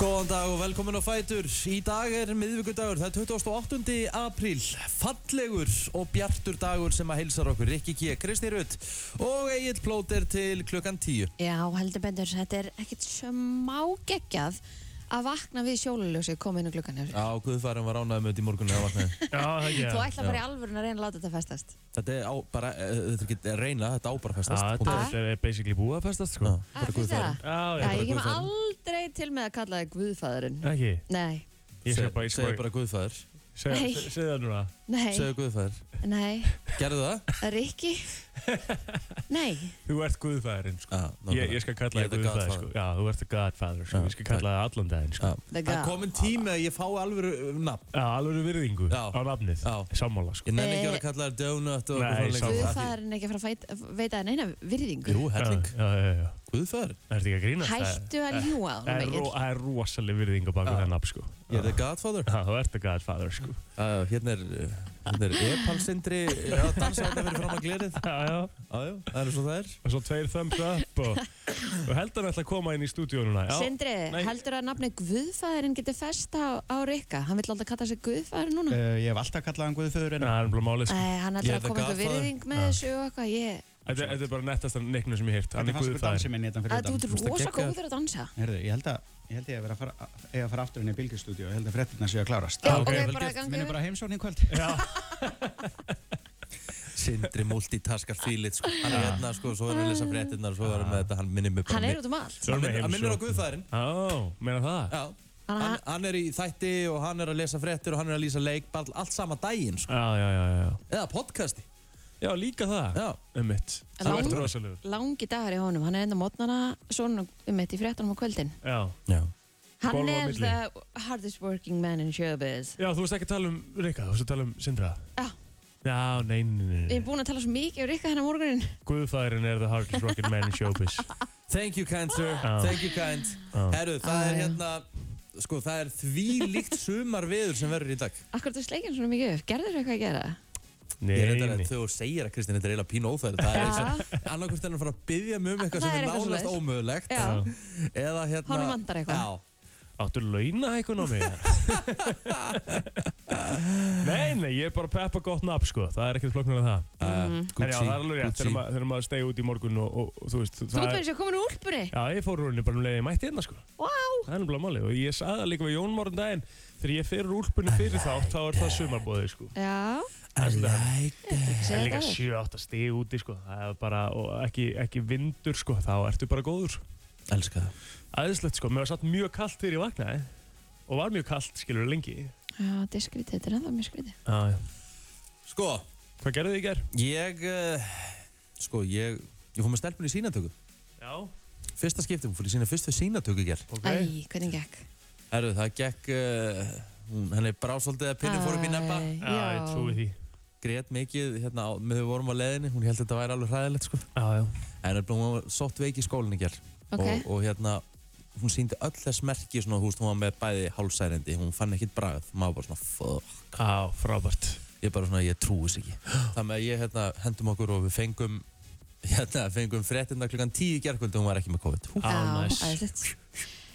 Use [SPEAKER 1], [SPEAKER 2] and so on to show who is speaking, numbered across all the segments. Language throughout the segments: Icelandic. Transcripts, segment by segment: [SPEAKER 1] Góðan dag og velkomin á Fætur. Í dag er miðvíkudagur, það er 28. apríl. Fallegur og bjartur dagur sem að heilsar okkur. Rikki G, Kristi Rutt og Egil Plóter til klukkan 10.
[SPEAKER 2] Já, heldur bendur, þetta er ekkert smá geggjað að vakna við sjólaljósi komin í klukkan hefur.
[SPEAKER 1] Já, Guðfærum var ánæðum auðvitað í morgunni að vaknaði.
[SPEAKER 3] Já, það ekki.
[SPEAKER 2] Þú ætla bara í
[SPEAKER 1] Já.
[SPEAKER 2] alvörun að reyna að láta þetta festast.
[SPEAKER 1] Þetta er á, bara, eh, þetta er ekki að reyna, þetta á bara
[SPEAKER 3] Já,
[SPEAKER 1] að festast.
[SPEAKER 3] þetta er- þetta er basically búið að festast, sko.
[SPEAKER 1] Já,
[SPEAKER 2] Að,
[SPEAKER 1] bara
[SPEAKER 2] finnst þér
[SPEAKER 1] Guðfærum.
[SPEAKER 2] það?
[SPEAKER 3] Já, já.
[SPEAKER 2] Já, ég kem
[SPEAKER 1] Guðfaðirinn.
[SPEAKER 2] aldrei til með að kalla þig Guðfæðurinn.
[SPEAKER 3] Ekki?
[SPEAKER 2] Nei,
[SPEAKER 3] Ég skal bara, ég skal
[SPEAKER 1] Segðu
[SPEAKER 3] bara,
[SPEAKER 1] bara Guðfæður.
[SPEAKER 2] Nei.
[SPEAKER 3] segðu segðu það núna.
[SPEAKER 2] nei,
[SPEAKER 1] Segðu Guðfæður.
[SPEAKER 2] nei,
[SPEAKER 1] Gerðu það?
[SPEAKER 2] Rikki, nei,
[SPEAKER 3] Þú ert guðfæðurinn, sko.
[SPEAKER 1] Já,
[SPEAKER 3] Ég, ég skal kalla
[SPEAKER 1] Ah, Ég er
[SPEAKER 3] þig
[SPEAKER 1] the
[SPEAKER 3] guðfæður,
[SPEAKER 1] Godfather. Ah,
[SPEAKER 3] sko. Já, þú ert the godfather, sko.
[SPEAKER 1] Já,
[SPEAKER 3] Ég skal kalla þig allan daginn, sko.
[SPEAKER 1] Já.
[SPEAKER 2] The
[SPEAKER 1] Það er
[SPEAKER 2] God.
[SPEAKER 1] komin tími að ég fái alveg nafn.
[SPEAKER 3] Já, alveg virðingu
[SPEAKER 1] Já.
[SPEAKER 3] á nafnið.
[SPEAKER 1] Já.
[SPEAKER 3] Sammála, sko.
[SPEAKER 1] Ég nenni ekki að vera að kalla þér Donut og
[SPEAKER 3] Nei,
[SPEAKER 1] eitthvað svona lengur.
[SPEAKER 3] sama.
[SPEAKER 2] Guðfæðurinn ekki að fara að fæta, veita neina virðingu.
[SPEAKER 1] Jú, helling.
[SPEAKER 3] Já, já, já, já.
[SPEAKER 1] Guðfæður.
[SPEAKER 3] Það ert ekki að grínast. það-
[SPEAKER 2] Hættu að ljúa á
[SPEAKER 3] Það
[SPEAKER 2] honum
[SPEAKER 3] er
[SPEAKER 2] ekki.
[SPEAKER 3] ro- það er rosaleg virðingu baku
[SPEAKER 1] Já.
[SPEAKER 3] það nafn, sko.
[SPEAKER 1] Ég er the Godfather.
[SPEAKER 3] Já, þú ert the godfather, sko.
[SPEAKER 1] Uh, hérna er, uh, hérna er epalsindri að dansa þetta fyrir fram að glerið.
[SPEAKER 3] Já, já.
[SPEAKER 1] Jájú, það er svo það er.
[SPEAKER 3] Og svo tveir thumbs up og, og heldur hann ætla að koma inn í stúdíu núna. Já.
[SPEAKER 2] Sindri,
[SPEAKER 3] Nei.
[SPEAKER 2] heldur að nafni Guðfæðurinn getur festa á, á Rikka? Hann vill alltaf kalla sig Guðfæður núna?
[SPEAKER 4] Uh, ég hef alltaf kallað hann hérna. Guðföður en
[SPEAKER 3] Já, það er bara málið, sko.
[SPEAKER 2] Æ, hann
[SPEAKER 1] Ég
[SPEAKER 2] ætlar að
[SPEAKER 1] er the
[SPEAKER 2] koma eitthvað
[SPEAKER 1] Godfather.
[SPEAKER 2] virðing með sko. þessu og eitthvað, ég...
[SPEAKER 3] Þetta þetta er bara nettasta neiknum sem ég heirt.
[SPEAKER 4] þetta fannst mér dansi minn hérna fyrir
[SPEAKER 2] Að þú
[SPEAKER 4] utan.
[SPEAKER 2] ert
[SPEAKER 1] Fyrst að
[SPEAKER 2] rosa
[SPEAKER 1] gegga-
[SPEAKER 2] góður að dansa.
[SPEAKER 4] Herðu, ég held að ég held ég að vera að fara, eiga að fara aftur inn í bylgjastúdíu og ég held að frettirna séu að klárast.
[SPEAKER 2] Já,
[SPEAKER 3] ok,
[SPEAKER 2] ok,
[SPEAKER 3] vel
[SPEAKER 2] bara
[SPEAKER 3] gert.
[SPEAKER 2] gangi
[SPEAKER 4] Minn er
[SPEAKER 2] yfir.
[SPEAKER 4] bara heimsókn í kvöld.
[SPEAKER 3] Já,
[SPEAKER 1] Sindri multitaskar fílit, sko. Hann er hérna, sko, svo er hann að lesa fréttinnar, svo er hann með þetta, hann minnir mig bara.
[SPEAKER 2] Hann
[SPEAKER 1] á
[SPEAKER 2] er
[SPEAKER 1] mig.
[SPEAKER 2] út um allt.
[SPEAKER 3] Svo
[SPEAKER 1] Hann
[SPEAKER 3] erum við
[SPEAKER 1] minnir- Hann minnir á
[SPEAKER 3] heimsókn.
[SPEAKER 1] Guðfæðurinn.
[SPEAKER 3] Á, meina það?
[SPEAKER 1] Já.
[SPEAKER 2] Hann-
[SPEAKER 1] Hann, hann er í þætti og hann er að lesa fréttir og hann er að lýsa leikball allt sama daginn, sko.
[SPEAKER 3] Já, já, já, já.
[SPEAKER 1] Eða podcasti.
[SPEAKER 3] Já, líka það.
[SPEAKER 1] Já.
[SPEAKER 3] Um mitt.
[SPEAKER 2] Lang-
[SPEAKER 3] Það er rosalegur.
[SPEAKER 2] Langi dagar í honum, hann er enda mótnana svona um mitt í fréttunum á kvöldin.
[SPEAKER 3] Já.
[SPEAKER 1] Já.
[SPEAKER 2] Hann
[SPEAKER 3] Golf á
[SPEAKER 2] er
[SPEAKER 3] milli.
[SPEAKER 2] the hardest working man in showbiz.
[SPEAKER 3] Já, þú veist ekki að tala um Rikka, þú veist að tala um Sindra.
[SPEAKER 2] Já,
[SPEAKER 3] Já, nei, nei, nei,
[SPEAKER 2] við
[SPEAKER 3] nei.
[SPEAKER 2] erum búin að tala svo mikið um Rikka hennar morgunin.
[SPEAKER 3] Guðfæðurinn er the hardest rocket man in showbiz.
[SPEAKER 1] Thank you kind, sir.
[SPEAKER 3] Já.
[SPEAKER 1] Thank you kind.
[SPEAKER 3] Já.
[SPEAKER 1] Herru, það er
[SPEAKER 2] Já, já.
[SPEAKER 1] hérna, sko, það er því líkt sumar sem verður í dag.
[SPEAKER 2] Akkur þú sleikir hann svona mikið upp, gerður þú eitthvað að gera?
[SPEAKER 3] Nei,
[SPEAKER 1] Ég er reyndar að
[SPEAKER 3] nei.
[SPEAKER 1] þegar þú segir að Kristinn, þetta er eiginlega pínu óþægilegt. Það
[SPEAKER 2] Já.
[SPEAKER 1] er eins og annarkvist er hann að fara að byggja mig um eitthvað
[SPEAKER 2] Það
[SPEAKER 1] sem
[SPEAKER 2] er
[SPEAKER 1] er
[SPEAKER 2] eitthvað
[SPEAKER 1] nánast
[SPEAKER 2] svoleiðis.
[SPEAKER 1] ómögulegt.
[SPEAKER 2] Já.
[SPEAKER 1] Eða hérna...
[SPEAKER 2] Honum vantar eitthvað.
[SPEAKER 1] Já.
[SPEAKER 3] Áttu launa eitthvað á mig? nei, nei, ég er bara að peppa gott nafn, sko. Það er ekkert flokknar en það.
[SPEAKER 1] Uh,
[SPEAKER 3] En já, það er alveg rétt þegar
[SPEAKER 1] Gucci.
[SPEAKER 3] maður- þegar maður stegi út í morgun og, og, og þú veist,
[SPEAKER 2] Þú
[SPEAKER 3] það er-
[SPEAKER 2] ert með þessu að koma úr úlpunni.
[SPEAKER 3] Já, ég fór úr henni bara um leiði mætti hérna sko
[SPEAKER 2] Vá!
[SPEAKER 3] Það er náttúrulega máli og ég sagði það líka við Jón Mórn daginn Þegar ég fer úr úlpunni fyrir þá, þá er það sumarbóði sko
[SPEAKER 2] Já,
[SPEAKER 1] I like that.
[SPEAKER 2] segðu
[SPEAKER 3] Það er líka
[SPEAKER 2] það.
[SPEAKER 3] 7-8 stig úti sko Það er bara, og ekki, ekki vindur sko, þá ertu bara góður
[SPEAKER 1] Elska það.
[SPEAKER 3] Æðislegt sko, mér var satt mjög kallt þegar ég vaknaði Og var mjög kallt, skilur lengi Já,
[SPEAKER 2] Já, þetta er skrítið, þetta er ennþá mjög skrítið.
[SPEAKER 3] já
[SPEAKER 1] Sko,
[SPEAKER 3] Hvað gerðu þið í ger?
[SPEAKER 1] ég... Uh, sko, ég... Ég fór með stelpunni í sínatöku.
[SPEAKER 3] Já,
[SPEAKER 1] Fyrsta skipti, hún fór í sína fyrstu sínatöku í gerð.
[SPEAKER 3] ok
[SPEAKER 2] Æ, hvernig gekk?
[SPEAKER 1] Herru, það gekk... Uh, hún- henni brá svolítið að
[SPEAKER 2] Ah.
[SPEAKER 1] pinni fór upp í neppa.
[SPEAKER 2] Æ,
[SPEAKER 3] Já, ég trúi því
[SPEAKER 1] Grét mikið, hérna, á- með þau vorum á leðinni. Hún held að þetta væri alveg hræðilegt, sko.
[SPEAKER 3] Já, já
[SPEAKER 1] En nefnilega, hún var sótt veik í skólinni í gerð.
[SPEAKER 2] Ok.
[SPEAKER 1] og, og hérna hún síndi öll þess merki svona, þú veist, hún var með bæði hálsærindi, hún fann ekkit bragð maður bara svona, fuck,
[SPEAKER 3] Já, frábært
[SPEAKER 1] ég bara svona, ég trúi sig ekki þannig að ég hérna hendum okkur og við fengum hérna, fengum fréttina klukkan 10 í gærkvöldi og hún var ekki með COVID Hú,
[SPEAKER 3] Já,
[SPEAKER 2] Já,
[SPEAKER 3] næs.
[SPEAKER 2] æðislegt.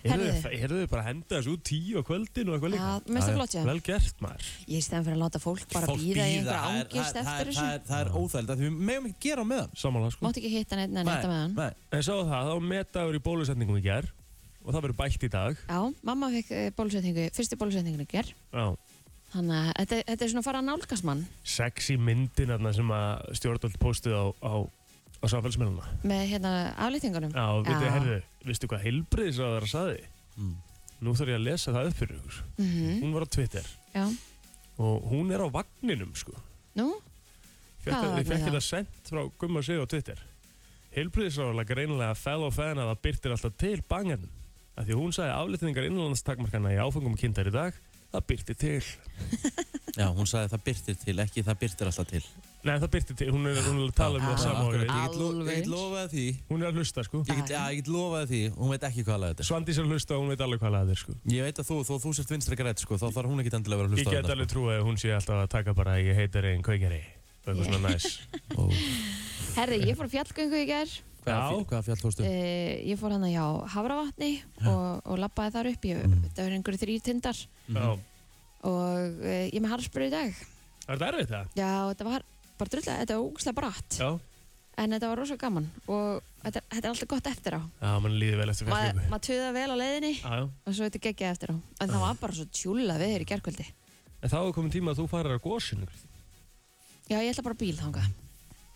[SPEAKER 3] Heyrðu
[SPEAKER 2] Herðu.
[SPEAKER 3] þið- heyrðu þið bara að henda þessu út tíu á kvöldin og eitthvað
[SPEAKER 2] Já,
[SPEAKER 3] líka Já,
[SPEAKER 2] mest að
[SPEAKER 3] já.
[SPEAKER 2] flott, já.
[SPEAKER 3] Vel gert maður
[SPEAKER 2] Ég er stæðan fyrir að láta fólk bara
[SPEAKER 1] fólk
[SPEAKER 2] býða í
[SPEAKER 1] bíða,
[SPEAKER 2] einhverja
[SPEAKER 1] það er-
[SPEAKER 2] ángist
[SPEAKER 1] það
[SPEAKER 2] eftir
[SPEAKER 1] er- það
[SPEAKER 2] þessu.
[SPEAKER 1] er- það er óþægilegt, af því við megum ekki gera á meðan
[SPEAKER 3] Samanlega sko
[SPEAKER 2] Mátt ekki hitta neitt neitt að með hann.
[SPEAKER 1] nei,
[SPEAKER 3] En sá það, þá metaður í bólusetningum í ger og það verður bætt í dag.
[SPEAKER 2] Já, mamma fekk eh, bólusetningu, fyrstu bólusetningu í ger.
[SPEAKER 3] Já.
[SPEAKER 2] Þannig að þetta, þetta er svona að fara að nálgast mann
[SPEAKER 3] Sexy myndin þarna sem að stjórnvöld postuð á, á, á samfélsmiðluna.
[SPEAKER 2] með hérna aflýtingunum.
[SPEAKER 3] Já, veitu,
[SPEAKER 2] Já.
[SPEAKER 3] herðu, veistu hvað heilbriðis að það sagði?
[SPEAKER 1] Mm.
[SPEAKER 3] Nú þarf ég að lesa það upp fyrir ykkur.
[SPEAKER 2] Mhm,
[SPEAKER 3] Hún var á Twitter
[SPEAKER 2] já.
[SPEAKER 3] og hún er á vagninum sko.
[SPEAKER 2] Nú,
[SPEAKER 3] Fékk
[SPEAKER 2] Hvaða
[SPEAKER 3] það- Ég
[SPEAKER 2] vagni
[SPEAKER 3] fekk hérna
[SPEAKER 2] þá?
[SPEAKER 3] þetta sendt frá Gumma Sig á Twitter. Heilbriðisráðurlega greinilega fellow fan að það byrtir alltaf til bangarnum. Af því að hún sagði aflýtingar innlandstakmarkana í áfengum kynntar í dag, það byrtir til.
[SPEAKER 1] já, hún sagði það byrtir til, ekki það byrtir alltaf til
[SPEAKER 3] Nei, það byrti til, hún er, hún er að tala um
[SPEAKER 2] Já,
[SPEAKER 3] það sama
[SPEAKER 1] Ah,
[SPEAKER 3] árið.
[SPEAKER 1] Akkurat, ég get lo-
[SPEAKER 2] Alveg
[SPEAKER 1] ég get
[SPEAKER 2] eins.
[SPEAKER 1] lofað því
[SPEAKER 3] Hún er að hlusta, sko.
[SPEAKER 1] ég get, já, ég get lofað því, hún veit ekki hvað alveg þetta er.
[SPEAKER 3] Svandís er að hlusta og hún veit alveg hvað lagað er, sko.
[SPEAKER 1] ég veit að þú, þó þú sért vinstri grætt sko, þá þarf hún ekki endilega að vera að
[SPEAKER 3] Ég
[SPEAKER 1] hlusta á
[SPEAKER 3] get
[SPEAKER 1] þetta,
[SPEAKER 3] alveg trúið að hún sé alltaf að taka bara ég heitir einn kveikari og eitthvað
[SPEAKER 2] Yeah.
[SPEAKER 3] svona næs.
[SPEAKER 1] sko. Ó.
[SPEAKER 2] herri, ég fór á fjallgöngu í ger.
[SPEAKER 1] Hvaða
[SPEAKER 3] Já.
[SPEAKER 1] fjall- hvaða fjall fórstu?
[SPEAKER 2] Uh, ég fór hann að hjá Havravatni og, og labbaði þar upp, ég, það eru einhverju þrýr tindar
[SPEAKER 3] Já.
[SPEAKER 1] Mhm.
[SPEAKER 2] og uh, ég er með harspur í dag.
[SPEAKER 3] Er þetta erfitt það?
[SPEAKER 2] Já, þetta var bara drullega, þetta var úgslega bratt,
[SPEAKER 3] Já.
[SPEAKER 2] en þetta var rosa gaman og þetta, þetta er alltaf gott eftir á.
[SPEAKER 3] Já, mann líði vel eftir
[SPEAKER 2] Maður
[SPEAKER 3] fjallgöngu.
[SPEAKER 2] ma töða vel á leiðinni
[SPEAKER 3] Já, já.
[SPEAKER 2] og svo þetta geggja eftir á. En það var bara svo tjúla við þér í gerkvöldi.
[SPEAKER 3] En þá er komin tíma að þú farir að gósinu.
[SPEAKER 2] Já, ég ætla bara á bíl þangað.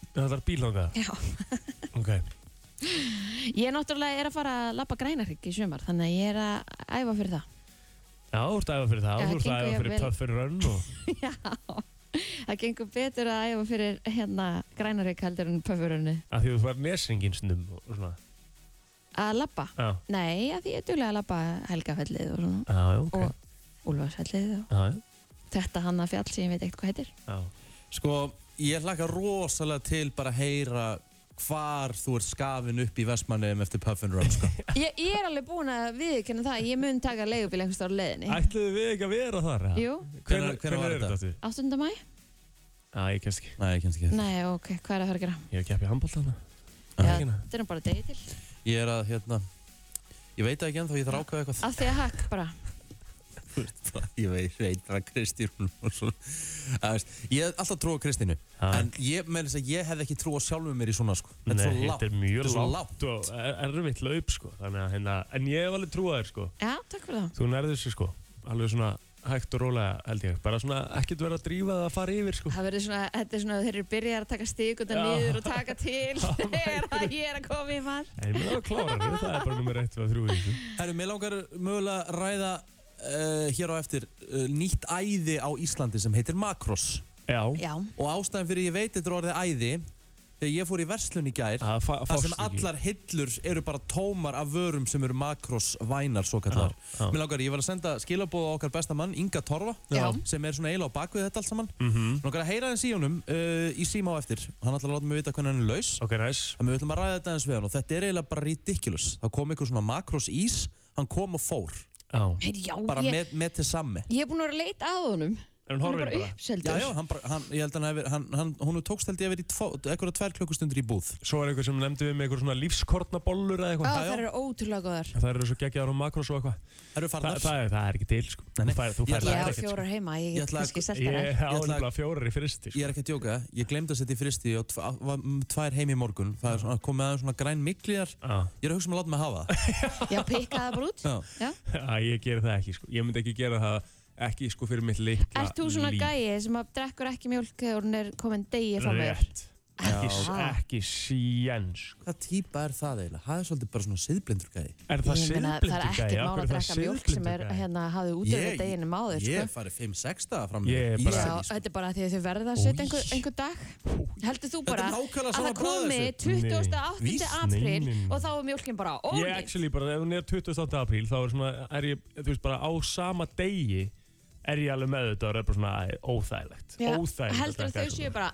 [SPEAKER 3] Það er bílanga.
[SPEAKER 2] Já.
[SPEAKER 3] Ok.
[SPEAKER 2] Ég náttúrulega er að fara að labba grænarhygg í sumar, þannig að ég er að æfa fyrir það.
[SPEAKER 3] Já, þú ert að æfa fyrir það.
[SPEAKER 2] Já,
[SPEAKER 3] Þú ert
[SPEAKER 2] gengur
[SPEAKER 3] að æfa
[SPEAKER 2] ég
[SPEAKER 3] fyrir
[SPEAKER 2] vel.
[SPEAKER 3] töffir rönn og...
[SPEAKER 2] Já, það gengur betur að æfa fyrir hérna grænarhygg heldur en pöfurunni.
[SPEAKER 3] Af því þú fær nesringin stundum og svona.
[SPEAKER 2] Að labba?
[SPEAKER 3] Já.
[SPEAKER 2] Nei, að því ég er duglega að labba helgafellið og svona.
[SPEAKER 3] Já, já, Ah, ok.
[SPEAKER 2] Og úlfarsfellið og
[SPEAKER 3] Já, já.
[SPEAKER 2] þetta hanna fjall sem ég veit ekkert hvað heitir.
[SPEAKER 3] Já.
[SPEAKER 1] Sko, ég hlakka rosalega til bara að heyra hvar þú ert skafin upp í Vestmanneum eftir Puffin Run, sko.
[SPEAKER 2] Ég, ég er alveg búin að viðkynna það, ég mun taka leigubíl einhvers staðar á leiðinni.
[SPEAKER 3] Ætluðu við ekki að vera þar? eða?
[SPEAKER 2] Jú,
[SPEAKER 1] Hvenær- hvenær var
[SPEAKER 3] er
[SPEAKER 1] þetta?
[SPEAKER 3] aftur?
[SPEAKER 2] 8. mæ?
[SPEAKER 3] Já, ég kemst ekki.
[SPEAKER 1] Nei, ég kemst ekki þetta.
[SPEAKER 2] Nei, ok, hvað er að fara að gera?
[SPEAKER 3] Ég er ekki heppið handbólt þarna.
[SPEAKER 2] Já,
[SPEAKER 3] Helgina.
[SPEAKER 2] þetta er nú bara degi til.
[SPEAKER 1] Ég er að, hérna, ég veit það ekki ennþá, ég þarf að ákveða eitthvað.
[SPEAKER 2] Af því að hakk bara.
[SPEAKER 1] Ég veit, veit það Kristi, hún var svo... Að veist, Ég hef alltaf trú á Kristínu,
[SPEAKER 3] Já.
[SPEAKER 1] en ég, með þess að ég hef ekki trú á sjálfu mér í svona, sko.
[SPEAKER 3] Nei,
[SPEAKER 1] Þetta er svo
[SPEAKER 3] þetta
[SPEAKER 1] lágt.
[SPEAKER 3] er mjög
[SPEAKER 1] Þetta er svo
[SPEAKER 3] lágt og er- erfitt laup sko þannig að hérna, en ég hef alveg trúað þér sko
[SPEAKER 2] Já, takk fyrir það.
[SPEAKER 3] þú nærður sér sko, alveg svona hægt og rólega held ég, bara svona ekkert vera að drífa það að fara yfir sko
[SPEAKER 2] Það verður svona, þetta er svona, þeir eru byrjar að taka stík og það
[SPEAKER 3] Já.
[SPEAKER 2] niður og taka til þegar að ég er að koma í mann.
[SPEAKER 3] en ég meðan að klára þér, það er bara nummer 1 og 3 sko.
[SPEAKER 1] Herru, mér langar mögulega að ræða uh, hér á eftir uh, nýtt æði á Íslandi sem heitir Makros.
[SPEAKER 3] já,
[SPEAKER 2] Já,
[SPEAKER 1] Og ástæðan fyrir ég veit þetta er orðið æði, þegar ég fór í verslun í gær,
[SPEAKER 3] það fa-
[SPEAKER 1] Það sem
[SPEAKER 3] fást ekki.
[SPEAKER 1] allar hillur eru bara tómar af vörum sem eru makrosvænar svo kallar.
[SPEAKER 3] Já, já.
[SPEAKER 1] Mér langar, ég var að senda skilabóð á okkar besta mann, Inga Torfa,
[SPEAKER 2] Já.
[SPEAKER 1] sem er svona eiginlega á bakvið þetta allt saman. Mm -hmm. Langar að heyra hans í honum uh, í síma á eftir. Hann ætlar að láta mig vita hvernig hann er laus.
[SPEAKER 3] ok, næs,
[SPEAKER 1] En við ætlum að ræða þetta eins við hann og þetta er eiginlega bara ridiculous. Það kom einhver svona makros ís, hann kom og fór.
[SPEAKER 3] já
[SPEAKER 2] Hey, já
[SPEAKER 1] Bara
[SPEAKER 2] ég,
[SPEAKER 1] með, með til sami.
[SPEAKER 2] ég er búin að vera að leita að honum.
[SPEAKER 3] er hún
[SPEAKER 2] er
[SPEAKER 3] horfin
[SPEAKER 2] bara
[SPEAKER 3] bara,
[SPEAKER 1] Já,
[SPEAKER 2] uppseldur.
[SPEAKER 1] já, hann, bara- hann, ég held að hann, hafi- hann, hann, hún tókst held ég að vera í tvo- einhverja tvær klukkustundur í búð.
[SPEAKER 3] svo er einhver sem nefndi við með einhver svona lífskortnabollur eða
[SPEAKER 2] Á,
[SPEAKER 3] eitthvað,
[SPEAKER 2] það eru ótrúlega góðar.
[SPEAKER 3] það eru svo geggjaðar og makros og eitthvað
[SPEAKER 1] Eru
[SPEAKER 3] Þa,
[SPEAKER 1] farnar?
[SPEAKER 3] það, er, það er ekki til sko
[SPEAKER 1] Nei, nei.
[SPEAKER 3] þú fær, þú
[SPEAKER 1] Ég
[SPEAKER 3] fær
[SPEAKER 1] ætla-
[SPEAKER 2] Ég
[SPEAKER 3] það
[SPEAKER 2] á
[SPEAKER 3] ekkert sko.
[SPEAKER 2] fjórar heima,
[SPEAKER 1] Ég
[SPEAKER 2] ég get
[SPEAKER 1] ætla að-
[SPEAKER 2] kannski selt
[SPEAKER 3] ég á
[SPEAKER 2] þær.
[SPEAKER 1] Ég ætla-
[SPEAKER 3] nefnilega fjórar í fristi
[SPEAKER 1] Ég
[SPEAKER 3] sko.
[SPEAKER 1] er ekki að djóka, ég glemd að setja í fristi og tva- var m- tvær heim í morgun Það er svona, komið aðeins svona græn miklíðar
[SPEAKER 3] Já.
[SPEAKER 1] Ég er að hugsa um að láta mig hafa það
[SPEAKER 2] Já, pikka það bara út.
[SPEAKER 1] Já.
[SPEAKER 2] Já.
[SPEAKER 3] Já, ég ger það ekki, sko. Ég myndi ekki gera það ekki, sko, fyrir mitt litla
[SPEAKER 2] Ert þú svona
[SPEAKER 3] líf.
[SPEAKER 2] gæi sem að drekkur ekki mjólk þegar hún er komin degi fram með
[SPEAKER 3] Rétt. Ekki,
[SPEAKER 2] Já.
[SPEAKER 3] ekki síen, sko.
[SPEAKER 1] Hvað típa er það eiginlega? Það er svolítið bara svona siðblindur gæði
[SPEAKER 3] Er það
[SPEAKER 2] Ég meina,
[SPEAKER 3] siðblindu
[SPEAKER 2] Það er
[SPEAKER 3] gæi? Af
[SPEAKER 2] ekkert mál
[SPEAKER 3] hverju
[SPEAKER 2] að
[SPEAKER 3] er það
[SPEAKER 2] drekka mjólk sem er
[SPEAKER 3] siðblindur gæi?
[SPEAKER 2] hérna hafði út af deginum áður,
[SPEAKER 1] Ég
[SPEAKER 2] sko.
[SPEAKER 1] hef farið 5-6 daga fram
[SPEAKER 3] Ég er
[SPEAKER 1] í
[SPEAKER 3] bara-
[SPEAKER 1] sig,
[SPEAKER 2] Já,
[SPEAKER 1] sko.
[SPEAKER 2] þetta er bara því að þau verða að setja einhver, einhver dag. Heldur þú
[SPEAKER 1] Þetta er
[SPEAKER 2] bara
[SPEAKER 1] nákvæmlega
[SPEAKER 2] að
[SPEAKER 1] sama
[SPEAKER 2] það
[SPEAKER 1] bragð
[SPEAKER 2] komi
[SPEAKER 1] þessu?
[SPEAKER 2] 28.
[SPEAKER 1] Víst,
[SPEAKER 3] nei, nei,
[SPEAKER 2] apríl
[SPEAKER 3] nei.
[SPEAKER 2] og þá er mjólkin bara
[SPEAKER 3] Ég
[SPEAKER 2] ónýtt?
[SPEAKER 3] actually bara, ef hún er 28. apríl, þá er svona, er ég, þú veist, bara á sama degi er ég alveg með þetta og er bara svona æ, óþægilegt.
[SPEAKER 2] Já,
[SPEAKER 3] óþægilegt.
[SPEAKER 2] Heldur að þau séu bara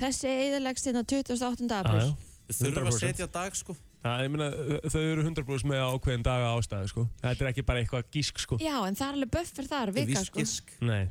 [SPEAKER 2] þessi eðalegst hérna 28.
[SPEAKER 3] Já,
[SPEAKER 2] apríl?
[SPEAKER 3] já.
[SPEAKER 1] Þau Þurfa
[SPEAKER 3] 100%.
[SPEAKER 1] að setja dag sko
[SPEAKER 3] Já, ég meina, þau eru 100% með ákveðin daga ástæðu, sko. Þetta er ekki bara eitthvað gísk, sko.
[SPEAKER 2] Já, en það er alveg buffer þar, vika sko.
[SPEAKER 1] Vískisk
[SPEAKER 3] Nei,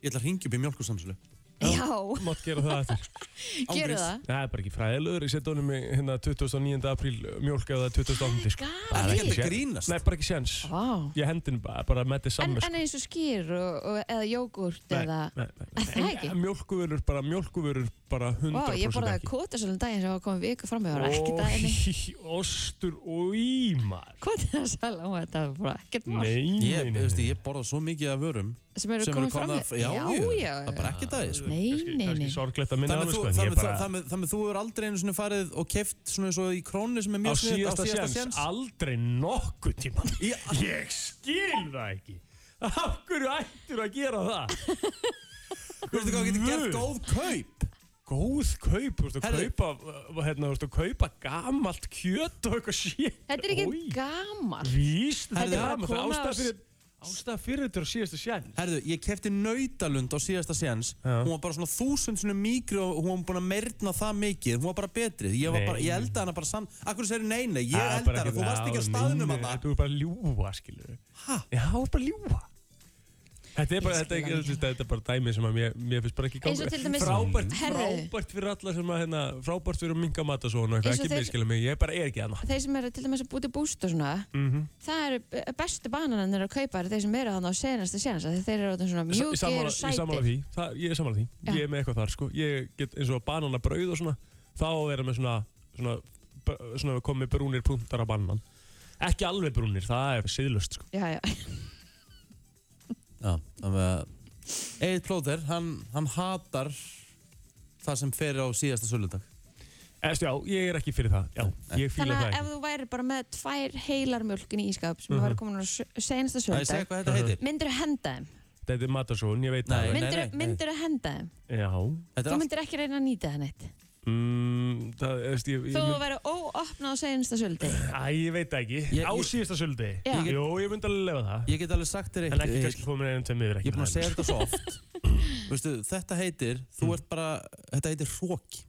[SPEAKER 1] Ég ætla að ringja upp í mjölkursamslu
[SPEAKER 2] Já,
[SPEAKER 3] mátt gera það eftir.
[SPEAKER 2] gerðu
[SPEAKER 1] Ángriðs.
[SPEAKER 2] það.
[SPEAKER 3] Nei, Það er bara ekki fræðilegur, ég setja honum í hérna 29. apríl mjólk eða 28. sko.
[SPEAKER 1] Það er
[SPEAKER 2] Gæi.
[SPEAKER 1] ekki að grínast
[SPEAKER 3] Nei, bara ekki séns.
[SPEAKER 2] Vá.
[SPEAKER 3] Ég hendi henni bara, bara með þið
[SPEAKER 2] En,
[SPEAKER 3] saman.
[SPEAKER 2] en eins og skýr og, og, eða jógurt eða... Er það ekki?
[SPEAKER 3] Mjólkuvörur, bara mjólkuvörur, bara 100%
[SPEAKER 2] Vá, ég borðaði
[SPEAKER 3] ekki.
[SPEAKER 2] kótasölum daginn sem var komið viku fram með, það var ekki daginni.
[SPEAKER 3] Ó, Ostur og ímar.
[SPEAKER 2] Kótasölum, þetta var bara ekkert mál.
[SPEAKER 3] Nei,
[SPEAKER 1] Ég,
[SPEAKER 3] nei, nei.
[SPEAKER 1] veistu, ég borða svo mikið af vörum
[SPEAKER 2] Sem eru
[SPEAKER 1] sem eru
[SPEAKER 2] komið fram
[SPEAKER 1] komna
[SPEAKER 2] með.
[SPEAKER 1] Já, já,
[SPEAKER 2] já.
[SPEAKER 1] það er bara ekki dagið sko
[SPEAKER 2] Nei,
[SPEAKER 3] Kannski-
[SPEAKER 2] nei, nei.
[SPEAKER 3] Kannski sorglegt að minna
[SPEAKER 1] Þannig að
[SPEAKER 3] alveg,
[SPEAKER 1] þú,
[SPEAKER 3] sko. en ég
[SPEAKER 1] þannig að-
[SPEAKER 3] bara-
[SPEAKER 1] þannig að- þannig að þú er aldrei einu sinni farið og keft svona eins og í krónu sem er
[SPEAKER 3] Á
[SPEAKER 1] mjög sniðugt,
[SPEAKER 3] síðasta séns, aldrei nokkuð tíma.
[SPEAKER 1] Í-
[SPEAKER 3] Ég skil það ekki. Af hverju ættir að gera það?
[SPEAKER 1] Þú veistu hvað getur gert
[SPEAKER 3] Guð.
[SPEAKER 1] góð kaup
[SPEAKER 3] góð kaup, þú veist að
[SPEAKER 1] Herðu.
[SPEAKER 3] kaupa uh, hérna, þú veist að kaupa gamalt kjöt og eitthvað shit
[SPEAKER 2] Þetta er ekki
[SPEAKER 3] Oj,
[SPEAKER 2] gamal.
[SPEAKER 3] víst, þetta
[SPEAKER 1] Herðu,
[SPEAKER 3] er
[SPEAKER 1] bara
[SPEAKER 3] gamalt, það
[SPEAKER 2] koma
[SPEAKER 3] er ástæða
[SPEAKER 2] á-
[SPEAKER 3] fyrir ástæða fyrir þetta er á síðasta sjæn
[SPEAKER 1] Herðu, ég kefti nautalund á síðasta séns
[SPEAKER 3] Já.
[SPEAKER 1] Hún var bara svona þúsund svona mýgri og hún var búin að merna það mikið Hún var bara betri Ég, var
[SPEAKER 3] Nei.
[SPEAKER 1] bara, ég elda hana bara saman Akkur segir nei, nei, ég elda hana Þú varst ekki að staðnum að það
[SPEAKER 3] Þú er bara að ljúa, skilur
[SPEAKER 1] Ha?
[SPEAKER 3] Já, þú er bara að ljúa Þetta er bara,
[SPEAKER 2] Ég
[SPEAKER 3] þetta er,
[SPEAKER 2] skil hann
[SPEAKER 3] ekki- þetta er bara dæmi sem að mér, mér finnst bara ekki
[SPEAKER 2] Eins og til dæmis-
[SPEAKER 3] frábært,
[SPEAKER 2] Herðu.
[SPEAKER 3] frábært fyrir alla sem að hérna, frábært fyrir að minga mata svona eitthvað,
[SPEAKER 2] Eins og
[SPEAKER 3] ekki
[SPEAKER 2] þeir-
[SPEAKER 3] miskila mig, ég bara er ekki Mhm. hana
[SPEAKER 2] þeir sem eru til dæmis að búti búst og svona það eru eh, bestu bananarnir að kaupa eru þeir sem eru þannig á senasta senasta þegar þeir eru orðnir svona
[SPEAKER 3] Ég
[SPEAKER 2] mjúkir
[SPEAKER 3] sammála
[SPEAKER 2] og
[SPEAKER 3] ég sammála
[SPEAKER 2] sætir
[SPEAKER 3] því, það, ég er sammála því
[SPEAKER 2] Já.
[SPEAKER 3] Ég er með eitthvað þar, sko, ég get eins og bananabrauð og svona, þá á að vera með svona svona, b- svona komið brúnir punktar á banan Ekki alveg brúnir, það er siðlust, sko
[SPEAKER 2] já, já.
[SPEAKER 1] Já, þannig að Egil Plóter, hann, hann hatar það sem fer á síðasta söludag
[SPEAKER 3] Eftir, Já, Eh, ég er ekki fyrir það, já, ég fíla
[SPEAKER 2] þannig
[SPEAKER 3] það
[SPEAKER 2] að
[SPEAKER 3] ekki
[SPEAKER 2] ef þú væri bara með tvær heilar mjölkin í ískap sem
[SPEAKER 3] Mhm.
[SPEAKER 2] uh -huh. væri komin á s- senasta
[SPEAKER 1] Það ég segja
[SPEAKER 2] söndag
[SPEAKER 1] hvað þetta heitir
[SPEAKER 2] myndir að henda þeim
[SPEAKER 3] Þetta er matasón, ég veit
[SPEAKER 1] Nei.
[SPEAKER 3] það alveg.
[SPEAKER 1] nei, nei.
[SPEAKER 2] myndir að henda þeim
[SPEAKER 3] Já,
[SPEAKER 2] þú
[SPEAKER 1] Þetta er allt
[SPEAKER 2] myndir ekki reyna að nýta það neitt
[SPEAKER 3] mm, það, eftir, ég, ég
[SPEAKER 2] þú
[SPEAKER 3] myndi-
[SPEAKER 2] að vera óopna á senasta söndag
[SPEAKER 3] Æ, ég veit það ekki.
[SPEAKER 1] Ég-
[SPEAKER 3] á
[SPEAKER 1] ég-
[SPEAKER 3] síðasta söldi.
[SPEAKER 2] Já. Ég-
[SPEAKER 3] Jó, ég myndi alveg lefa það.
[SPEAKER 1] Ég get alveg sagt þér
[SPEAKER 3] en
[SPEAKER 1] eitt
[SPEAKER 3] ekki
[SPEAKER 1] Egill.
[SPEAKER 3] kannski fóð mér einum hérna. tveim yfir ekki.
[SPEAKER 1] Ég er búinn að segja þetta svo oft Veistu, þetta heitir,
[SPEAKER 3] Mm.
[SPEAKER 1] þú ert bara Þetta heitir hróki,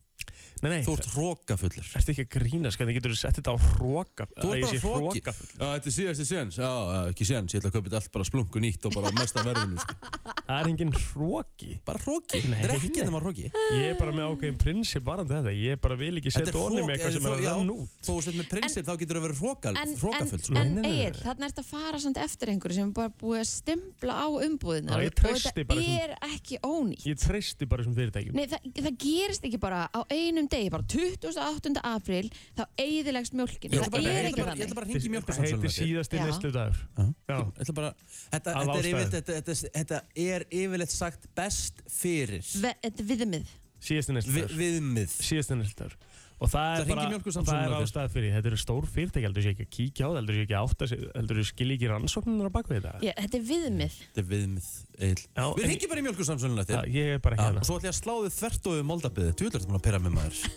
[SPEAKER 3] Nei, nei.
[SPEAKER 1] þú ert hrókafullur
[SPEAKER 3] Ertu ekki að grínast? Hvernig getur þú sett þetta á hróka?
[SPEAKER 1] Þú ert bara hróki Já, þetta er síðasti séns, já, já, ekki séns Ég ætla að kaupa þetta allt bara splunku nýtt og bara á mesta verðinu sko.
[SPEAKER 3] Það er engin hróki.
[SPEAKER 1] Bara hróki,
[SPEAKER 3] Nei.
[SPEAKER 1] þetta er ekki nema hróki
[SPEAKER 3] Ég er bara með ákveðin prinsip varandi þetta. Ég bara vil ekki
[SPEAKER 1] Þetta er
[SPEAKER 3] setja orðið með
[SPEAKER 1] hroki,
[SPEAKER 3] eitthvað sem er
[SPEAKER 1] þú-
[SPEAKER 3] að
[SPEAKER 1] já,
[SPEAKER 3] rann út.
[SPEAKER 1] Þú sett með prinsip, þá getur það verið hrókal-
[SPEAKER 2] en,
[SPEAKER 1] hrókafull
[SPEAKER 2] en,
[SPEAKER 1] sko.
[SPEAKER 3] Nei,
[SPEAKER 2] en
[SPEAKER 3] nei, nei, nei.
[SPEAKER 2] Egil, þarna ertu að fara samt eftir einhverju sem er bara búið að stimpla á umbúðina
[SPEAKER 3] Já, ég
[SPEAKER 2] og
[SPEAKER 3] treysti
[SPEAKER 2] þetta
[SPEAKER 3] bara þessum-
[SPEAKER 2] er ekki ónýtt
[SPEAKER 3] Ég treysti bara þessum fyrirtækjum.
[SPEAKER 2] Nei, það, það gerist ekki bara á einum degi, bara 28. apríl, þá eigðilegst mjölkin.
[SPEAKER 1] Ég ætla
[SPEAKER 2] Það
[SPEAKER 1] bara-
[SPEAKER 2] er
[SPEAKER 1] ég ætla
[SPEAKER 2] ekki
[SPEAKER 1] bara- ég ætla
[SPEAKER 2] þannig.
[SPEAKER 1] bara að hringi
[SPEAKER 3] Það heitir
[SPEAKER 1] mjölkursonsölu
[SPEAKER 3] síðasti
[SPEAKER 2] Já.
[SPEAKER 3] neslu dagur.
[SPEAKER 1] Já.
[SPEAKER 3] Já.
[SPEAKER 1] Ég ætla bara, þetta,
[SPEAKER 3] Af
[SPEAKER 1] þetta, er
[SPEAKER 3] ástæðu.
[SPEAKER 1] yfirleitt, þetta, þetta, þetta er yfirleitt sagt best fyrir
[SPEAKER 3] Mm.
[SPEAKER 2] Ve- Þetta er viðmið.
[SPEAKER 3] Síðasti neslu
[SPEAKER 1] vi,
[SPEAKER 3] dagur.
[SPEAKER 1] viðmið.
[SPEAKER 3] síðasta nýrstafur og það er
[SPEAKER 1] Það hringir
[SPEAKER 3] bara,
[SPEAKER 1] Mjólkursamsöluna
[SPEAKER 3] það er
[SPEAKER 1] okkar.
[SPEAKER 3] ástæð fyrir því. þetta eru stór fyrirtæki, heldur sé ekki að kíkja á það heldur sé ekki að átta sig, heldur sé skilja ekki rannsóknir á bakvið þetta
[SPEAKER 2] Já, þetta er viðmið.
[SPEAKER 1] Þetta er viðmið. Egill.
[SPEAKER 3] Já,
[SPEAKER 1] Við
[SPEAKER 3] en-
[SPEAKER 1] hringjum bara í mjölkursamsölinu
[SPEAKER 3] Já,
[SPEAKER 1] eftir.
[SPEAKER 3] ég er bara
[SPEAKER 1] Já, og
[SPEAKER 3] hérna
[SPEAKER 1] svo ætla ég að sláðu þvert og við moldabíði. Þú ætlar þetta múin að pyrra með maður.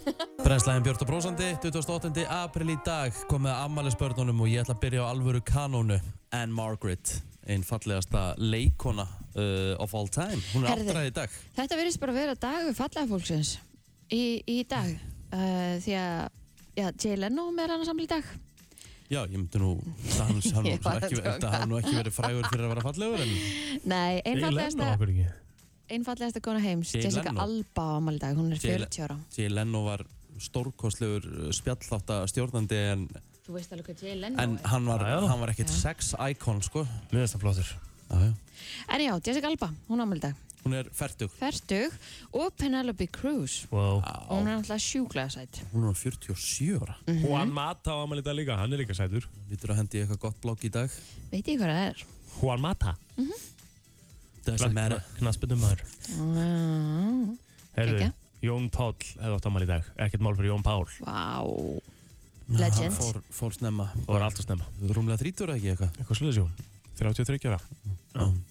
[SPEAKER 1] Brennslæðin Björn og Brósandi, 28. april í dag, komið að ammælisbörnunum og ég ætla að byrja á alvöru kanónu. Anne Margaret, einn fallegasta leikona uh, of all time. Hún er
[SPEAKER 2] Herðu.
[SPEAKER 1] áttræði í dag.
[SPEAKER 2] Þetta verðist bara vera dagur fallega fólksins í, í dag. Uh, því að, já, Jay Leno með hann saml í dag.
[SPEAKER 1] Já, ég myndi nú, hann, hann,
[SPEAKER 2] Ég var
[SPEAKER 1] hann,
[SPEAKER 2] að
[SPEAKER 1] ekki,
[SPEAKER 2] djóka.
[SPEAKER 1] þetta hafði nú ekki verið frægur fyrir að vera fallegur, en
[SPEAKER 2] Nei, einfallegasta,
[SPEAKER 3] okkur ekki
[SPEAKER 2] einfallegasta kona heims,
[SPEAKER 1] Jay
[SPEAKER 2] Jessica
[SPEAKER 1] Leno.
[SPEAKER 2] Alba á afmæli í dag, hún er
[SPEAKER 1] Jay Le-
[SPEAKER 2] 40 ára.
[SPEAKER 1] Jay Leno var stórkostlegur spjallþátt stjórnandi en,
[SPEAKER 2] Þú veist alveg hvað Jay Leno
[SPEAKER 1] en
[SPEAKER 2] er.
[SPEAKER 1] hann, var,
[SPEAKER 3] Já, já.
[SPEAKER 1] hann var ekkert
[SPEAKER 2] Já.
[SPEAKER 1] sex icon sko.
[SPEAKER 3] Mér finnst það flottur
[SPEAKER 1] já, já.
[SPEAKER 2] En já, Jessica Alba, hún á afmæli í dag.
[SPEAKER 1] Hún er færtug,
[SPEAKER 2] Fertug og Penelope Cruz.
[SPEAKER 3] wow.
[SPEAKER 2] Hún er náttúrulega sjúklega sætt.
[SPEAKER 1] hún er 47 ára.
[SPEAKER 3] og hann Mata á amalita líka, hann er líka sætur
[SPEAKER 1] Lítur að hendi í eitthvað gott blogg í dag.
[SPEAKER 2] Veit ég hvað það er?
[SPEAKER 3] Juan Mata,
[SPEAKER 2] Mhm.
[SPEAKER 1] Doesn't matter.
[SPEAKER 3] knaspindum maður
[SPEAKER 2] Mm,
[SPEAKER 3] Herðu,
[SPEAKER 2] Kekja.
[SPEAKER 3] Jón Páll hefði átt amalita í dag ekkert mál fyrir Jón Pál,
[SPEAKER 2] Vá.
[SPEAKER 1] Hann
[SPEAKER 2] Legend.
[SPEAKER 1] fór, fór snemma.
[SPEAKER 3] það var allt að snemma
[SPEAKER 1] Rúmlega 30 ára ekki eitthvað.
[SPEAKER 3] eitthvað sluðis Jón, 33 ára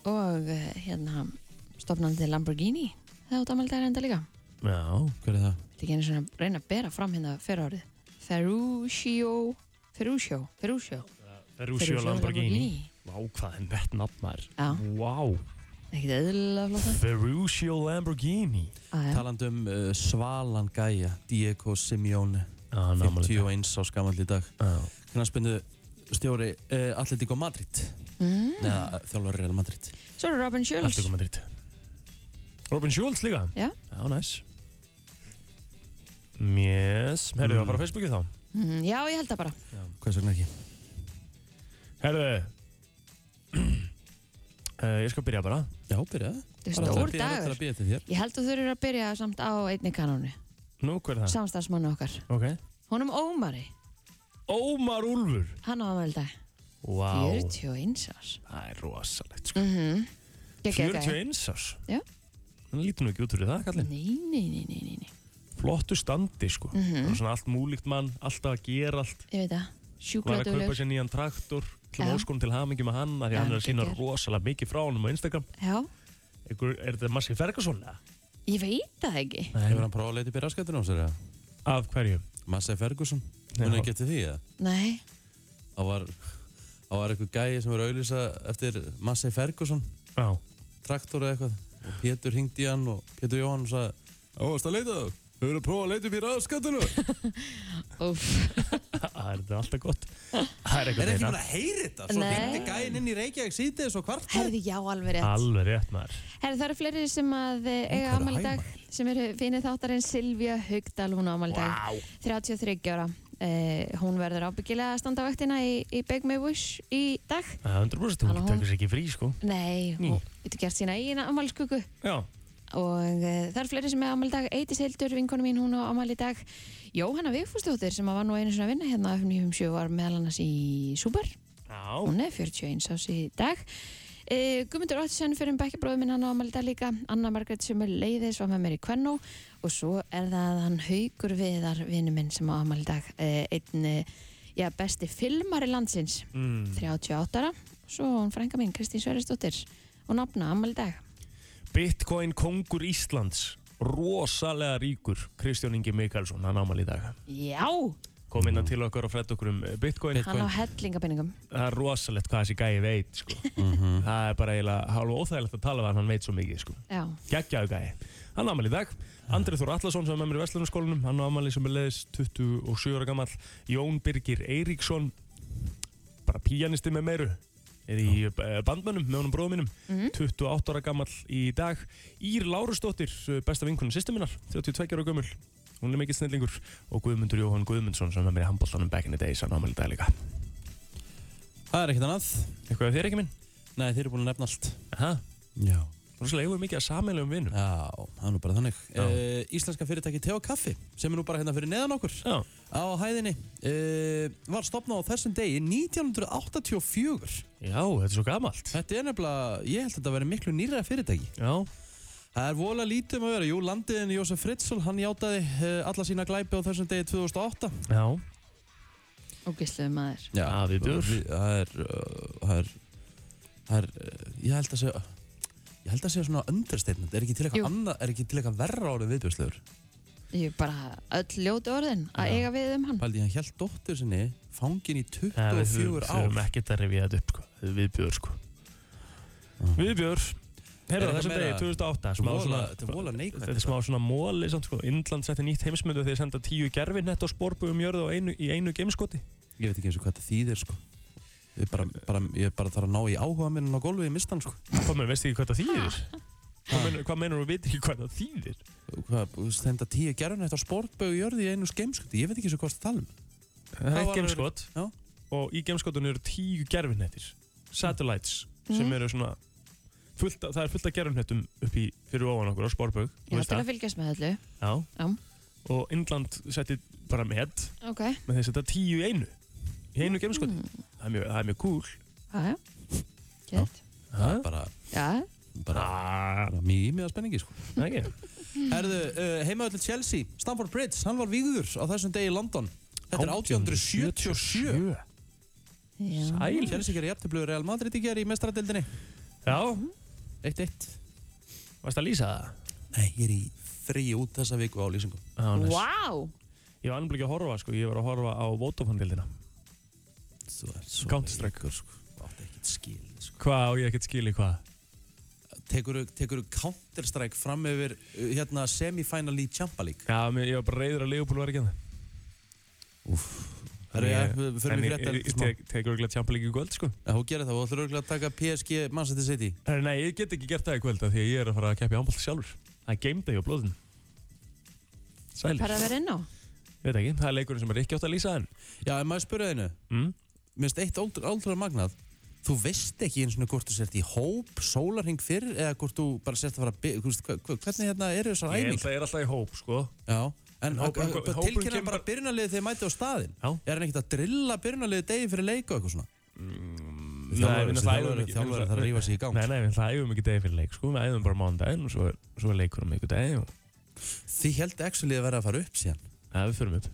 [SPEAKER 2] Og eh, hérna stopnandi Lamborghini. Það átt ámæli dagar enda líka.
[SPEAKER 3] já,
[SPEAKER 1] Hver er
[SPEAKER 2] Þetta
[SPEAKER 1] það?
[SPEAKER 2] er ekki einu svona reyna að bera fram hérna fyrir árið. Ferruccio. Ferruccio. Ferruccio.
[SPEAKER 3] Ferruccio Lamborghini Vá, hvað er þetta nafn maður
[SPEAKER 2] Já,
[SPEAKER 3] Vá,
[SPEAKER 2] ekkert eðlilega flott.
[SPEAKER 3] Ferruccio Lamborghini
[SPEAKER 2] Ah, já.
[SPEAKER 1] Talandi um uh, Svalan Gæja, Diego Simeone,
[SPEAKER 3] Já, hann á afmæli í dag.
[SPEAKER 1] 51 á skamall í dag.
[SPEAKER 3] Já.
[SPEAKER 1] Knarspindu stjóri uh, Atletico Madrid,
[SPEAKER 2] Mm.
[SPEAKER 1] neða þjálfur Real Madrid.
[SPEAKER 2] Svo er Robin Schulz.
[SPEAKER 3] Allt ykkur Madrid Robin Schulz líka?
[SPEAKER 2] Já.
[SPEAKER 3] Já, næs Yes, herðu, það var á Facebooki þá
[SPEAKER 2] Mm, já, ég held það bara.
[SPEAKER 1] Hvers vegna ekki?
[SPEAKER 3] Herðu uh, Ég skal byrja bara
[SPEAKER 1] Já, byrjaði.
[SPEAKER 2] Þetta er stór
[SPEAKER 1] Það er
[SPEAKER 2] dagur.
[SPEAKER 1] að býja til þér.
[SPEAKER 2] Ég held þú þurfir að byrja samt á einni kanónu.
[SPEAKER 3] Nú, hver er það?
[SPEAKER 2] Samstagsmannu okkar.
[SPEAKER 3] ok
[SPEAKER 2] Honum Ómari.
[SPEAKER 3] Ómar Úlfur
[SPEAKER 2] Hann á afmæli í dag.
[SPEAKER 3] Vá
[SPEAKER 2] 41 árs
[SPEAKER 3] Það er rosalegt sko.
[SPEAKER 2] mm -hmm.
[SPEAKER 3] 41 árs
[SPEAKER 2] Já.
[SPEAKER 3] Hann lítur nú ekki út fyrir það, kallinn
[SPEAKER 2] Nei, nei, nei, nei, nei, nei
[SPEAKER 3] Flottu standi, sko mm
[SPEAKER 2] Mhm.
[SPEAKER 3] Svona allt múlíkt mann, alltaf að gera allt
[SPEAKER 2] Ég veit það,
[SPEAKER 3] Var
[SPEAKER 2] sjúklega
[SPEAKER 3] að kaupa
[SPEAKER 2] duglegur
[SPEAKER 3] sér nýjan traktor Til
[SPEAKER 2] Já.
[SPEAKER 3] óskonum til hamingi með hann af Því
[SPEAKER 2] Já,
[SPEAKER 3] hann er að sína
[SPEAKER 2] geggjað.
[SPEAKER 3] rosalega mikið frá honum á Instagram
[SPEAKER 2] Já,
[SPEAKER 3] Ykkur, Er þetta Massi Ferguson? eða?
[SPEAKER 2] ég veit það ekki
[SPEAKER 1] Hefur hann prófað að leita upp í raskættinu á sér eða?
[SPEAKER 3] Af hverju?
[SPEAKER 1] Massey Ferguson,
[SPEAKER 3] Já.
[SPEAKER 1] hún er ekki eftir því eða?
[SPEAKER 2] Nei,
[SPEAKER 1] Það var, það var eitthvað gæi sem var auðlýsa eftir Massey Ferguson,
[SPEAKER 3] Já.
[SPEAKER 1] traktor eða eitthvað og Pétur hringdi í hann og Pétur Jóhann og sagði Ó, varst að leita það? Hefur að prófa að leita upp í raskættinu?
[SPEAKER 2] úff
[SPEAKER 3] Það er þetta alltaf gott Það er
[SPEAKER 1] Er
[SPEAKER 3] eitthvað
[SPEAKER 1] ekki búin að heyri þetta? Svo
[SPEAKER 2] Nei.
[SPEAKER 1] hindi gæinn inn í Reykjavík síðdegis og kvart
[SPEAKER 2] Herði, já, alveg rétt.
[SPEAKER 3] Alveg rétt maður
[SPEAKER 2] Herði, það eru fleiri sem að eh,
[SPEAKER 1] Ó,
[SPEAKER 2] eiga
[SPEAKER 1] hvað er
[SPEAKER 2] amal í
[SPEAKER 1] hæg,
[SPEAKER 2] dag, sem eru finið þáttarinn Silvía Haugdal, hún á amal í dag.
[SPEAKER 3] Vá.
[SPEAKER 2] 33 ára. Eh, hún verður ábyggilega að standa á vaktina í, í Big Me Wish í dag.
[SPEAKER 3] Það er 100%
[SPEAKER 2] Halló,
[SPEAKER 3] hún
[SPEAKER 2] hún-
[SPEAKER 3] tekur sér ekki frí sko
[SPEAKER 2] Nei,
[SPEAKER 3] Ný.
[SPEAKER 2] hún getur gert sína eigin amalskuku.
[SPEAKER 3] Já,
[SPEAKER 2] Og uh, það eru fleiri sem er ámæli í dag, Eiti Seildur, vinkonu mín, hún á ámæli í dag. Jóhanna Vigfúsdóttir sem að var nú einu svona að vinna hérna af 97 var meðal annars í Súber.
[SPEAKER 3] já.
[SPEAKER 2] Hún er 41 ás í dag. Uh, Guðmundur Ottsson fyrir um bekkjabróðu minn hann á ámæli í dag líka. Anna Margrét sem er leiðis var með mér í Kvennó. Og svo er það hann Haugur Viðar, vinnu minn sem á ámæli í dag. Uh, einn, uh, já, besti filmari landsins,
[SPEAKER 3] Mm.
[SPEAKER 2] 38 ára. Svo hún frænka mín, Kristín Sverrisdóttir. Hún opna ámæli í dag.
[SPEAKER 3] Bitcoin kongur Íslands Rosalega ríkur Kristján Ingi Mikalsson, hann ámali í dag
[SPEAKER 2] Já!
[SPEAKER 3] Kom inn til okkar og fredd okkur um eh, Bitcoin
[SPEAKER 2] Hann á hellingabinningum.
[SPEAKER 3] Það er rosalegt hvað þessi gæi veit sko. Það er bara eiginlega hálfa óþægilegt að tala við hann, hann veit svo mikið sko.
[SPEAKER 2] Já,
[SPEAKER 3] geggjaðu gæi. Hann ámæli í dag. Andrið Þór Allarsson sem er með mér í Vestlunarskólanum, hann ámæli sem er leiðis 27 ára gammal. Jón Birgir Eiríksson, bara píjanisti með meiru, er í eh, bandmönnum með honum bróðum mínum,
[SPEAKER 1] Mhm.
[SPEAKER 3] 28 ára gammal í dag. Ír Lárusdóttir, eh, besta vinkunum sýstuminnar, 32 ára gömul. Hún er mikill snillingur og Guðmundur Jóhann Guðmundsson sem er með mér í handbóltanum back in the days, hann ámæli í dag líka.
[SPEAKER 1] Það er ekkert annað.
[SPEAKER 3] Eitthvað er þér ekki minn?
[SPEAKER 1] Nei, þeir eru búin að nefna allt.
[SPEAKER 3] Aha.
[SPEAKER 1] Já.
[SPEAKER 3] Róslega eigum við mikið að sameilu um vinnum.
[SPEAKER 1] Já, það er nú bara þannig.
[SPEAKER 3] Já.
[SPEAKER 1] Uh, íslenska fyrirtæki Te og Kaffi, sem er nú bara hérna fyrir neðan okkur
[SPEAKER 3] Já,
[SPEAKER 1] á hæðinni, uh, var stopnað á þessum degi 1984.
[SPEAKER 3] já, þetta er svo gamalt.
[SPEAKER 1] Þetta er nefnilega, ég held að þetta verið miklu nýra fyrirtæki.
[SPEAKER 3] Já,
[SPEAKER 1] Það er vola lítið um að vera. Jú, landiðin Jósef Fritzl, hann játaði uh, alla sína glæpi á þessum degi 2008.
[SPEAKER 3] já,
[SPEAKER 2] og gísluðu maður.
[SPEAKER 1] Já,
[SPEAKER 3] Aðitur.
[SPEAKER 1] við- Það er, uh, það er, það er, uh, ég held að segja, ég held að segja svona understatement. Er ekki til
[SPEAKER 2] Jú.
[SPEAKER 1] eitthvað annað, er ekki til eitthvað verra orðið viðbjörnslegur?
[SPEAKER 2] Ég er bara öll ljóti orðin að
[SPEAKER 3] Já.
[SPEAKER 2] eiga við um hann.
[SPEAKER 1] Paldi, hann held dóttur sinni fangin í
[SPEAKER 3] Nei, við
[SPEAKER 1] 24
[SPEAKER 3] þurfum- þurfum
[SPEAKER 1] ár.
[SPEAKER 3] ekkert að rifja þetta upp sko. Þetta er viðbjör sko. Viðbjör
[SPEAKER 1] Er
[SPEAKER 3] Herra
[SPEAKER 1] eitthvað
[SPEAKER 3] þessum
[SPEAKER 1] meira-
[SPEAKER 3] degi 2008 smá
[SPEAKER 1] Vola-
[SPEAKER 3] svona-
[SPEAKER 1] þetta er vola neikvætt,
[SPEAKER 3] Þetta er smá svona móli samt sko Indland setti nýtt heimsmyndu þegar þeir senda tíu gerfi nett á sporbu um jörðu og einu, í einu geimskoti
[SPEAKER 1] Ég veit ekki eins og hvað þetta þýðir, sko. Ég bara, bara, ég bara þarf að ná í áhuga minn á gólfið í mistan, sko.
[SPEAKER 3] Hvað meður, veistu ekki hvað það þýðir? Hvað meinar- Hvað meinar þú veit ekki hvað það þýðir?
[SPEAKER 1] Hvað, þú veist, þetta tíu gerðun eftir á sportbögu jörði í einu skeimskuti. Ég veit ekki eins og hvað það tala um.
[SPEAKER 3] Það er
[SPEAKER 1] Það
[SPEAKER 3] eitt
[SPEAKER 1] var-
[SPEAKER 3] geimskot
[SPEAKER 1] Já.
[SPEAKER 3] og í geimskotun eru tíu gerfi satellites sem
[SPEAKER 2] Mhm.
[SPEAKER 3] eru svona fullt, af- það er fullt af gerfnettum upp í fyrir ofan okkur á sporbögg
[SPEAKER 2] Ég er til að fylgjast með öllu.
[SPEAKER 3] Já.
[SPEAKER 2] Já.
[SPEAKER 3] Og Indland setti bara met
[SPEAKER 2] Ok.
[SPEAKER 3] með þess að þetta tíu í einu. Í einu geimskoti.
[SPEAKER 2] Mm.
[SPEAKER 3] Það er mjög, það er mjög cool.
[SPEAKER 2] Já, já. Gett.
[SPEAKER 1] Það er bara,
[SPEAKER 2] Já.
[SPEAKER 3] Það
[SPEAKER 1] bara, bara mjög mjög spenningi, sko.
[SPEAKER 3] Ah. er ekki.
[SPEAKER 1] Herðu, uh, heimaðallir Chelsea, Stamford Bridge, hann var vígður á þessum degi í London. Þetta er 1877.
[SPEAKER 2] Já.
[SPEAKER 3] Sæl.
[SPEAKER 1] Mm. Chelsea gerir jafntöflugur Real Madrid í gerð í mestraradildinni.
[SPEAKER 3] Já,
[SPEAKER 1] 1-1.
[SPEAKER 3] varst að lýsa það?
[SPEAKER 1] Nei, ég er í frí út þessa viku á lýsingum.
[SPEAKER 3] Já,
[SPEAKER 2] Vá.
[SPEAKER 3] næs. Ég var annars ekki að horfa, sko. Ég var að horfa á Votofondildina.
[SPEAKER 1] Þú er svo
[SPEAKER 3] Counter-Strike.
[SPEAKER 1] veikur, sko. Þú átt ekkert skil, sko.
[SPEAKER 3] Hvað á ég ekkert skili hvað?
[SPEAKER 1] Tekurðu tekur Counter-Strike fram yfir uh, hérna, semifinal í Champa League?
[SPEAKER 3] Já, mér, ég var bara reyður að Leopold var ekki að það.
[SPEAKER 1] Herru, já, við förum í frétta
[SPEAKER 3] En ég-
[SPEAKER 1] eftir
[SPEAKER 3] ég
[SPEAKER 1] smá.
[SPEAKER 3] tek- tekur örgulega Champions League í kvöld, sko.
[SPEAKER 1] Já, Þú gerir það, þú ætlur örgulega að taka PSG Manchester City.
[SPEAKER 3] Herra, Nei, ég get ekki gert það í kvöld af því að ég er að fara að keppa í handbolt sjálfur. Það er game day á blóðinu. Sælir.
[SPEAKER 2] Hvað er að vera inn á?
[SPEAKER 3] Veit ekki, það er leikurinn sem er ekki átt að lýsa en
[SPEAKER 1] Já, en maður spurði einu.
[SPEAKER 3] mm?
[SPEAKER 1] Mér finnst eitt óldra, óldra magnað Þú veist ekki eins og hvort þú sért í hóp sólarhing fyrir eða hvort þú bara sért að fara að byrja Hvernig hérna eru
[SPEAKER 3] Ég
[SPEAKER 1] þessar
[SPEAKER 3] held
[SPEAKER 1] æfingar?
[SPEAKER 3] að ég er alltaf í hóp, sko
[SPEAKER 1] Já, en
[SPEAKER 3] En hópurinn- hópurinn
[SPEAKER 1] tilkynna
[SPEAKER 3] kemur
[SPEAKER 1] bara
[SPEAKER 3] bara-
[SPEAKER 1] byrjunarliðið þegar þið mæti á staðinn
[SPEAKER 3] Já. Mm,
[SPEAKER 1] Er hann ekkert að drilla byrjunarliðið degi fyrir leik og eitthvað svona?
[SPEAKER 3] Nei, við
[SPEAKER 1] Þjálfari-
[SPEAKER 3] náttúrulega æfum
[SPEAKER 1] þjálfari-
[SPEAKER 3] ekki-
[SPEAKER 1] þjálfari þarf að rífa sig í gang.
[SPEAKER 3] Nei, nei, við æfum ekki degi fyrir leik, sko Við æfum bara mánudaginn og svo, svo er leikur um ykkur degi og
[SPEAKER 1] Þið held actually að vera að fara upp síðan
[SPEAKER 3] það við förum upp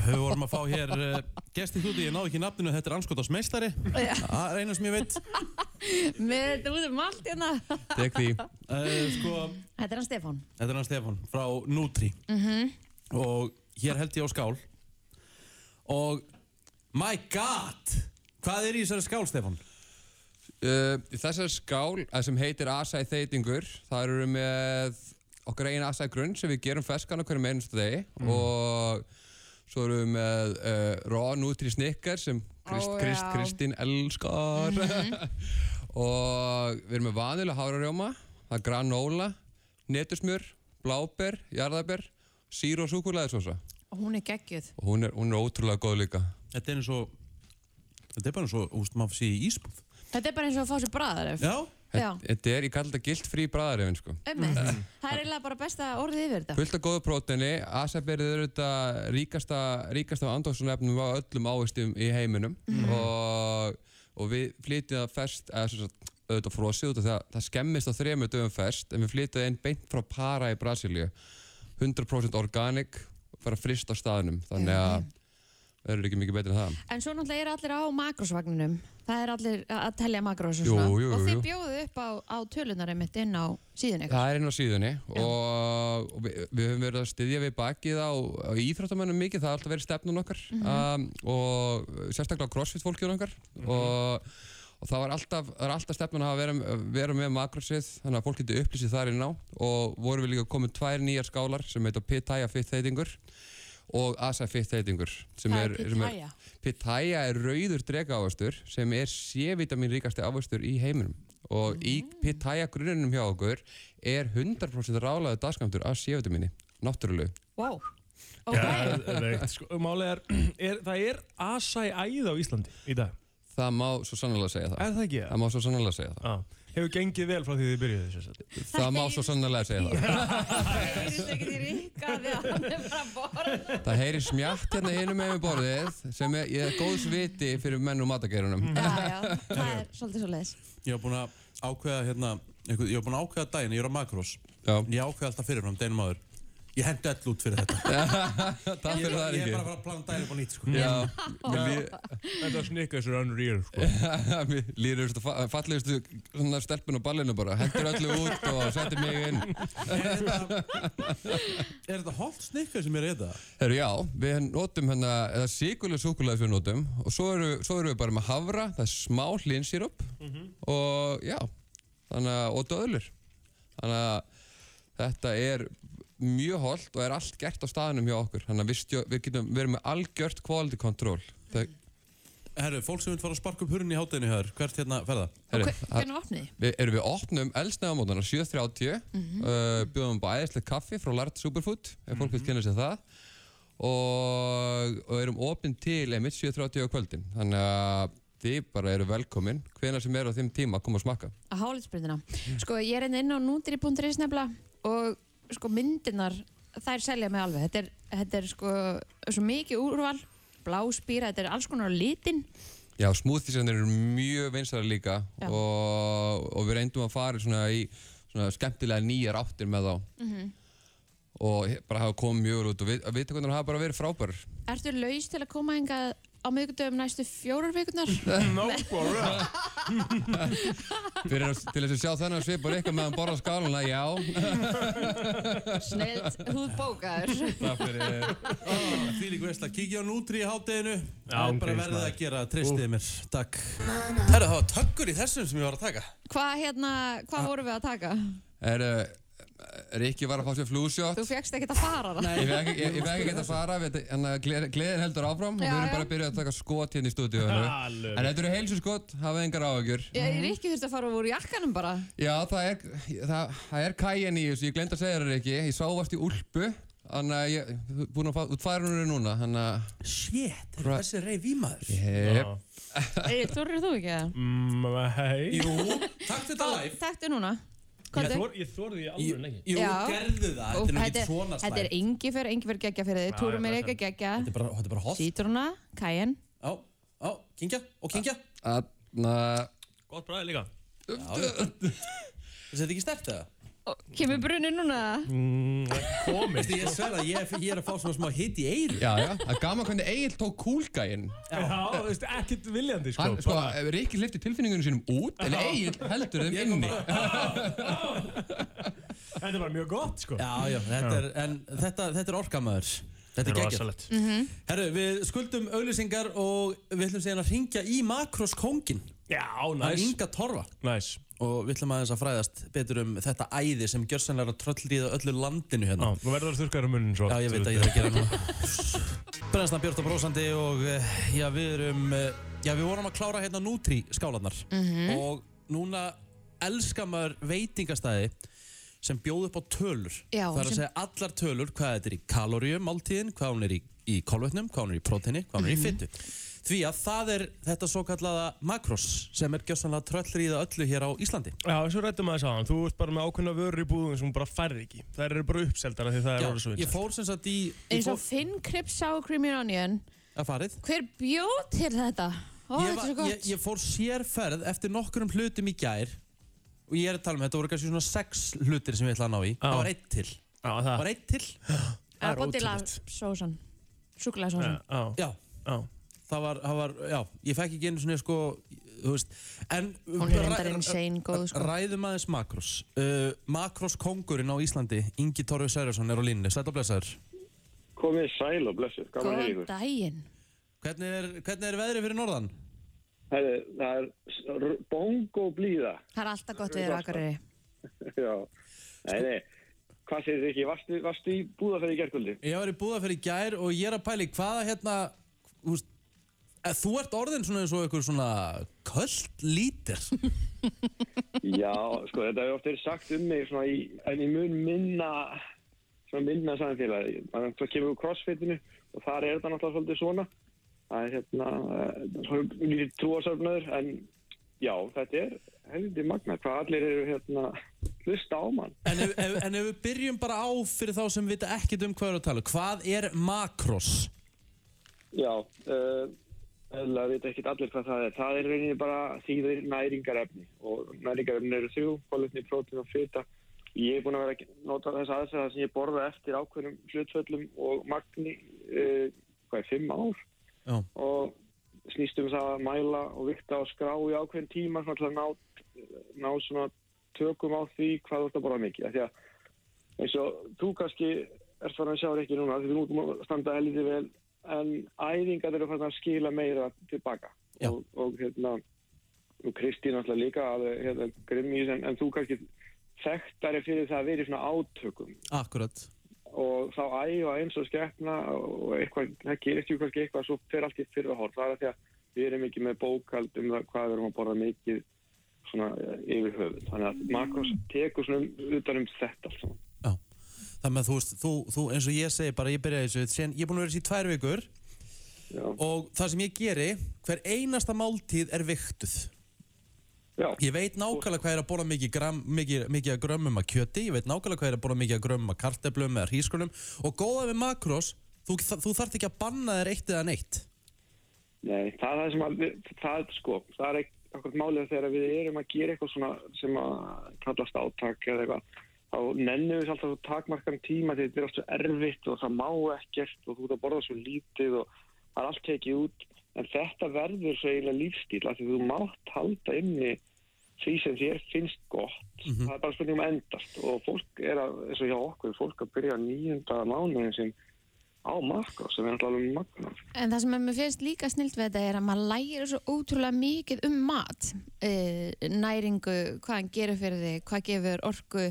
[SPEAKER 1] Við vorum að fá hér uh, gesti hluti, ég náði ekki nafninu, þetta er anskotast meistari Það er eina sem ég veit
[SPEAKER 2] Með þetta út um allt hérna.
[SPEAKER 1] Tek því uh, Sko,
[SPEAKER 2] Þetta er hann Stefán.
[SPEAKER 1] Þetta er hann Stefán frá Nutri
[SPEAKER 2] Mhm.
[SPEAKER 1] -hmm. og hér held ég á skál og my god hvað er í þessari skál Stefán?
[SPEAKER 5] Uh, þessar skál eh, sem heitir Asæ þeitingur, það eru
[SPEAKER 1] Mm.
[SPEAKER 5] með okkar einn Asæ grunn sem við gerum ferskan okkur með einnstu degi og Svo erum við með uh, Raw Nutri Snickers sem Krist,
[SPEAKER 2] Ó,
[SPEAKER 5] Krist,
[SPEAKER 2] já. Mhm.
[SPEAKER 5] Kristín elskar og við erum með vanilu hárarjóma, það er granóla, netusmjör, bláber, jarðaber, sír og súkulæðisósa
[SPEAKER 2] Og hún er geggjöð.
[SPEAKER 5] og hún er, hún er ótrúlega góð líka.
[SPEAKER 1] Þetta er eins og, þetta er bara eins og, úst, maður sé í ísbúð.
[SPEAKER 2] Þetta er bara eins og að fá sér bræðar.
[SPEAKER 1] Já.
[SPEAKER 2] Já,
[SPEAKER 5] Þetta er, ég kalla þetta gilt frí bræðarefin sko.
[SPEAKER 2] ummitt. Það er eiginlega bara besta orðið yfir þetta.
[SPEAKER 5] Fullt af góðu próteini, asaberið eru þetta ríkasta, ríkasta andóksunefnum á öllum ávistum í heiminum og, og við flytjum það ferst, eða sem sagt, auðvitað frosið út af því að það skemmist á þremur dögum ferst en við flytjum það inn beint frá Para í Brasilíu 100% organic bara frist á staðnum þannig að verður ekki mikið betur en það
[SPEAKER 2] En svo náttúrulega eru allir á makrosvagninum. Það er allir að að telja makros og
[SPEAKER 5] Jú,
[SPEAKER 2] svona.
[SPEAKER 5] jú, jú,
[SPEAKER 2] Og þið
[SPEAKER 5] jú.
[SPEAKER 2] bjóðu upp á, á tölunar einmitt inn á síðan ykkur.
[SPEAKER 5] Það er inn á síðunni og, og við, við höfum verið að styðja við bakið á, á íþróttamönnum mikið, það har alltaf verið stefnun okkar um, og sérstaklega crossfit fólkið okkar og, og það var alltaf, það er alltaf stefnun að hafa vera, vera með makrosið þannig að fólk getur upplýsið þar inn á og vorum við líka komið tvær nýjar skálar sem heita Pitaya Fit Heitingur og Asa Fit Heitingur sem
[SPEAKER 2] Það
[SPEAKER 5] er,
[SPEAKER 2] er
[SPEAKER 5] sem er
[SPEAKER 2] pitaya.
[SPEAKER 5] Pitaya er rauður dregaávastur sem er C-vitamin ríkasti ávastur í heiminum og í
[SPEAKER 3] Mm.
[SPEAKER 5] Pitaya gruninum hjá okkur er 100% rálaðu dagskamptur af C-vitamini, náttúrulega
[SPEAKER 2] Wow. Ok.
[SPEAKER 3] Geðveikt, sko. Málið er, er, það er asa í æð á Íslandi í dag.
[SPEAKER 5] það má svo sannlega segja það
[SPEAKER 3] Er það ekki?
[SPEAKER 5] það má svo sannlega segja það
[SPEAKER 3] Já. Hefur gengið vel frá því þið byrjuðu þess að
[SPEAKER 5] það má svo sannlega segja það
[SPEAKER 2] Það heyrist ekkert í Rikka því að hann er bara að borða.
[SPEAKER 5] Það heyri smjátt hérna hinum með við borðið sem er, ég er góðs viti fyrir menn og matageirunum
[SPEAKER 3] Mhm.
[SPEAKER 2] Já, já. Það er svolítið svo leiðis.
[SPEAKER 1] Ég var búinn að ákveða hérna, einhver, ég var búinn að ákveða daginn, ég er á makrós.
[SPEAKER 5] Já,
[SPEAKER 1] Ég ákveða alltaf fyrirfram, deginum áður. Ég hendi öll út fyrir þetta.
[SPEAKER 5] takk fyrir það
[SPEAKER 1] Ég er
[SPEAKER 5] ekki
[SPEAKER 1] bara að fara að plana daginn upp á nýtt, sko.
[SPEAKER 5] Já, mér líður-
[SPEAKER 3] Þetta snikka þessur önnur ír, sko.
[SPEAKER 5] mér líður þess að fallegustu svona stelpun á ballinu bara hendur öllu út og settir mig inn
[SPEAKER 1] Er þetta holdt snikka sem ég er að þetta?
[SPEAKER 5] Herru, já, við notum hérna, eða síkulega súkulega fyrir notum og svo eru, svo eru við bara með havra, það er smá hlinsýrup
[SPEAKER 1] Mhm.
[SPEAKER 5] og já, þannig að, og döðlur. Þannig að þetta er mjög holdt og er allt gert á staðinum hjá okkur, þannig að við, stjó, við getum verið með algjört quality control. Það,
[SPEAKER 1] Herru, fólk sem vil fara að sparka upp hurðin í hátæðinu hjá þér, hvert hérna ferða?
[SPEAKER 5] herru,
[SPEAKER 2] Og hvernig opnið þið?
[SPEAKER 5] við, erum við opnum eldsnæðamótana 7.30 mm uh, bjóðum upp á æðislegt kaffi frá Lart Superfood ef fólk vil kynna sér það og, og erum opinn til einmitt 7.30 á kvöldin þannig að þið bara eru velkomin hvena sem er á þeim tíma að koma að smakka
[SPEAKER 2] að hálitsbreytina sko ég er hérna inn á nutri.is nefnilega og sko myndirnar þær selja mig alveg þetta er, þetta er sko svo mikið úrval bláspýra, þetta er alls konar á litin
[SPEAKER 5] Já, smúðisarnir eru mjög vinsæri líka
[SPEAKER 2] Já.
[SPEAKER 5] og, og við reyndum að fara svona í svona skemmtilega nýjar áttir með þá
[SPEAKER 2] Mhm.
[SPEAKER 5] og he- bara hafa komið mjög vel út og við, viðtökunar hafa bara verið frábærar
[SPEAKER 2] ertu laus til að koma hingað á miðgudöfum næstu fjórar vikunar
[SPEAKER 3] No, bara.
[SPEAKER 5] Fyrir að- til þess að sjá þennan svip og reyka meðan borða skáluna, já
[SPEAKER 2] snilt, húð bókaður
[SPEAKER 5] Takk fyrir
[SPEAKER 1] Því lík Ah, veist að kíkja á Nútri í hátæðinu.
[SPEAKER 3] Já,
[SPEAKER 1] Það er
[SPEAKER 3] ok,
[SPEAKER 1] bara verðið
[SPEAKER 3] smaður.
[SPEAKER 1] að gera, treystiði mér. Takk. Herru, það var tökkur í þessum sem ég var að taka.
[SPEAKER 2] hvað hérna,
[SPEAKER 1] Ah.
[SPEAKER 2] hvað vorum við að taka?
[SPEAKER 5] Er, Rikki var að fá sér flúsjótt
[SPEAKER 2] þú fékkst ekkert að fara það
[SPEAKER 5] Ég veit ekki ekki að fara, við- þannig að gleð- gleðin heldur áfram og við
[SPEAKER 2] Já,
[SPEAKER 5] erum
[SPEAKER 2] já.
[SPEAKER 5] bara að byrja að taka skot hérna í stúdíu
[SPEAKER 3] Alveg.
[SPEAKER 5] En þetta eru heilsu skot, hafið engar áhugjur
[SPEAKER 2] ég er ekki þurft að fara úr jakkanum bara
[SPEAKER 5] Já, það er, það, það er kæjan í þessu, ég glemt að segja þér Rikki Ég sáfast í úlpu, þannig að ég, þú ert búin að fá, þú tværum eru núna, þannig að
[SPEAKER 1] Shit,
[SPEAKER 5] Right.
[SPEAKER 1] þessi reyf í maður.
[SPEAKER 5] Jep,
[SPEAKER 2] Egil, þorir þú ekki það?
[SPEAKER 3] Ah, Mm, hei.
[SPEAKER 1] Jú, takk þetta live.
[SPEAKER 2] Takktu núna
[SPEAKER 3] Ég
[SPEAKER 2] Komdu.
[SPEAKER 3] þor- Ég þorði í alveg
[SPEAKER 1] Jú,
[SPEAKER 3] lengi.
[SPEAKER 1] jú,
[SPEAKER 2] Já.
[SPEAKER 1] gerðu það. Þetta er nú ekki svona slæmt.
[SPEAKER 2] Þetta er engifer, engifer geggja fyrir þið,
[SPEAKER 3] Já,
[SPEAKER 2] túrum er
[SPEAKER 3] já,
[SPEAKER 2] ekki geggja,
[SPEAKER 1] Þetta er bara, þetta er bara hot.
[SPEAKER 2] sítruna, kæin.
[SPEAKER 1] Á, á, kynkja og kynkja.
[SPEAKER 5] þannig að
[SPEAKER 3] Gott bræði líka.
[SPEAKER 1] Þetta er ekki stert eða?
[SPEAKER 2] Kemur brunni núna?
[SPEAKER 1] Mm,
[SPEAKER 3] Komið.
[SPEAKER 1] Veistu, ég sver að ég, ég er að fá svona smá hit í eyru.
[SPEAKER 5] Já, já, það er gaman hvernig Egil tók kúlgæinn
[SPEAKER 3] Já, þú veist, ekkert viljandi, sko.
[SPEAKER 5] Hann, sko,
[SPEAKER 3] bara-
[SPEAKER 5] Rikki hlifti tilfinningunum sínum út, en Egil heldur þeim inni
[SPEAKER 3] Þetta er bara mjög gott, sko.
[SPEAKER 1] Já, já, þetta er, en þetta, þetta er orkamöður. Þetta er geggjað.
[SPEAKER 3] rosalegt.
[SPEAKER 2] Mhm.
[SPEAKER 1] Herru, við skuldum auðlýsingar og við ætlum síðan að ringja í Makros kóngin.
[SPEAKER 3] Já,
[SPEAKER 1] Það er
[SPEAKER 3] næs.
[SPEAKER 1] Inga Torfa.
[SPEAKER 3] Næs.
[SPEAKER 1] Og við ætlum aðeins að fræðast betur um þetta æði sem gjörsanlega tröllrýða öllu landinu
[SPEAKER 3] Já,
[SPEAKER 1] hérna.
[SPEAKER 3] þú verður að þurrka þér um munnin svo.
[SPEAKER 1] Já, ég veit að ég er að gera núna. Brennstan Björn og Brósandi og eh, já, við erum, eh, já, við vorum að klára hérna nútri skálarnar
[SPEAKER 2] Mhm.
[SPEAKER 1] og núna elskar maður veitingastæði sem bjóð upp á tölur.
[SPEAKER 2] Já,
[SPEAKER 1] það er að
[SPEAKER 2] sem-
[SPEAKER 1] segja allar tölur, hvað þetta er í kaloríum, máltíðin, hvað hún er í, í kolvetnum, hvað hún er í próteini, hvað hún
[SPEAKER 2] Mhm.
[SPEAKER 1] er í fyttu. Því að það er þetta svo kallaða makros sem er gjössanlega tröllriða öllu hér á Íslandi.
[SPEAKER 3] Já, þessu rættum aðeins á hann. Þú ert bara með ákveðna vörur í búðum sem hún bara færði ekki. Það eru bara uppseldara því það er
[SPEAKER 1] Já,
[SPEAKER 3] orðið svo
[SPEAKER 1] ég
[SPEAKER 3] vinsælt.
[SPEAKER 1] fór sem sagt í, ég
[SPEAKER 2] eins
[SPEAKER 1] fór
[SPEAKER 2] og Finn Crips Sour Cream and Onion
[SPEAKER 1] að farið.
[SPEAKER 2] hver bjóð til þetta? Ó,
[SPEAKER 1] ég,
[SPEAKER 2] þetta er svo
[SPEAKER 1] var, ég,
[SPEAKER 2] gott
[SPEAKER 1] ég fór sérferð eftir nokkurum hlutum í gær og ég er að tala um þetta voru kannski svona sex hlutir sem ég ætla að ná í það var eitt til
[SPEAKER 3] Já,
[SPEAKER 1] það
[SPEAKER 3] það
[SPEAKER 1] var eitt til
[SPEAKER 2] Ah,
[SPEAKER 3] það er
[SPEAKER 2] Bóttila
[SPEAKER 3] ótrúlegt.
[SPEAKER 2] sósan Súkulega sósan
[SPEAKER 3] Já, já,
[SPEAKER 1] Mm. já
[SPEAKER 3] já.
[SPEAKER 1] það var, það var já ég fekk ekki einu svona sko þú veist en uh,
[SPEAKER 2] Hún er reyndar insane góð sko
[SPEAKER 1] ræðum aðeins Makros uh, Makros kongurinn á Íslandi Ingi Torfi Særjarsson er á línni sætt og blessaður
[SPEAKER 6] Komið sæl og blessuð, gaman að heyra
[SPEAKER 2] Góðan
[SPEAKER 6] ykkur.
[SPEAKER 2] daginn
[SPEAKER 1] hvernig er, hvernig er veðrið fyrir norðan?
[SPEAKER 6] Herri, það er r- bóng og blíða.
[SPEAKER 2] Það er alltaf gott við þér Akureyri
[SPEAKER 6] Já. Nei, nei. Hvað segir þið ekki? Varstu, varstu í búðaferði í gerkvöldi?
[SPEAKER 1] ég var í Búðaferð í gær og ég er að pæli hvaða hérna þú veist að Þú ert orðin svona eins og einhver svona köld lítir.
[SPEAKER 6] Já, sko, þetta hefur oft verið sagt um mig svona í, en ég mun minna, svona minna samfélagi. Þannig að það kemur úr crossfitinu og þar er þetta náttúrulega svolítið svona. Það er hérna, eh, svona lítið trúasöfnöður, en já, þetta er helviti magna. Hvað allir eru hérna, hlusta á mann.
[SPEAKER 1] En ef, ef, en ef við byrjum bara á fyrir þá sem vita ekkert um hvað við erum að tala, um, hvað er makros?
[SPEAKER 6] Já, uh, eða veit ekki allir hvað það er. Það er í rauninni bara þýðir næringarefni og næringarefni eru þrjú, kolvetni, prótín og fita. Ég er búin að vera að nota þess aðferða sem ég borða eftir ákveðnum hlutföllum og magni, uh, hvað er, fimm ár
[SPEAKER 1] Já.
[SPEAKER 6] og snýst um það að mæla og vikta og skrá í ákveðin tíma svona til að ná, ná svona tökum á því hvað þú ert að borða mikið. Af Því að eins og þú kannski ert farin að sjá ekki núna af því þú mútum að standa helviti vel en æfingar eru farin að skila meira tilbaka
[SPEAKER 1] Já.
[SPEAKER 6] og, og hérna og Kristín alltaf líka að hérna, grimmis en, en þú kannski þekktari fyrir það að vera í svona átökum
[SPEAKER 1] Akkurat.
[SPEAKER 6] og þá æfa eins og skepna og eitthvað, það gerist jú kannski eitthvað svo fer allt í fyrir að horf, það er að því að við erum ekki með bókald um það hvað við erum að borða mikið svona eh, yfir höfuð þannig að Makros tekur svona um, utan um þetta allt saman.
[SPEAKER 1] Já. Þannig að þú veist, þú, þú eins og ég segi bara, ég byrjaði þessu, sen, ég er búin að vera þessu í tvær vikur
[SPEAKER 6] Já.
[SPEAKER 1] og það sem ég geri, hver einasta máltíð er viktuð.
[SPEAKER 6] Já.
[SPEAKER 1] Ég veit nákvæmlega hvað er að borða mikið, gram, mikið, mikið að grömmum að kjöti, ég veit nákvæmlega hvað er að borða mikið að grömmum að karteblum eða hrískunum og góða við makros, þú, þú þarft ekki að banna þér eitt eða neitt.
[SPEAKER 6] Nei, það er það sem að, við- það er sko, það er ekkert málið þegar við erum að gera eitthvað svona sem að kallast átak eða eitthvað, þá nennum við alltaf svo takmarkan um tíma því þetta er alltaf erfitt og það má ekkert og þú ert að borða svo lítið og það er allt tekið út, en þetta verður svo eiginlega lífstíl, af því þú mátt halda inni því sem þér finnst gott, það er bara spurning um að endast og fólk er að, eins og hjá okkur, fólk að byrja nýjunda mánuðin sem á makra sem er alltaf alveg magna.
[SPEAKER 2] En það sem að mér finnst líka snilt við þetta er að maður lærir svo ótrúlega mikið um mat, uh, næringu, hvað hann gerir fyrir þig, hvað gefur orku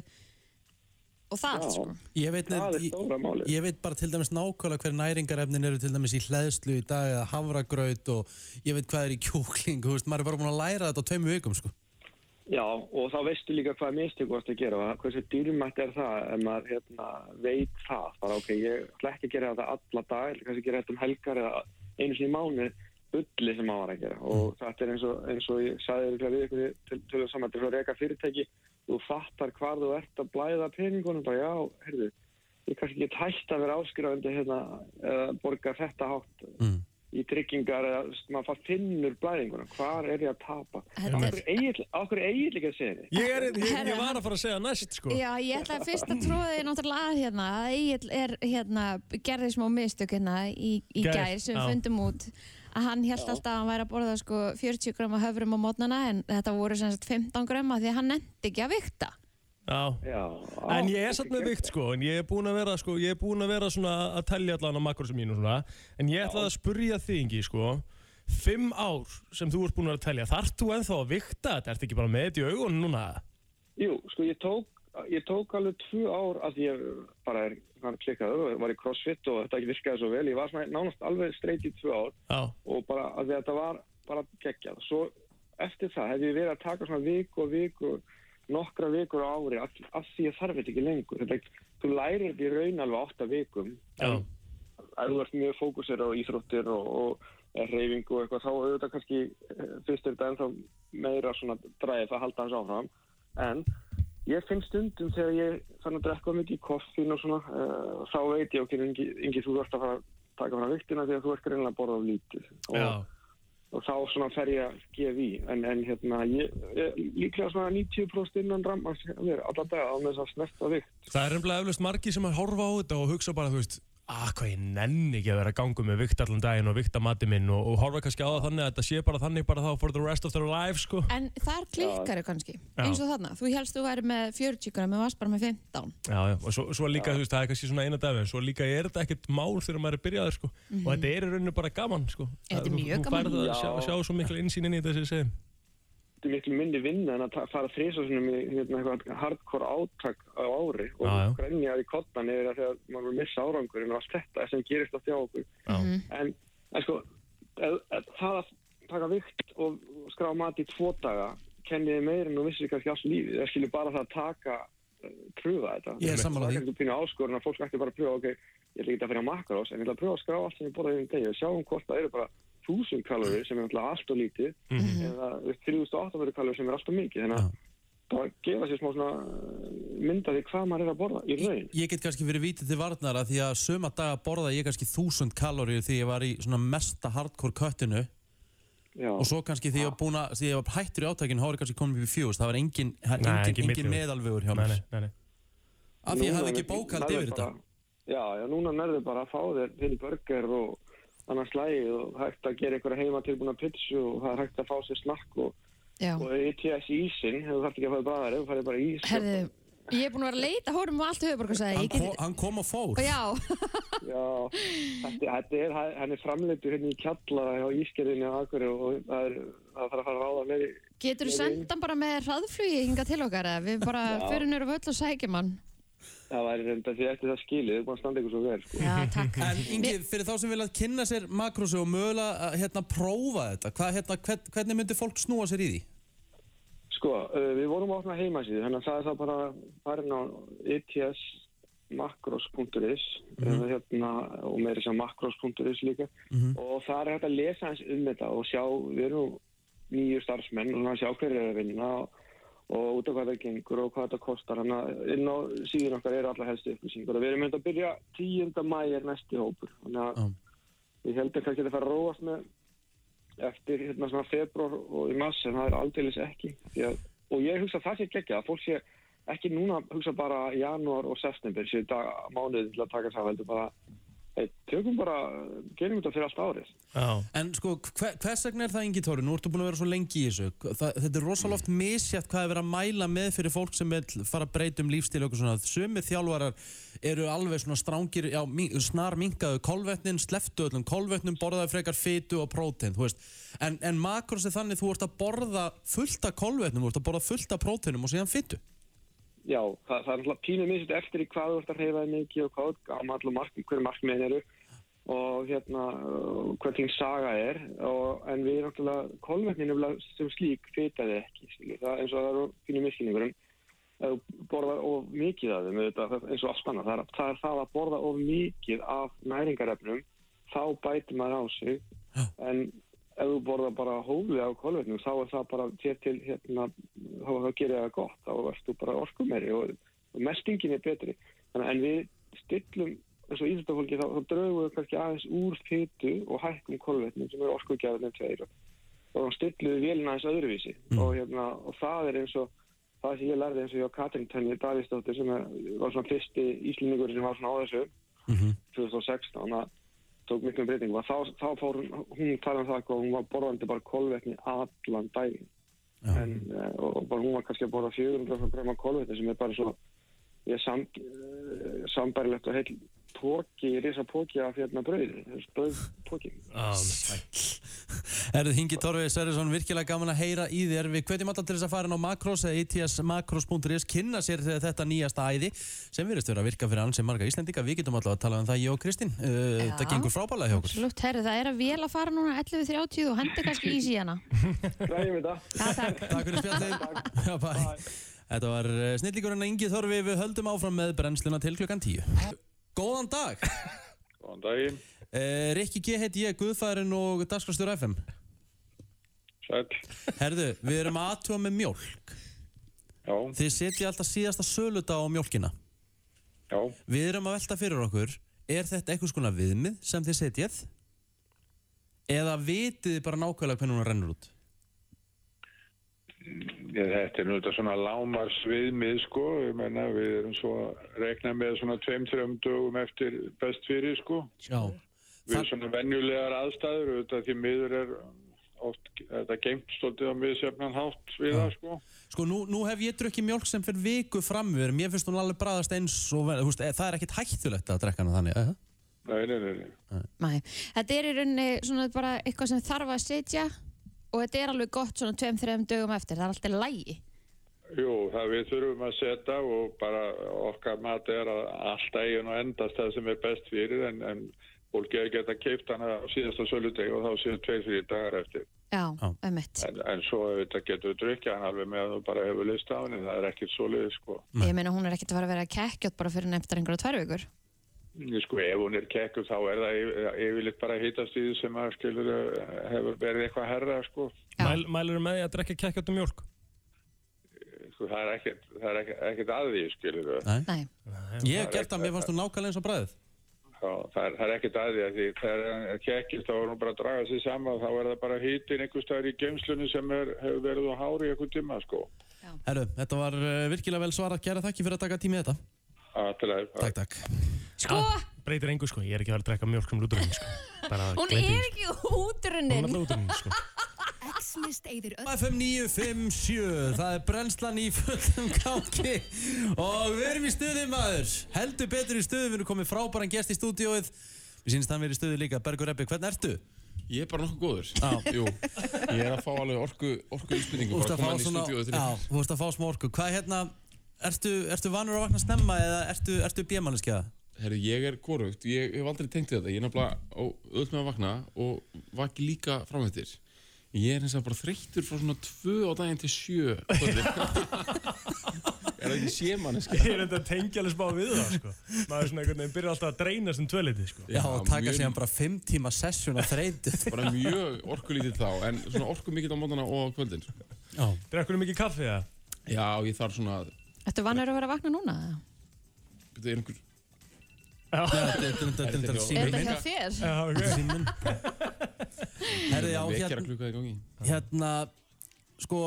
[SPEAKER 2] og það,
[SPEAKER 6] Já.
[SPEAKER 2] sko.
[SPEAKER 1] Ég veit,
[SPEAKER 6] Það er
[SPEAKER 1] ég-
[SPEAKER 6] stóra málið.
[SPEAKER 1] ég veit bara til dæmis nákvæmlega hver næringarefnin eru til dæmis í hleðslu í dag eða havragraut og ég veit hvað er í kjúkling þú veist, maður er bara búin að læra þetta á tveimu vikum sko.
[SPEAKER 6] Já, og þá veistu líka hvað mistök varst að gera og hversu dýrmætt er það ef maður hérna, veit það. Bara ok, ég ætla ekki að gera þetta alla dag, ég kannski gera þetta um helgar eða einu sinni í mánu, bulli sem maður var að gera. Og þetta er eins og, eins og ég sagði örugglega við ykkur til, til þess saman, til að reyka fyrirtæki, þú fattar hvar þú ert að blæða peningunum, bara já, heyrðu, ég kannski get hægt að vera áskrifandi hérna, eða borga þetta hátt
[SPEAKER 1] Mm.
[SPEAKER 6] í tryggingar eða maður fara finnur blæðinguna, hvar er ég að tapa?
[SPEAKER 2] Þetta er-
[SPEAKER 6] Akkur eigin líka að segja þið?
[SPEAKER 3] Ég, er, ég, ég var að fara að segja næst, sko.
[SPEAKER 2] Já, ég ætla að fyrst að tróða þig náttúrulega að hérna, að Egil er hérna, gerði smá mistök hérna í, í
[SPEAKER 3] Gær,
[SPEAKER 2] gær sem við
[SPEAKER 3] já.
[SPEAKER 2] fundum út að hann held alltaf að hann væri að borða sko 40 gröma höfrum á mótnana en þetta voru sem sagt 15 gröma því að hann nefndi ekki að vikta.
[SPEAKER 3] Já.
[SPEAKER 6] Já.
[SPEAKER 3] En ég er satt með vikt sko, en ég er búinn að vera sko, ég er búinn að vera svona að tellja allan á makrosum mínu svona, en ég ætlaði að spurja þig ingi sko, fimm ár sem þú ert búinn að vera að tellja, þarf þú ennþá að vikta þetta, ertu ekki bara með þetta í augunum núna?
[SPEAKER 6] Jú, sko ég tók, ég tók alveg tvö ár að ég bara er hann klikkaði og var í crossfit og þetta virkaði svo vel. Ég var svona nánast alveg streit í tvö ár
[SPEAKER 3] Já,
[SPEAKER 6] og bara að því að þetta var bara geggjað. Svo eftir það hef ég verið að taka svona viku og viku, nokkra vikur á ári af, af því ég þarf þetta ekki lengur. Þetta, þú lærir þetta í raun alveg átta vikum
[SPEAKER 3] já,
[SPEAKER 6] ef þú ert mjög fókusir á íþróttir og, og reyfingu og eitthvað þá auðvitað kannski eh, fyrst er þetta ennþá meira svona dræf að halda hans áfram en ég finn stundum þegar ég þannig að drekka of mikið koffín og svona uh, þá veit ég okkur ingi, ingi þú ert að fara að taka frá viktina því að þú ert greinlega að borða of lítið og,
[SPEAKER 3] já,
[SPEAKER 6] og þá svona fer ég að gefa í en, en hérna ég, ég, líklega svona 90% innan rammans alltaf daga á með þess að snerta vikt
[SPEAKER 3] það er umlega eflust margi sem að horfa á þetta og hugsa bara, þú veist að hvað ég nenni ekki að vera að ganga með vikt allan daginn og vikta mati minn og, og horfa kannski á það þannig að þetta sé bara þannig bara þá for the rest of their life sko
[SPEAKER 2] En þar klikkar þau kannski, eins og þarna. Þú helst þú væri með 40 gram, en varst bara með 15.
[SPEAKER 3] Já, já, og svo, svo líka, þú veist, það er kannski svona eina dæmi, en svo líka er þetta ekkert mál þegar maður er byrjaður, sko, og þetta er í rauninu bara gaman, sko.
[SPEAKER 2] Mhm. Þetta er
[SPEAKER 3] Þú-
[SPEAKER 2] mjög
[SPEAKER 3] Þú
[SPEAKER 2] gaman.
[SPEAKER 3] færð að
[SPEAKER 6] Já.
[SPEAKER 3] sjá, sjá svo mikla innsýn inn í þetta sem ég segi.
[SPEAKER 6] þetta er miklu minni vinna en að ta- fara þrísa svona með hérna, eitthvað hardcore átak á ári og
[SPEAKER 3] Já, já.
[SPEAKER 6] grenja í kottan yfir það þegar maður er að missa árangurinn og allt þetta sem gerist oft hjá okkur
[SPEAKER 3] Já.
[SPEAKER 6] en, en sko eð, eð, það að taka vikt og og skrá mat í tvo daga kenniði meira en þú vissir kannski allt lífið það skilur bara það að taka eh, pröfa þetta
[SPEAKER 1] Ég er sammála
[SPEAKER 6] það er
[SPEAKER 1] því.
[SPEAKER 6] kannski pínu áskorun að fólk ætti bara að pröfa ok, ég ætla ekki að fyrir að makra en ég ætla að pröfa að skrá allt sem ég borðaði um degi og sjáum hvort það eru bara 1000 kalorir sem er náttúrulega allt og lítið
[SPEAKER 1] Mhm.
[SPEAKER 6] eða 3800 kalorir sem er allt og mikið þannig að bara gefa sér smá svona eh, mynd af því hvað maður er að borða í raun
[SPEAKER 1] Ég get kannski verið vítið til varnar að því að suma daga borða ég kannski þúsund kalórið því ég var í svona mesta hardcore köttinu
[SPEAKER 6] Já.
[SPEAKER 1] og svo kannski því ég var búin að, því ég var hættur í átakinu, þá var ég kannski komin upp í fjúst, það var engin,
[SPEAKER 3] Nei,
[SPEAKER 1] engin,
[SPEAKER 3] ekki
[SPEAKER 1] engin,
[SPEAKER 3] milliveg.
[SPEAKER 1] meðalvegur hjá
[SPEAKER 3] Nei,
[SPEAKER 1] mér.
[SPEAKER 3] nei, nei, nei.
[SPEAKER 1] Af því ég
[SPEAKER 6] Núna
[SPEAKER 1] hafði ekki
[SPEAKER 6] nærðu-
[SPEAKER 1] bókald
[SPEAKER 6] nærðu
[SPEAKER 1] yfir þetta.
[SPEAKER 6] bara- Já, já, núna nærðu bara að fá þér til burger og annars lagið og hægt að gera einhverja heima tilbúna pizzu og það er hægt að fá sér snakk og,
[SPEAKER 2] Já.
[SPEAKER 6] og ETS ísinn, þú þarf ekki að fara bræðar, þú farið bara í ís og-
[SPEAKER 2] Herðu, ég er búin að vera að leita hórum á allt höfuborgarsæði.
[SPEAKER 1] Hann,
[SPEAKER 2] Ég
[SPEAKER 1] ko
[SPEAKER 2] get...
[SPEAKER 1] hann kom og fór.
[SPEAKER 2] Og já,
[SPEAKER 6] Já, þetta, þetta er, hann er framleitur hérna í kjallara hjá ískerðinni á Akurey og það, er, það þarf að fara að ráða með í
[SPEAKER 2] getur þú sendt hann bara með hraðflugi hinga til okkar eða við bara fyrir nýra völl og sækjum hann.
[SPEAKER 6] Það væri reynda því eftir það skilið, þau búin að standa ykkur svo vel, sko.
[SPEAKER 2] Já, takk.
[SPEAKER 1] En Ingi, fyrir þá sem vilja kynna sér makrósi og mögulega að, hérna prófa þetta, hvað, hérna, hvern, hvernig myndi fólk snúa sér í því?
[SPEAKER 6] Sko, uh, við vorum að opna heimasíðu, þannig að það er það bara farin á E itsmakros.is mm hérna, og meiri sem makros.is líka og það er hægt að lesa hans um þetta og sjá, við erum nýju starfsmenn og hann sjá hverju er að vinna og, og út af hvað það gengur og hvað þetta kostar hann að inn á síðun okkar eru alla helstu upplýsingur og við erum hérna að byrja 10. mæ er næsti hópur þannig að
[SPEAKER 1] Já.
[SPEAKER 6] ég held að kannski þetta fara að róast með eftir hérna svona februar og í mass en það er aldeilis ekki Því að, og ég hugsa að það sé ekki að fólk sé ekki núna hugsa bara janúar og september séu dag, mánuði til að taka það heldur bara hey, tökum bara, gerum þetta fyrir allt árið
[SPEAKER 3] Já,
[SPEAKER 1] En sko, hver, hvers vegna er það Ingi Tóri? Nú ertu búin að vera svo lengi í þessu. Það, þetta er rosalega oft misjætt hvað er verið að mæla með fyrir fólk sem vil fara að breyta um lífstíl og eitthvað svona. Sumi þjálfarar eru alveg svona strángir, já, mink- snar minkaðu kolvetnin, sleftu öllum kolvetnum, borðaðu frekar fytu og prótein, þú veist. En, en makrós er þannig þú ert að borða fullta kolvetnum, þú ert að borða fullta próteinum og síðan fytu.
[SPEAKER 6] Já, það, það er alltaf pínu misið eftir í hvað þú ert að reyfaði mikið og hvað gaman allur markmið, hverju markmiðin eru og hérna uh, hvernig saga er og, en við erum alltaf kolvetnin nefnilega sem slík fitaði ekki skilur. það er eins og það eru pínu miskinningur en ef þú borðar of mikið af þeim auðvitað, það- eins og allt annað, það er, það er það að borða of mikið af næringarefnum þá bætir maður á sig en ef þú borðar bara hófið á kolvetnum þá er það bara þér til hérna, þá, þá gerir það gott þá ertu bara orkumeri og, og mestingin er betri Þannig, en við stillum eins og íþjóttafólki þá, þá draugum við kannski aðeins úr fytu og hækkum kolvetnum sem eru orkugjafirnir tveir og, og þá stillum við vélina aðeins öðruvísi
[SPEAKER 1] Mm.
[SPEAKER 6] og, hérna, og það er eins og það sem ég lærði eins og ég á Katrin Tönni Davíðsdóttir sem er, var svona fyrsti íslendingur sem var svona á þessu
[SPEAKER 1] Mhm.
[SPEAKER 6] 2016 að tók miklum breytingum að þá, þá fór hún, hún tala um það hvað hún var borðandi bara kolvetni allan daginn en, eh, og, og bara hún var kannski að borða 400 gram af kolvetni sem er bara svo ég sam, uh, sambarilegt og heil póki, risa póki af hérna brauði brauð póki
[SPEAKER 3] já,
[SPEAKER 1] Erðu Hingi Torfi Sverjesson virkilega gaman að heyra í þér Við hvetjum alltaf til þess að fara inn á Makros eða itsmakros.is kynna sér þetta nýjasta æði sem virðist vera að virka fyrir ansi marga Íslendinga Við getum alltaf að tala um það ég og Kristín uh,
[SPEAKER 2] Já.
[SPEAKER 1] Það gengur frábælega hjá okkur
[SPEAKER 2] Absolutt, herru, það er að vel að fara núna 11.30 og hendi kannski ís í hana.
[SPEAKER 6] Ræðum þetta.
[SPEAKER 2] Já, takk.
[SPEAKER 1] Takk fyrir spjallið Já, bæ. Þetta var eh, snillíkurinn að Ingi Þorfi Við höldum áfram með brennsluna til klukkan 10 Góðan dag
[SPEAKER 7] Góðan daginn,
[SPEAKER 1] uh, Rikki G heiti ég, Guðfærin og Dagskrastur FM
[SPEAKER 7] sæl,
[SPEAKER 1] Herðu, við erum að aðtúa með mjólk
[SPEAKER 7] já,
[SPEAKER 1] Þið setja alltaf síðasta söludag á mjólkina
[SPEAKER 7] já,
[SPEAKER 1] Við erum að velta fyrir okkur Er þetta einhvers konar viðmið sem þið setjað? Eða vitið þið bara nákvæmlega hvernig hún rennur út?
[SPEAKER 7] ég, þetta er nú þetta svona lámars viðmið sko, ég menna við erum svo að rekna með svona tveim, þreim dögum eftir best fyrir sko,
[SPEAKER 1] Já
[SPEAKER 7] við
[SPEAKER 1] Það-
[SPEAKER 7] erum svona venjulegar aðstæður, þetta því miður er oft, þetta gengt stoltið á miðsefnan hátt við það sko,
[SPEAKER 1] Sko, nú, nú hef ég drukkið mjólk sem fyrir viku framver Mér finnst hún alveg bræðast eins og vel- þú veist, eh, Það er ekkert hættulegt að drekka hana þannig eh?
[SPEAKER 7] nei, nei, nei, nei.
[SPEAKER 2] Nei, þetta er í rauninni svona bara eitthvað sem þarf að setja og þetta er alveg gott svona tveim, þreim dögum eftir, það er alltaf lægi.
[SPEAKER 7] Jú, það við þurfum að setja og bara okkar mat er að allt eigin og endast það sem er best fyrir en, en fólk er að geta keipt hana á síðasta söludegi og þá séu tveir fyrir dagar eftir.
[SPEAKER 2] Já,
[SPEAKER 1] Já.
[SPEAKER 2] ömmett.
[SPEAKER 7] En, en svo auðvitað getur við drukja hann alveg með að þú bara hefur list af henni, það er ekkert svo liðið sko.
[SPEAKER 2] Ég meina hún er ekkert að fara að vera kekkjótt bara fyrir nefndar einhverja tvær vikur.
[SPEAKER 7] Ég Sko ef hún er kekkuð þá er það yfir- yfirleitt bara hýtast í því sem að skilur eh, hefur verið eitthvað herra sko.
[SPEAKER 2] Já.
[SPEAKER 3] Mæl, Mælur með því að drekka kekkjótt og mjólk?
[SPEAKER 7] Sko, Það er ekkert, það er ekkert, ekkert að því skilur það.
[SPEAKER 2] Nei,
[SPEAKER 1] Ég hef gert það, mér fannst hún nákvæmlega eins og bræðið
[SPEAKER 7] Það er, það er ekkert að því að því þegar hann er kekkist þá er hún bara að draga sig saman þá er það bara hýtin einhver staðar í geimslunni sem er, hefur verið á hári í einhver tíma sko.
[SPEAKER 1] Herru, þetta var eh, virkilega vel svarað Gera þakki fyrir að taka tími í þetta
[SPEAKER 7] Alltaf,
[SPEAKER 1] Takk, takk
[SPEAKER 2] sko,
[SPEAKER 3] Breytir engu sko, ég er ekki að fara að drekka mjólk sem lúturinn sko. Bara
[SPEAKER 2] hún
[SPEAKER 3] gleymdu
[SPEAKER 2] er
[SPEAKER 3] því,
[SPEAKER 2] ekki
[SPEAKER 3] sko. Hún er
[SPEAKER 2] útrunnin.
[SPEAKER 3] alltaf lúturinn sko.
[SPEAKER 8] X-list eyðir öll
[SPEAKER 1] FM 957, það er brennslan í fullum gangi og við erum í stuði maður, heldur betur í stuði, við erum komið frábæran gest í stúdíóið, við sínst hann verið í stuði líka, Bergur Eppi, hvernig ertu?
[SPEAKER 9] Ég er bara nokkuð góður. Já. Jú, ég er að fá alveg orku, orku
[SPEAKER 1] Þú
[SPEAKER 9] íspinningu,
[SPEAKER 1] vorst
[SPEAKER 9] bara að koma
[SPEAKER 1] að fá
[SPEAKER 9] inn í
[SPEAKER 1] svona,
[SPEAKER 9] stúdíu til
[SPEAKER 1] já, þú vorst að fá smá orku, hvað er hérna, ertu, ertu vanur að vakna snemma eða ertu, ertu bjömanneskja?
[SPEAKER 9] Herru, ég er korugt, ég hef aldrei tengt við þetta, ég er nefnilega auðvitað með að vakna og vaki líka framhættir. Ég er hins vegar bara þreyttur frá svona tvö á daginn til sjö. á kvöldin. er það ekki sjö manneski?
[SPEAKER 3] Ég er enda að tengja alveg smá við það sko. Maður er svona einhvern veginn byrjar alltaf að dreina sem tvöliti sko.
[SPEAKER 1] Já, og taka
[SPEAKER 9] mjög-
[SPEAKER 1] síðan bara 5 tíma sessjón að þreytu.
[SPEAKER 9] Bara mjög orkulítið þá, en svona orku mikill á mótana og á kvöldin. sko.
[SPEAKER 1] Já,
[SPEAKER 3] Drekkunum mikið kaffi eða?
[SPEAKER 9] Já, ég þarf svona,
[SPEAKER 2] Ertu vannur að vera að vakna núna? eða?
[SPEAKER 9] betur einhver,
[SPEAKER 1] þetta er- þetta er- þetta er
[SPEAKER 2] Er
[SPEAKER 1] síminn
[SPEAKER 2] þetta
[SPEAKER 1] minn.
[SPEAKER 2] hjá þér?
[SPEAKER 3] Já, ok.
[SPEAKER 1] Síminn. Herðu, já,
[SPEAKER 9] vekjara
[SPEAKER 1] hérna,
[SPEAKER 9] klukka í gangi.
[SPEAKER 1] hérna sko,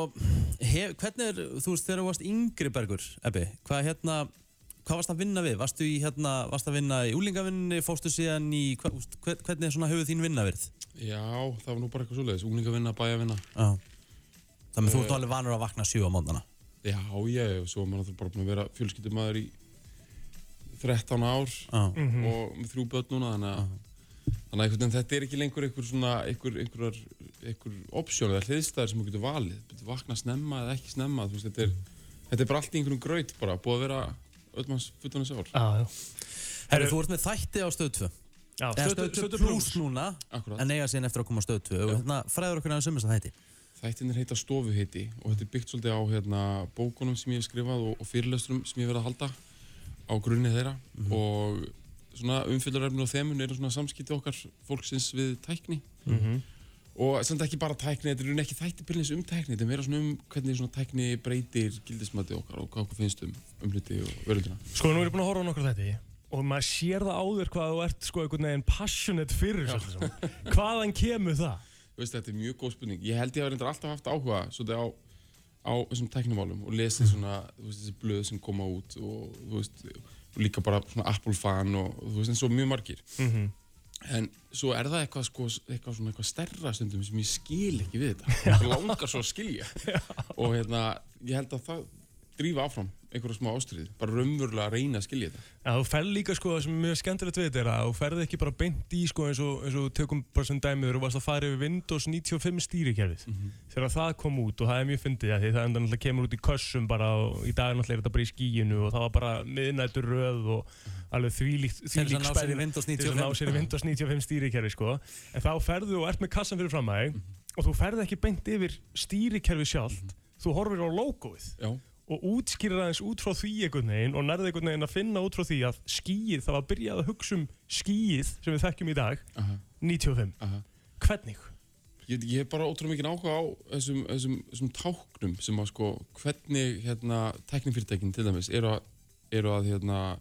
[SPEAKER 1] hef, hvernig er þú veist þegar þú varst yngri bergur Ebbi, hvað hérna hvað varst að vinna við, varstu í hérna varst að vinna í úlingavinni, fórstu síðan í hva, úst, hver- hvernig svona hefur þín vinna verið
[SPEAKER 9] Já, það var nú bara eitthvað svoleiðis, unglingavinna, Eh, bæjavinna.
[SPEAKER 1] já þannig að þú ert alveg vanur að vakna sjö á móndana
[SPEAKER 9] Já, já, og svo er maður náttúrulega bara búin að vera fjölskyldumæður í 13 ár
[SPEAKER 1] já,
[SPEAKER 9] og með þrjú börn núna, þannig að Þannig að einhvern veginn þetta er ekki lengur einhver svona, einhver, einhver, einhver opsjón eða hliðstæðir sem þú getur valið. Þú getur vakna snemma eða ekki snemma, þú veist, þetta er, þetta er bara allt í einhverjum graut bara, búið að vera öllmanns fullunins ár.
[SPEAKER 3] Já, já.
[SPEAKER 1] herru, þú ert með þætti á stöð 2
[SPEAKER 3] Já,
[SPEAKER 1] eða
[SPEAKER 3] stötu,
[SPEAKER 1] stöð 2
[SPEAKER 3] stötu
[SPEAKER 1] plus
[SPEAKER 3] pluss.
[SPEAKER 1] núna
[SPEAKER 9] Akkúrat.
[SPEAKER 1] en eiga síðan eftir að koma á stöð 2 og hérna fræður okkur aðeins um þess að þætti
[SPEAKER 9] Þættin er heita stofuhiti og þetta er byggt svolítið á hérna, bókunum sem ég hef skrifað og, og fyrirlöstrum sem ég hef verið að halda á grunni þeirra
[SPEAKER 1] Mhm.
[SPEAKER 9] og svona umfyllarefni og þemun eru svona samskipti okkar fólksins við tækni
[SPEAKER 1] Mhm.
[SPEAKER 9] og samt ekki bara tækni, þetta eru ekki þætti byrjins um tækni, þetta er meira svona um hvernig svona tækni breytir gildismati okkar og hvað okkur finnst um, um hluti og veröldina.
[SPEAKER 3] Sko, nú er ég búin að horfa á nokkur þetta og maður sér það áður hvað þú ert sko einhvern veginn passionate fyrir svolítið saman. Hvaðan kemur það?
[SPEAKER 9] Þú veist, þetta er mjög góð spurning. Ég held ég að reyndar alltaf haft áhuga svolítið á, á þessum tæknumálum og lesið svona, þú veist, þessi blöð sem koma út og, þú veist, og líka bara svona Apple fan og, þú veist, en svo mjög margir.
[SPEAKER 3] Mhm.
[SPEAKER 9] En svo er það eitthvað, sko, eitthvað svona eitthvað stærra stundum sem ég skil ekki við þetta. Ég langar svo að skilja. og hérna, ég held að það drífa áfram einhverja smá ástrið, bara raunverulega að reyna að skilja þetta
[SPEAKER 3] Já, þú ferð líka sko, það sem er mjög skemmtilegt við þetta er að þú ferð ekki bara beint í sko eins og, eins og við tökum bara sem dæmið þegar þú varst að fara yfir Windows 95 stýrikerfið
[SPEAKER 1] Mhm.
[SPEAKER 3] þegar það kom út og það er mjög fyndið af því það endan alltaf kemur út í kössum bara og í dag er náttúrulega þetta bara í skíinu og það var bara miðnættur röð og
[SPEAKER 1] Mhm.
[SPEAKER 3] alveg þvílíkt
[SPEAKER 1] Til þess að
[SPEAKER 3] þvílík
[SPEAKER 1] ná sér í
[SPEAKER 3] spenna-
[SPEAKER 1] Windows
[SPEAKER 3] til þess að ná sér í
[SPEAKER 1] 95.
[SPEAKER 3] Windows 95 stýrikerfi sko en þá ferðu og ert með kassan fyrir fram að þig
[SPEAKER 9] Mhm.
[SPEAKER 3] og þú ferð ekki beint yfir stýrikerfi sjálft þú horfir á logoið
[SPEAKER 9] Já.
[SPEAKER 3] og útskýrir aðeins út frá því einhvern veginn og nærði einhvern veginn að finna út frá því að skýið, það var byrjað að hugsa um skýið sem við þekkjum í dag 95 hvernig?
[SPEAKER 9] Ég, ég hef bara ótrúlega mikið áhuga á þessum, þessum, þessum táknum sem að sko hvernig hérna tæknifyrirtækin til dæmis eru að, eru að hérna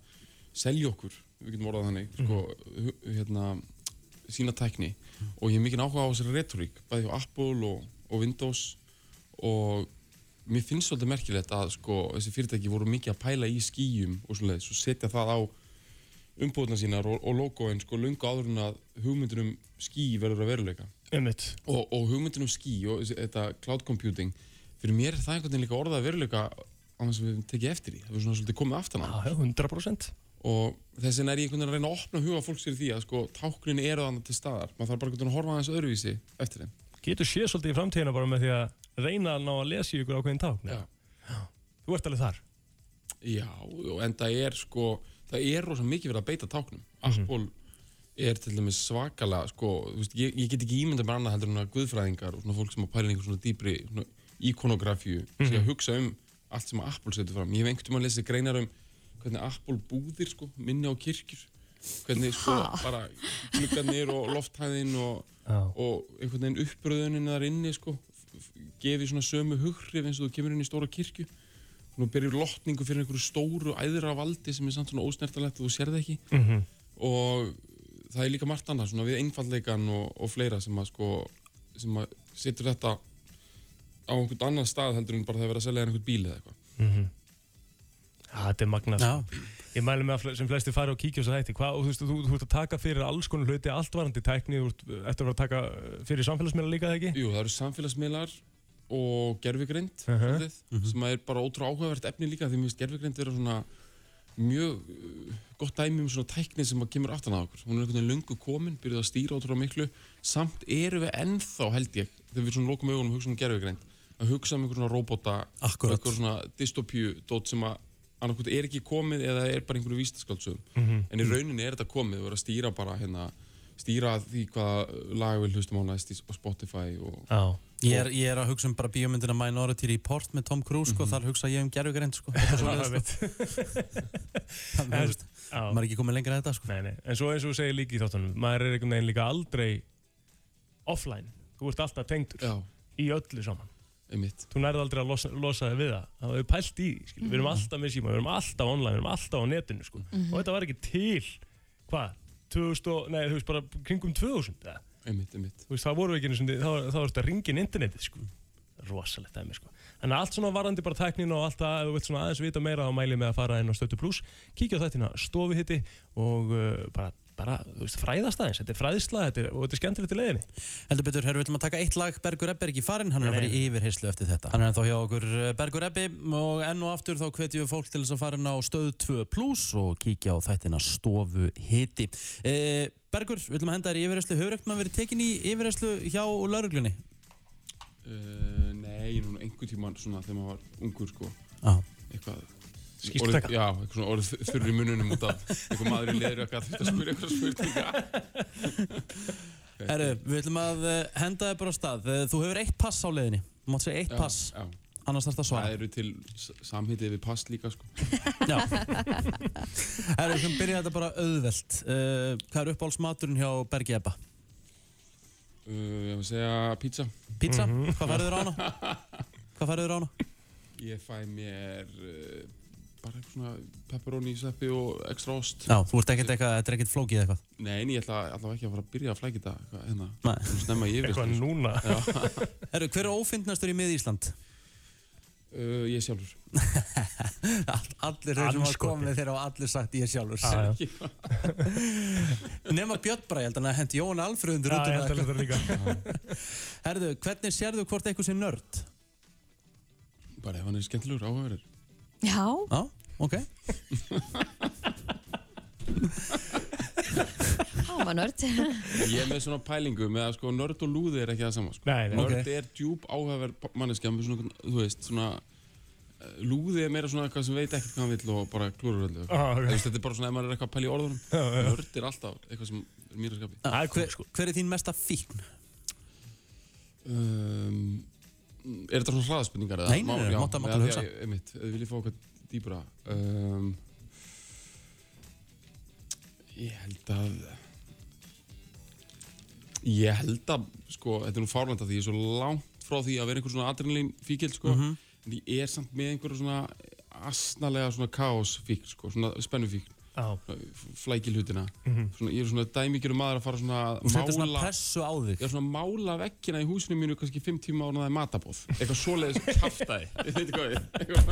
[SPEAKER 9] selja okkur, við getum orðað þannig sko, hu- hérna sína tækni og ég hef mikið áhuga á þessari retorík, bæði hjá Apple og, og Windows og mér finnst svolítið merkilegt að sko þessi fyrirtæki voru mikið að pæla í skýjum og svoleiðis og setja það á umbúðna sínar og, og logoinn sko lungu áður en að hugmyndur um ský verður að veruleika
[SPEAKER 3] Einmitt.
[SPEAKER 9] og, og hugmyndin um skí og þessi- þetta cloud computing fyrir mér er það einhvern veginn líka orðað að veruleika á þess að við höfum tekið eftir því það er svona svolítið komið aftan á
[SPEAKER 3] Já, já, 100%
[SPEAKER 9] og þess vegna er ég einhvern veginn að reyna að opna huga fólks fyrir því að sko táknin eru þannig til staðar maður þarf bara einhvern veginn að horfa aðeins öðruvísi eftir þeim
[SPEAKER 3] Getur séð svolítið í framtíðina bara með því að reyna að ná að lesa í ykkur ákveðin tákn
[SPEAKER 9] Já.
[SPEAKER 3] Þú ert alveg þar
[SPEAKER 9] Já, og en það er sko, það er rosa mikið verið að beita táknum. Apple er til dæmis svakalega, sko, þú veist, ég, ég get ekki ímynda mér annað heldur en að guðfræðingar og svona fólk sem að pæla í einhver svona dýpri svona íkonografíu, sé að hugsa um allt sem að Apple setur fram. Ég hef einhvern tímann lesið greinar um hvernig Apple búðir, sko, minni á kirkjur, hvernig sko bara gluggarnir og lofthæðin og, og einhvern veginn uppröðunin þar inni, sko, f- f- gefi svona sömu hugrif eins og þú kemur inn í stóra kirkju nú byrjur lotningu fyrir einhverju stóru æðra valdi sem er samt svona ósnertalegt og þú sér það ekki
[SPEAKER 3] Mhm.
[SPEAKER 9] og það er líka margt annað svona við einfalleikan og, og fleira sem að sko sem að setur þetta á einhvern annan stað heldur en bara það er verið að selja þér einhvern bíl eða eitthvað
[SPEAKER 3] Já, Mhm. þetta er magnað
[SPEAKER 1] Já.
[SPEAKER 3] sko. Ég mælu með að fle- sem flesti fari og kíkja á þess að þætti Hvað, og þú veist, þú, þú ert að taka fyrir alls konar hluti allt varandi tækni, þú ert eftir að vera að taka eh, fyrir samfélagsmiðla líka, eða ekki?
[SPEAKER 9] Jú, það eru samfélagsmiðlar og gerfigreind uh
[SPEAKER 3] Mhm.
[SPEAKER 9] sem að er bara ótrú áhugavert efni líka því mér finnst gerfigreind vera svona mjög uh, gott dæmi um svona tækni sem að kemur aftan að okkur hún er einhvern veginn lungu komin, byrjuð að stýra ótrú miklu samt erum við ennþá held ég þegar við svona lokum augunum og hugsa um gerfigreind að hugsa um einhver svona robóta
[SPEAKER 1] Akkúrat.
[SPEAKER 9] einhver svona dystopíu dót sem að annarkvæmt er ekki komið eða er bara einhverju vístaskaldsöðum
[SPEAKER 3] Mhm.
[SPEAKER 9] en í rauninni er þetta komið og er að stýra bara hérna stýra því hvaða lag við hlustum á næst í- á Spotify og
[SPEAKER 3] Já
[SPEAKER 1] Ég er, ég er að hugsa um bara bíómyndina Minority Report með Tom Cruise
[SPEAKER 3] Mhm.
[SPEAKER 1] sko, þar hugsa ég um gerfugreind sko, eitthvað svoleiðis, sko. Þannig, þú veist,
[SPEAKER 3] Já.
[SPEAKER 1] maður er ekki komið lengra að þetta sko.
[SPEAKER 3] Nei, nei, en svo eins og þú segir líka í þáttunum maður er einhvern veginn líka aldrei offline, þú ert alltaf tengdur
[SPEAKER 9] Já,
[SPEAKER 3] í öllu saman,
[SPEAKER 9] einmitt.
[SPEAKER 3] þú nærði aldrei að losa, losa þig við það, það hefur pælt í því skilur. við erum alltaf með síma, við erum alltaf online við erum alltaf á netinu, sko, og þetta var ekki til hvað, 2000 og, nei, þú veist bara kringum 2000 eða?
[SPEAKER 9] Einmitt, einmitt.
[SPEAKER 3] þú veist, það voru ekki einu sinni, þá, þá var þetta ringin internetið, sko, rosalegt dæmi, sko. En allt svona varandi bara tæknin og allt það, ef þú vilt svona aðeins vita meira, þá mæli ég með að fara inn á Stötu Plus, kíkja á þættina stofuhitti og uh, bara, bara, þú veist, fræðast aðeins, þetta er fræðisla, þetta er, og þetta er skemmtilegt í leiðinni.
[SPEAKER 1] Heldur betur, herru, við ætlum að taka eitt lag Bergur Ebbi er ekki farinn, hann er að fara í yfirheyslu eftir þetta Hann er ennþá hjá okkur eh, Bergur Ebbi og enn og aftur þá hvetjum við fólk til þess að fara inn á stöð 2 plus og kíkja á þættina stofu hiti eh, Bergur, við ætlum að henda þér í yfirheyslu Hefur ekkert maður verið tekin í yfirheyslu hjá lauruglunni?
[SPEAKER 9] Uh, nei, ég er núna einhvern tíman svona þegar maður var ungur, sko,
[SPEAKER 1] Já,
[SPEAKER 9] eitthvað.
[SPEAKER 3] Skýrslu
[SPEAKER 9] Orðið-
[SPEAKER 3] taka.
[SPEAKER 9] Já, eitthvað svona orðið þ- þurr í mununum út af eitthvað maður í leður eitthvað þurft að spyrja eitthvað spurninga.
[SPEAKER 1] herru, við ætlum að eh, henda þér bara á stað Eh, Þú hefur eitt pass á leiðinni, þú mátt segja eitt pass
[SPEAKER 9] Já,
[SPEAKER 1] annars þarf það að svara
[SPEAKER 9] það eru til s- samhitið við pass líka, sko.
[SPEAKER 1] Já Herru, við skulum byrja þetta bara auðvelt uh, Hvað er uppáhaldsmaturinn hjá Bergi Ebba?
[SPEAKER 9] Uh, ég vil segja pizza.
[SPEAKER 1] Pizza?
[SPEAKER 3] Mhm.
[SPEAKER 1] Hvað færðu þér á hana? Hvað færðu þér á hana?
[SPEAKER 9] Ég fæ mér uh, bara eitthvað svona pepperoni sveppi og ekstra ost.
[SPEAKER 1] Já, þú ert ekkert eitthvað, þetta er ekkert flókið eitthvað
[SPEAKER 9] Nei, en ég ætla allavega ekki að fara að byrja að flækja þetta eitthvað, hérna,
[SPEAKER 1] Nei.
[SPEAKER 9] snemma í yfir.
[SPEAKER 3] Eitthvað núna.
[SPEAKER 1] Herru, hver er ófindnastur í mið Ísland?
[SPEAKER 9] Uh, ég sjálfur.
[SPEAKER 1] All, allir þeir sem hafa
[SPEAKER 3] Andskotinn.
[SPEAKER 1] komið þeir hafa allir sagt ég sjálfur
[SPEAKER 3] Já, já.
[SPEAKER 1] Nefna Björn bara, ég held að hann hendi Jón Alfröð undir
[SPEAKER 3] Já,
[SPEAKER 1] út
[SPEAKER 3] ég
[SPEAKER 1] um
[SPEAKER 3] held að
[SPEAKER 1] það
[SPEAKER 3] þetta líka.
[SPEAKER 1] Herru, hvernig sérðu hvort eitthvað sé nörd?
[SPEAKER 9] Bara ef hann er skemmtilegur, áhugaverður.
[SPEAKER 2] Já,
[SPEAKER 1] Já, ok
[SPEAKER 2] hámanörd.
[SPEAKER 9] Ég er með svona pælingu með að sko nörd og lúði er ekki það sama sko.
[SPEAKER 3] Nei, nei.
[SPEAKER 9] Nörd
[SPEAKER 1] Ok.
[SPEAKER 9] er djúb áhugaverð manneskja með svona, þú veist, svona eh, Lúði er meira svona eitthvað sem veit ekkert hvað hann vill og bara klúrur öllu
[SPEAKER 3] Ah, ok.
[SPEAKER 9] Þú veist, þetta er bara svona ef maður er eitthvað að pæla í orðunum Nörd er alltaf eitthvað sem er mér að skapi
[SPEAKER 3] Það er
[SPEAKER 1] hver,
[SPEAKER 3] kúl, sko.
[SPEAKER 1] hver er þín mesta fíkn?
[SPEAKER 9] um, Er þetta svona hraðaspurningar? eða?
[SPEAKER 1] Nei, nei,
[SPEAKER 9] Má-
[SPEAKER 1] nei,
[SPEAKER 9] já,
[SPEAKER 1] mátt að- mátt að
[SPEAKER 9] eða-
[SPEAKER 1] hugsa.
[SPEAKER 9] ég- Einmitt, ef þið viljið fá eitthvað dýbra um, Ég held að Ég held að, sko, þetta er nú fárlanda því ég er svo langt frá því að vera einhver svona adrenalín fíkild, sko
[SPEAKER 1] Mhm.
[SPEAKER 9] En ég er samt með einhver svona asnalega svona kaos fíkil, sko, svona spennu fíkil
[SPEAKER 3] Já.
[SPEAKER 9] flækil hlutina svona, ég er svona dæmíkjur maður að fara svona að
[SPEAKER 1] Mhm. Þú setur svona
[SPEAKER 9] mála-
[SPEAKER 1] pressu á þig
[SPEAKER 9] ég er svona að mála vekkina í húsinu mínu kannski 5 tíma ára það er matabóð eitthvað svoleiðis kaftaði ég veit ekki hvað ég- eitthvað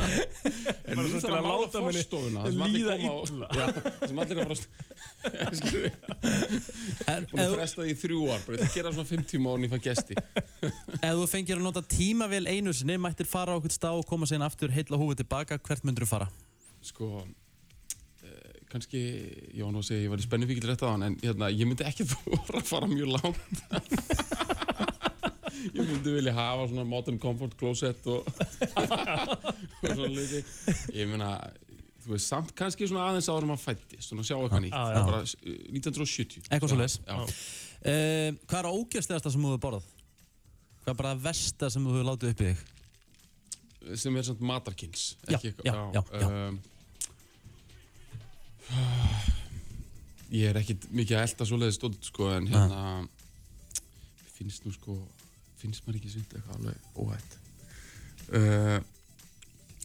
[SPEAKER 3] Bara
[SPEAKER 9] en nú
[SPEAKER 3] svona
[SPEAKER 9] þarf
[SPEAKER 3] til
[SPEAKER 9] að
[SPEAKER 3] að
[SPEAKER 9] mála
[SPEAKER 3] láta manni
[SPEAKER 9] fórstofuna það sem allir
[SPEAKER 3] líða
[SPEAKER 9] koma á
[SPEAKER 3] illa.
[SPEAKER 9] já, það sem allir koma frá skilur við
[SPEAKER 1] En
[SPEAKER 9] búin að
[SPEAKER 1] ef
[SPEAKER 9] fresta því í þrjú ár bara þetta gera svona 5 tíma ára ég fæ gesti
[SPEAKER 1] ef þú fengir að nota tímavél einu sinni mættir fara á okkur stað og koma síðan aftur heilla húfið tilbaka, hvert myndur þú fara?
[SPEAKER 9] sko eh, kannski, já nú að segja ég var í spennufíkil rétt á hann en hérna, ég myndi ekki þóra að fara mjög langt ég myndi vilja hafa svona modern comfort closet og, og svona luti ég meina, þú veist samt kannski svona aðeins áður en maður fætti svona sjá eitthvað nýtt,
[SPEAKER 3] Já, já.
[SPEAKER 9] bara eh, 1970
[SPEAKER 1] Eitthvað svoleiðis.
[SPEAKER 9] Já, já.
[SPEAKER 1] Uh, hvað er ógjastlegasta sem þú hefur borðað? Hvað er bara það versta sem þú hefur látið upp í þig?
[SPEAKER 9] sem er samt matarkins
[SPEAKER 1] Já,
[SPEAKER 9] ekki eitthvað-
[SPEAKER 1] já, já, já.
[SPEAKER 9] Um, ég er ekkit mikið að elda svoleiðis stótt sko en hérna mér finnst nú sko finnst maður ekki sýnt eitthvað alveg óhætt uh,
[SPEAKER 1] Hefur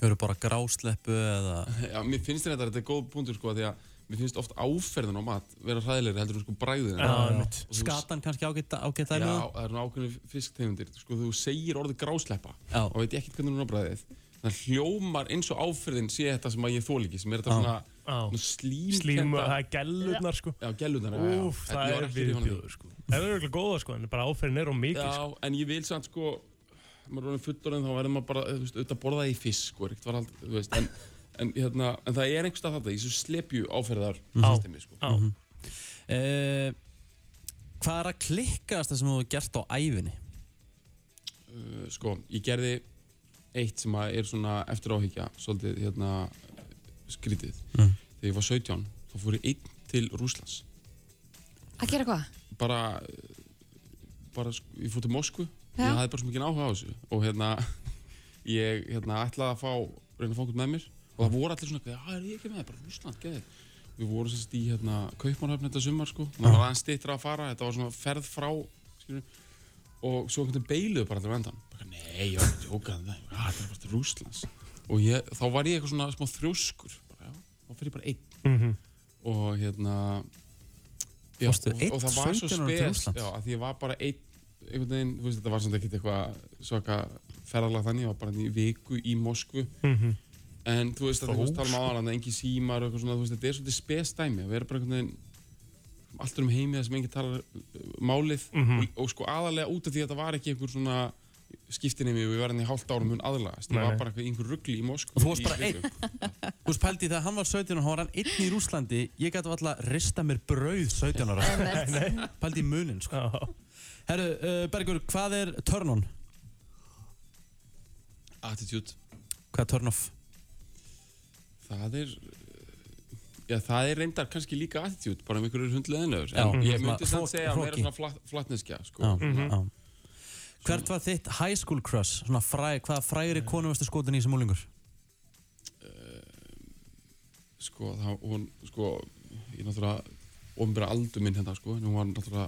[SPEAKER 1] Eh, bara grásleppu eða...
[SPEAKER 9] já, mér finnst þetta þetta er góð punktur sko því að mér finnst oft áferðin á mat vera hræðilegri heldur en sko bræðin
[SPEAKER 3] Já, einmitt.
[SPEAKER 9] Og þú-
[SPEAKER 1] Skatan kannski ágætt ágætt
[SPEAKER 9] Já,
[SPEAKER 1] dæmi þá?
[SPEAKER 9] það er nú ákveðinu fisktegundir sko, þú segir orðið grásleppa
[SPEAKER 1] Já.
[SPEAKER 9] og veit ég ekkert hvernig hún er á bræðið það hljómar eins og áferðin sé þetta sem að ég þól ekki sem er þetta svona,
[SPEAKER 3] Já.
[SPEAKER 9] svona slím
[SPEAKER 3] Slímu, það er gellurnar sko
[SPEAKER 9] Já, gælunar
[SPEAKER 3] Úf, það
[SPEAKER 9] ég var
[SPEAKER 3] er
[SPEAKER 9] ekki hrifinn af því.
[SPEAKER 3] viðbjóður sko Það er auðvitað góða sko, en bara áferðin er á mikið sko.
[SPEAKER 9] Já, en ég vil samt sko maður er orðin fullorinn þá verður maður bara þú veist, auðvitað að borða það í fisk sko, ekkert var aldrei, þú veist en, en, hérna, en það er einhverstað þetta, ég svo slepju áferðar
[SPEAKER 1] Mhm.
[SPEAKER 9] systemi, sko.
[SPEAKER 3] Já,
[SPEAKER 1] Uh, hvað er að klikkaðast það sem þú hefur gert á æfinni?
[SPEAKER 9] Uh, sko, ég gerði eitt sem að er svona eftir áhyggja svolítið hérna skrítið. Þegar ég var 17 þá fór ég einn til Rúslands
[SPEAKER 2] Að gera hvað?
[SPEAKER 9] bara, uh, bara sk- ég fór til Moskvu
[SPEAKER 2] Já.
[SPEAKER 9] ég hafði bara svo mikið áhuga á þessu og hérna ég hérna, ætlaði að fá reyna að fá okkur með mér og það voru allir svona, já, er ég ekki með, bara Rúsland, geði við vorum sérst í hérna Kaupmannhöfn þetta sumar sko, og það var aðeins stittra að fara þetta var svona ferð frá skilur, og svo einhvern veginn beiluðu bara allir á endan bara, nei, ég var ekki tjókað það það Ah, er bara til Rúslands og ég, þá var ég eitthvað svona smá þrjóskur bara, já, þá fyrir ég bara einn og hérna já,
[SPEAKER 1] Mhm. Varstu
[SPEAKER 9] og,
[SPEAKER 1] einn
[SPEAKER 9] og það var svo
[SPEAKER 1] 17 ára til
[SPEAKER 9] spes
[SPEAKER 1] Rússlands?
[SPEAKER 9] já, að því ég var bara einn einhvern veginn, þú veist, þetta var samt ekkert eitthvað svaka ferðalag þannig, ég var bara í viku í Moskvu
[SPEAKER 1] Mhm.
[SPEAKER 9] en þú veist, þetta er tala um áðan að engin símar og eitthvað svona, þú veist, þetta er svolítið spes dæmi að vera bara einhvern veginn allt um heimið sem enginn talar uh, málið
[SPEAKER 1] Mhm.
[SPEAKER 9] og, og sko aðalega út af því að þetta var ekki einhver svona skiptinemi og við verðum í hálft árum hún aðlagast, ég
[SPEAKER 3] Nei,
[SPEAKER 9] var
[SPEAKER 3] nei.
[SPEAKER 9] bara einhver- í einhver ruggli í Moskvu
[SPEAKER 1] Og þú varst
[SPEAKER 9] í
[SPEAKER 1] bara
[SPEAKER 9] viku.
[SPEAKER 1] Þú veist pældi þegar hann var 17 og hann var hann einn í Rúslandi ég gæti alltaf að rista mér brauð 17 ára pældi í munin sko.
[SPEAKER 3] já,
[SPEAKER 1] Herru, uh, Bergur, hvað er turn on?
[SPEAKER 9] Attitude
[SPEAKER 1] Hvað er turn off?
[SPEAKER 9] Það er eh, Já, það er reyndar kannski líka attitude bara um einhverjur hundleðinlegur
[SPEAKER 1] Já,
[SPEAKER 9] en ég
[SPEAKER 3] Mhm.
[SPEAKER 1] svona
[SPEAKER 9] myndi samt
[SPEAKER 1] hroki-
[SPEAKER 9] segja að meira
[SPEAKER 1] hroki.
[SPEAKER 9] svona flat, flatneskja sko.
[SPEAKER 1] Já, já. Hvert var þitt high school crush? Svona fræ, hvaða
[SPEAKER 9] Eh.
[SPEAKER 1] frægri konu varstu skotin í sem úlingur?
[SPEAKER 9] sko, það, hún, sko ég náttúrulega ofnbæra aldur minn hérna, sko, en hún var náttúrulega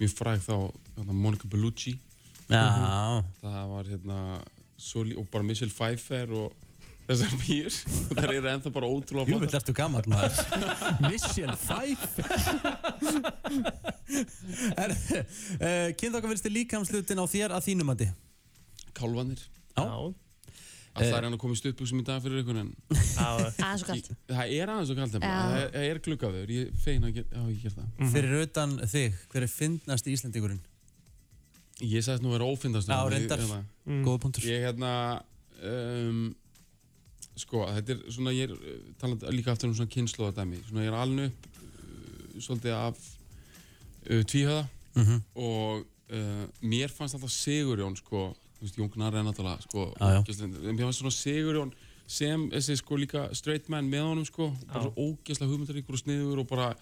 [SPEAKER 9] mjög fræg þá, hérna, Monica Bellucci
[SPEAKER 1] Já,
[SPEAKER 9] það var hérna Soli, og bara Michelle Pfeiffer og þessar mýr það eru ennþá bara ótrúlega
[SPEAKER 1] jú
[SPEAKER 9] flottar.
[SPEAKER 1] veit ertu gammal maður Mission 5 Herru, uh, kynþokka finnst þið líkamslutin á þér að þínumandi?
[SPEAKER 9] kálvanir
[SPEAKER 1] Já.
[SPEAKER 3] já,
[SPEAKER 9] að það er hann að koma í stöpuksum í dag fyrir einhvern en
[SPEAKER 3] já.
[SPEAKER 2] Eh. Aðeins og
[SPEAKER 9] ég,
[SPEAKER 2] kallt.
[SPEAKER 9] það er aðeins og kaldum
[SPEAKER 2] Já.
[SPEAKER 9] það er, það er gluggaður, ég er fegin að gera, já, ég ger það
[SPEAKER 1] Mhm. Fyrir utan þig, hver er fyndnast Íslandingurinn?
[SPEAKER 9] Ég sagðist nú að vera ófindast
[SPEAKER 1] Mm. Já, reyndar.
[SPEAKER 9] Ég, hérna,
[SPEAKER 1] Góða punktur
[SPEAKER 9] ég hérna um, Sko, þetta er svona, ég er eh, talandi líka aftur um svona kynnslóðadæmi. Svona, ég er alveg upp uh, svolítið af uh, tvíhöða
[SPEAKER 1] Mhm.
[SPEAKER 9] og uh, mér fannst alltaf Sigurjón, sko, þú veist, Jón Gnarri er náttúrulega, sko,
[SPEAKER 1] Já, já.
[SPEAKER 9] ógeðslega- en mér fannst svona Sigurjón sem þessi, sko, líka straight man með honum, sko, og bara
[SPEAKER 3] Já.
[SPEAKER 9] svo ógeðslega hugmyndaríkur og sniður og bara,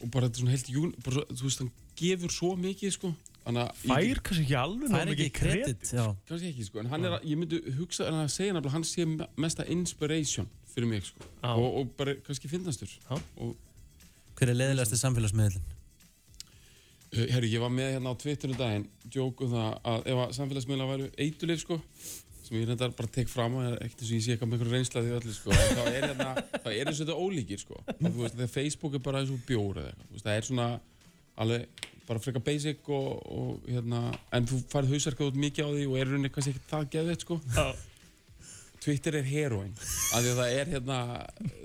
[SPEAKER 9] og bara þetta er svona heilt, jún, bara, svo- þú veist, hann gefur svo mikið, sko, þannig að...
[SPEAKER 3] Fær kannski ekki alveg
[SPEAKER 1] Það
[SPEAKER 3] nógu
[SPEAKER 1] er ekki
[SPEAKER 3] mikið
[SPEAKER 1] kredit, já.
[SPEAKER 9] kannski ekki sko, en hann er, að- ég myndi hugsa en að segja nefnilega, að hann sé me- mesta inspiration fyrir mig sko,
[SPEAKER 3] Já.
[SPEAKER 9] og, og bara kannski finnastur
[SPEAKER 3] Já.
[SPEAKER 9] og,
[SPEAKER 1] Hver er leiðilegasti samfélagsmiðlinn?
[SPEAKER 9] uh, herru, ég var með hérna á Twitteru daginn, djóku það að ef að samfélagsmiðla væru eitulir sko sem ég reyndar bara tek fram og er ekkert eins og ég sé eitthvað með einhverju reynsla af því öllu sko, en þá er hérna, þá er eins og þetta ólíkir sko, og, þú veist, þegar Facebook er bara eins og bjór eða eitthvað, þú veist, það er svona alveg bara frekar basic og, og hérna, en þú farið hausverkað út mikið á því og er í rauninni kannski ekkert það geðveitt sko
[SPEAKER 3] Já.
[SPEAKER 9] Twitter er heroin af því að það er hérna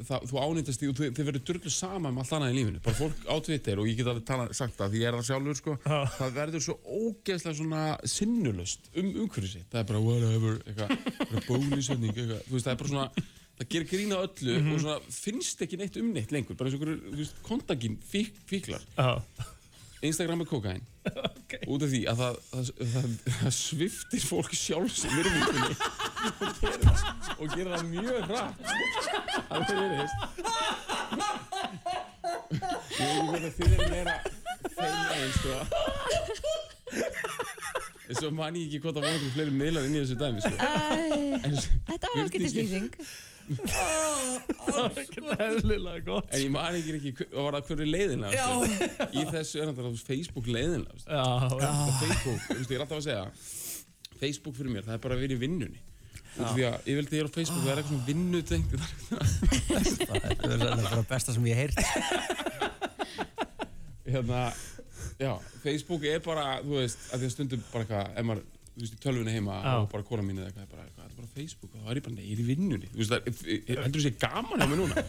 [SPEAKER 9] það, þú ánýttast því og þið, þið verður durglu sama með allt annað í lífinu, bara fólk á Twitter og ég get alveg tala, sagt það því ég er það sjálfur sko
[SPEAKER 3] Já.
[SPEAKER 9] það verður svo ógeðslega svona sinnulust um umhverfið sitt það er bara whatever, eitthvað, bara bólusetning eitthvað, þú veist það er bara svona það gerir grína öllu og svona finnst ekki neitt um neitt lengur, bara eins og einhverju, þú veist, kontaginn fík, fíklar
[SPEAKER 3] Já.
[SPEAKER 9] Instagram er kokain út af því að það, það, það, það sviftir fólk sjálfs virðingunni og gerir það- og gerir það mjög hratt það verðist ég veit ekki hvort að þið er meira sko. feina eins og en svo man ég ekki hvort að voru einhver fleiri miðlar inn í þessu dæmi sko.
[SPEAKER 2] Æ,
[SPEAKER 9] en,
[SPEAKER 2] Þetta var alveg getið slýsing
[SPEAKER 3] Ekkert eðlilega gott. sko.
[SPEAKER 9] en ég man ekki ekki hver- var það hverju leiðina
[SPEAKER 1] Já.
[SPEAKER 9] sko. í þessu er þetta Facebook leiðina sko.
[SPEAKER 3] Já, já.
[SPEAKER 9] ah. Facebook, þú veist, ég er alltaf að segja Facebook fyrir mér, það er bara að vera í vinnunni Út af því að ég vildi ég er á Facebook það er eitthvað svona vinnutengt það er-
[SPEAKER 1] Það er bara besta sem ég heirt.
[SPEAKER 9] hérna, já, Facebook er bara þú veist, að því að stundum bara eitthvað ef maður, þú veist, í tölvunni heima
[SPEAKER 3] Já.
[SPEAKER 9] og bara kona mín eða eitthvað, er bara, eitthvað, það er bara Facebook og þá er ég bara, nei, ég er í vinnunni þú veist, það er, ég- heldur þú sé gaman á mig núna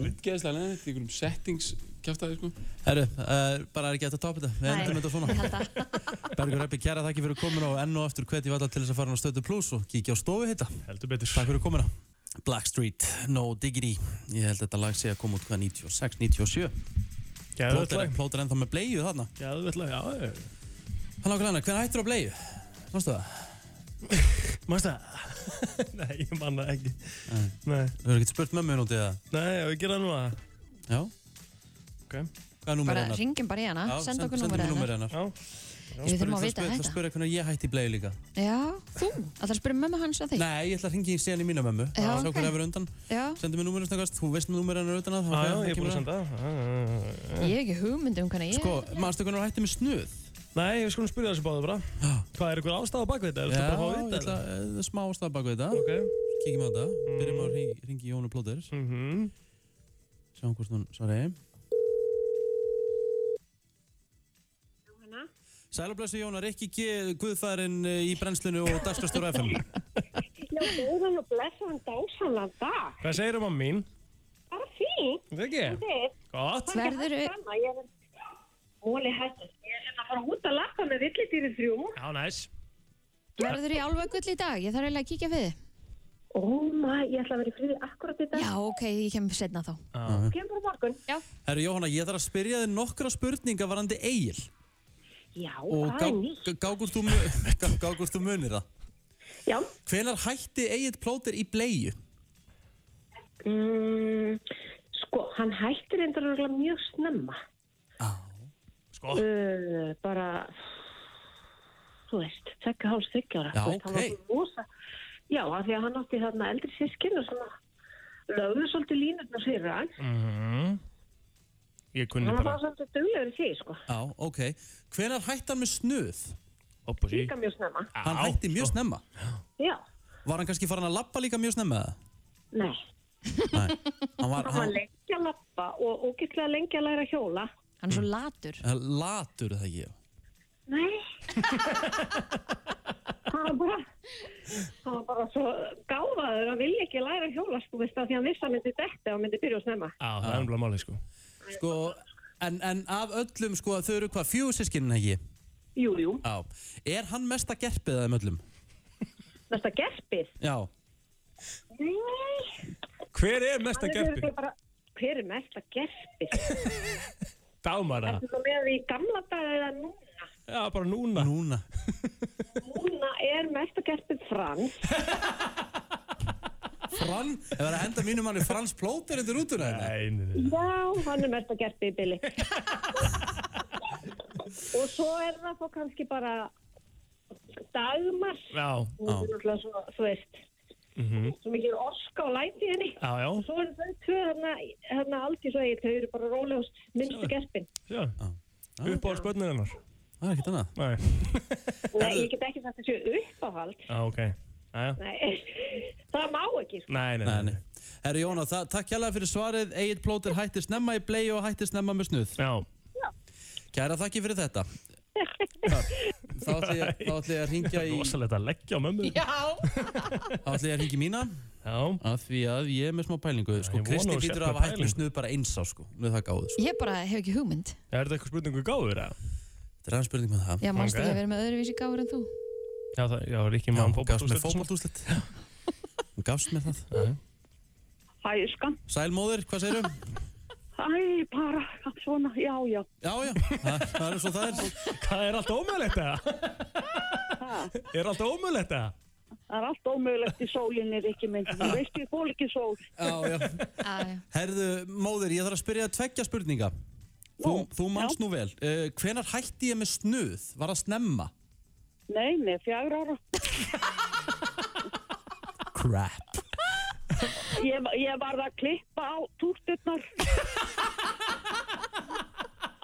[SPEAKER 9] útgeðslega leðið, í einhverjum settings kjæftaði, sko
[SPEAKER 1] Herru, uh, bara er ekki hægt að topa þetta. Við
[SPEAKER 2] Nei.
[SPEAKER 1] endum þetta svona.
[SPEAKER 2] Held að-
[SPEAKER 1] Bergur Eppi, kæra þakki fyrir komin og enn og aftur hvetjum alla til þess að fara á Stötu Plus og kíkja á stofu hitta.
[SPEAKER 3] Heldur betur.
[SPEAKER 1] Takk fyrir komina. Blackstreet, No Diggity. Ég held þetta lag sé að koma út hvað 96, 97.
[SPEAKER 3] Geðveikt
[SPEAKER 1] Plóter,
[SPEAKER 3] lag.
[SPEAKER 1] plóter ennþá með bleiðu þarna.
[SPEAKER 3] Geðveikt lag, já, já.
[SPEAKER 1] Hann ákveð hana, hvernig hættur á bleiðu? Mástu það?
[SPEAKER 3] Manstu það? Nei, ég man það ekki. Nei.
[SPEAKER 1] Þú hefur ekkert spurt mömmu nútið það?
[SPEAKER 3] Nei, ég gerði það nú að.
[SPEAKER 1] Já.
[SPEAKER 3] Ok.
[SPEAKER 1] Hvað er númer
[SPEAKER 2] Bara
[SPEAKER 1] hennar?
[SPEAKER 2] ringjum bara í hana,
[SPEAKER 1] Já,
[SPEAKER 2] send okkur
[SPEAKER 1] sendu
[SPEAKER 2] númur
[SPEAKER 1] mér númerið
[SPEAKER 2] hennar
[SPEAKER 1] hennar.
[SPEAKER 3] Já.
[SPEAKER 2] Við þurfum
[SPEAKER 1] Það
[SPEAKER 2] að vita
[SPEAKER 1] spyr- Það
[SPEAKER 2] þetta
[SPEAKER 1] spyrir hvernig ég hætti í bleiðu líka.
[SPEAKER 2] Já, þú, alltaf spyrir mömmu hans að þig
[SPEAKER 1] Nei, ég ætla að ringi í síðan í mína mömmu.
[SPEAKER 2] Já,
[SPEAKER 1] Sjá
[SPEAKER 2] ok.
[SPEAKER 1] hvernig hefur undan.
[SPEAKER 2] Já,
[SPEAKER 1] Sendu mér númerið snakast. Þú veist númerið hennar utan að.
[SPEAKER 3] Já,
[SPEAKER 1] ok,
[SPEAKER 3] já,
[SPEAKER 1] það
[SPEAKER 3] ég er búin
[SPEAKER 1] kemur
[SPEAKER 3] að senda það. Já, já, já, já.
[SPEAKER 2] ég hef ekki hugmynd um hvernig ég
[SPEAKER 1] Sko, manstu hvernig hún hætti með snuð?
[SPEAKER 3] Nei, við skulum spyrja þessu báðu bara.
[SPEAKER 1] Já.
[SPEAKER 3] Hvað er ykkur ástæða bak við þetta? Er
[SPEAKER 1] Já,
[SPEAKER 3] þetta bara að fá að
[SPEAKER 1] ég
[SPEAKER 3] vita
[SPEAKER 1] ætla
[SPEAKER 3] þetta?
[SPEAKER 1] að smá ástæða baka við þetta.
[SPEAKER 3] Ok. Mm.
[SPEAKER 1] Kíkjum á þetta. Byrjum á að hring- ringi Jónu Plóter.
[SPEAKER 3] Mhm.
[SPEAKER 1] Sjáum hvort hún svarði. Sæl og blessu Jóna, Rikki G, Guðfærin eh, í brennslinu og Dagstastur FM.
[SPEAKER 10] Já, góðan og blessaðan dásanlan dag.
[SPEAKER 3] Hvað segir um mamma mín?
[SPEAKER 10] Bara fínt,
[SPEAKER 3] Það ekki?
[SPEAKER 10] þið.
[SPEAKER 3] Gott.
[SPEAKER 2] Verður
[SPEAKER 10] Sama, ég er... Óli hættu. Ég ætla að fara út að lappa með villidýri þrjú.
[SPEAKER 3] Já, næs.
[SPEAKER 2] verður í álfagull í dag? Ég þarf eiginlega að kíkja við þið
[SPEAKER 10] Ó maður, ég ætla að vera í friði akkurat í dag.
[SPEAKER 2] Já, ok, ég kem setna þá
[SPEAKER 10] Ég kem bara á morgun.
[SPEAKER 1] Herru Jóhanna, ég þarf að spyrja þið nokkra spurninga varandi Egil.
[SPEAKER 10] Já,
[SPEAKER 1] Og
[SPEAKER 10] það
[SPEAKER 1] gá-
[SPEAKER 10] er nýtt.
[SPEAKER 1] gá- gágust þú mu- gá- gágust þú munir það.
[SPEAKER 10] Já,
[SPEAKER 1] Hvenar hætti Egil Plóter í bleiu?
[SPEAKER 10] mm, sko, hann hættir endur örugglega mjög snemma.
[SPEAKER 3] Sko.
[SPEAKER 10] Uh, bara, þú veist, tekka háls þryggja ára.
[SPEAKER 1] Já,
[SPEAKER 10] Þú veist, hann var
[SPEAKER 1] ókei.
[SPEAKER 10] svo rosa- Já, af því að hann átti þarna eldri sískin og svona lögðu svolítið línurnar fyrir hann.
[SPEAKER 3] Mhm. Ég kunni
[SPEAKER 10] Hann var
[SPEAKER 3] bara.
[SPEAKER 10] svolítið duglegur í því, sko.
[SPEAKER 1] Já, ok. Hvenar hætti hann með snuð?
[SPEAKER 3] Hopp og sí.
[SPEAKER 10] Líka mjög snemma.
[SPEAKER 1] Hann
[SPEAKER 3] Á,
[SPEAKER 1] hætti mjög
[SPEAKER 3] sko.
[SPEAKER 1] snemma.
[SPEAKER 10] Já.
[SPEAKER 1] Var hann kannski farin að lappa líka mjög snemma? eða?
[SPEAKER 10] Nei.
[SPEAKER 1] Nei. Hann var
[SPEAKER 10] Hann var lengi að lappa og ógeðslega lengi að læra að hjóla.
[SPEAKER 2] Hann er svo latur
[SPEAKER 1] hann, Eh, latur er það ekki.
[SPEAKER 10] Nei. hann var bara, hann var bara svo gáfaður að vilja ekki læra að hjóla, sko, veist það, því hann vissi að hann myndi detta og myndi byrja að snemma.
[SPEAKER 3] Já, það er umlað máli, sko.
[SPEAKER 1] Sko, en, en af öllum, sko, þau eru hvað, fjú sískinin ekki?
[SPEAKER 10] Jú, jú.
[SPEAKER 1] Já. Er hann mesta gerpið af þeim öllum?
[SPEAKER 10] Næsta gerpið.
[SPEAKER 1] Já.
[SPEAKER 10] Nei.
[SPEAKER 3] Hver er mesta
[SPEAKER 10] Annars eru
[SPEAKER 3] gerpi?
[SPEAKER 10] þau bara- Hver er mesta gerpi?
[SPEAKER 3] Dagmara.
[SPEAKER 10] Þú erum með því í gamla daga eða núna.
[SPEAKER 3] Já, bara núna.
[SPEAKER 1] Núna.
[SPEAKER 10] Núna er mesta gerpi Frans.
[SPEAKER 1] Fran, ef það er að henda mínum manni Frans Plóter undir rútuna hérna?
[SPEAKER 3] Nei, nei,
[SPEAKER 10] Já, hann er mesta gerpi í byli. Og svo er það þá kannski bara dagmar.
[SPEAKER 3] Já.
[SPEAKER 10] Hún er náttúrulega svo, þú veist,
[SPEAKER 3] Mhm.
[SPEAKER 10] svo mikið orska og læti í henni.
[SPEAKER 3] Já, já.
[SPEAKER 10] Og svo eru þau tvö þarna, þarna aldrei svo eigið, þau eru bara rólegust, minnstu gerpin.
[SPEAKER 3] Já. Uppáhalds börnin hennar.
[SPEAKER 1] Ah, Það er ekkert annað.
[SPEAKER 3] Nei.
[SPEAKER 10] Nei, ég get ekki sagt að séu uppáhald.
[SPEAKER 3] Já, Ah, ok. Jæja.
[SPEAKER 10] Nei, það má ekki, sko.
[SPEAKER 3] Nei, nei,
[SPEAKER 1] nei, nei. Herri Jóna, það, takk hjálpa fyrir svarið. Egil Plóter hætti snemma í blei og hætti snemma með snuð.
[SPEAKER 10] Já.
[SPEAKER 1] Kæra þakki fyrir þetta. Þá ætla ég, þá ætla ég að ringja í...
[SPEAKER 3] Rosalegt að leggja á mömmu.
[SPEAKER 2] Já.
[SPEAKER 1] Þá ætla ég að ringi mína.
[SPEAKER 3] Já.
[SPEAKER 1] Af því að ég er með smá pælingu. Sko,
[SPEAKER 3] ég vona
[SPEAKER 1] Kristi
[SPEAKER 3] þú sért
[SPEAKER 1] hlýtur
[SPEAKER 3] með
[SPEAKER 1] að hafa hætt með
[SPEAKER 3] pælingu.
[SPEAKER 1] snuð bara eins á, sko. Nú er það gáðið, sko.
[SPEAKER 2] Ég bara hef ekki hugmynd.
[SPEAKER 3] Er þetta eitthvað spurningu gáður, eða?
[SPEAKER 1] Þetta er aðeins spurning með það.
[SPEAKER 2] Já, mannst
[SPEAKER 3] Ok.
[SPEAKER 2] ekki að vera með öðruvísi gáður en þú.
[SPEAKER 3] Já, það, já, Ríkki mann
[SPEAKER 1] gafst mér
[SPEAKER 3] fótboltúsleitt.
[SPEAKER 1] fótballtúslet. Hún gafst mér það.
[SPEAKER 11] Hæ, skan.
[SPEAKER 1] Sæl móðir, hvað segirum?
[SPEAKER 11] Æ, bara svona, já, já.
[SPEAKER 1] Já, já, það það er svo það er.
[SPEAKER 3] Hvað er allt ómöðlegt eða? er allt ómöðlegt eða?
[SPEAKER 11] Það er allt ómögulegt í sólinni, Rikki minn. Þú veist, ég fól ekki sól.
[SPEAKER 1] Já, já.
[SPEAKER 2] Já, já.
[SPEAKER 1] Herðu, móðir, ég þarf að spyrja tveggja spurninga. Þú, þú manst nú vel. Uh, hvenar hætti ég með snuð? Var það snemma?
[SPEAKER 11] Nei, nei, fjagur ára.
[SPEAKER 1] Crap.
[SPEAKER 11] Ég, ég varð að klippa á túrturnar.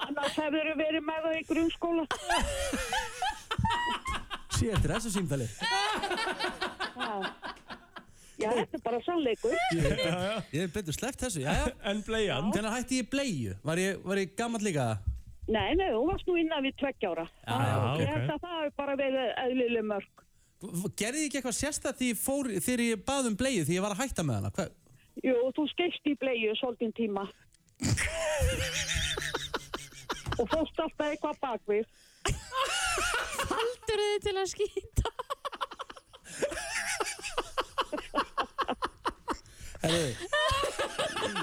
[SPEAKER 11] Annars hefur þau verið með það í grunnskóla.
[SPEAKER 1] Sér eftir þessu símtali.
[SPEAKER 11] Já, þetta er bara sannleikur.
[SPEAKER 1] Ég, ég er betur sleppt þessu, já, já.
[SPEAKER 3] En bleian?
[SPEAKER 1] Hvenar hætti ég bleiðu? Var ég, var ég gammal líka?
[SPEAKER 11] Nei, nei, þú varst nú innan við tveggjára.
[SPEAKER 1] Já, já, ok.
[SPEAKER 11] Ég held að það hefur bara verið eðlileg mörg.
[SPEAKER 1] Gerði ég ekki eitthvað sérstætt því ég fór, þegar ég bað um bleiðu, því ég var að hætta með hana? Hva?
[SPEAKER 11] Jú, þú skeist í bleiðu svolítinn tíma. Og fórst alltaf eitthvað bakvið.
[SPEAKER 2] Haldur þið til að skýta?
[SPEAKER 1] Herðu,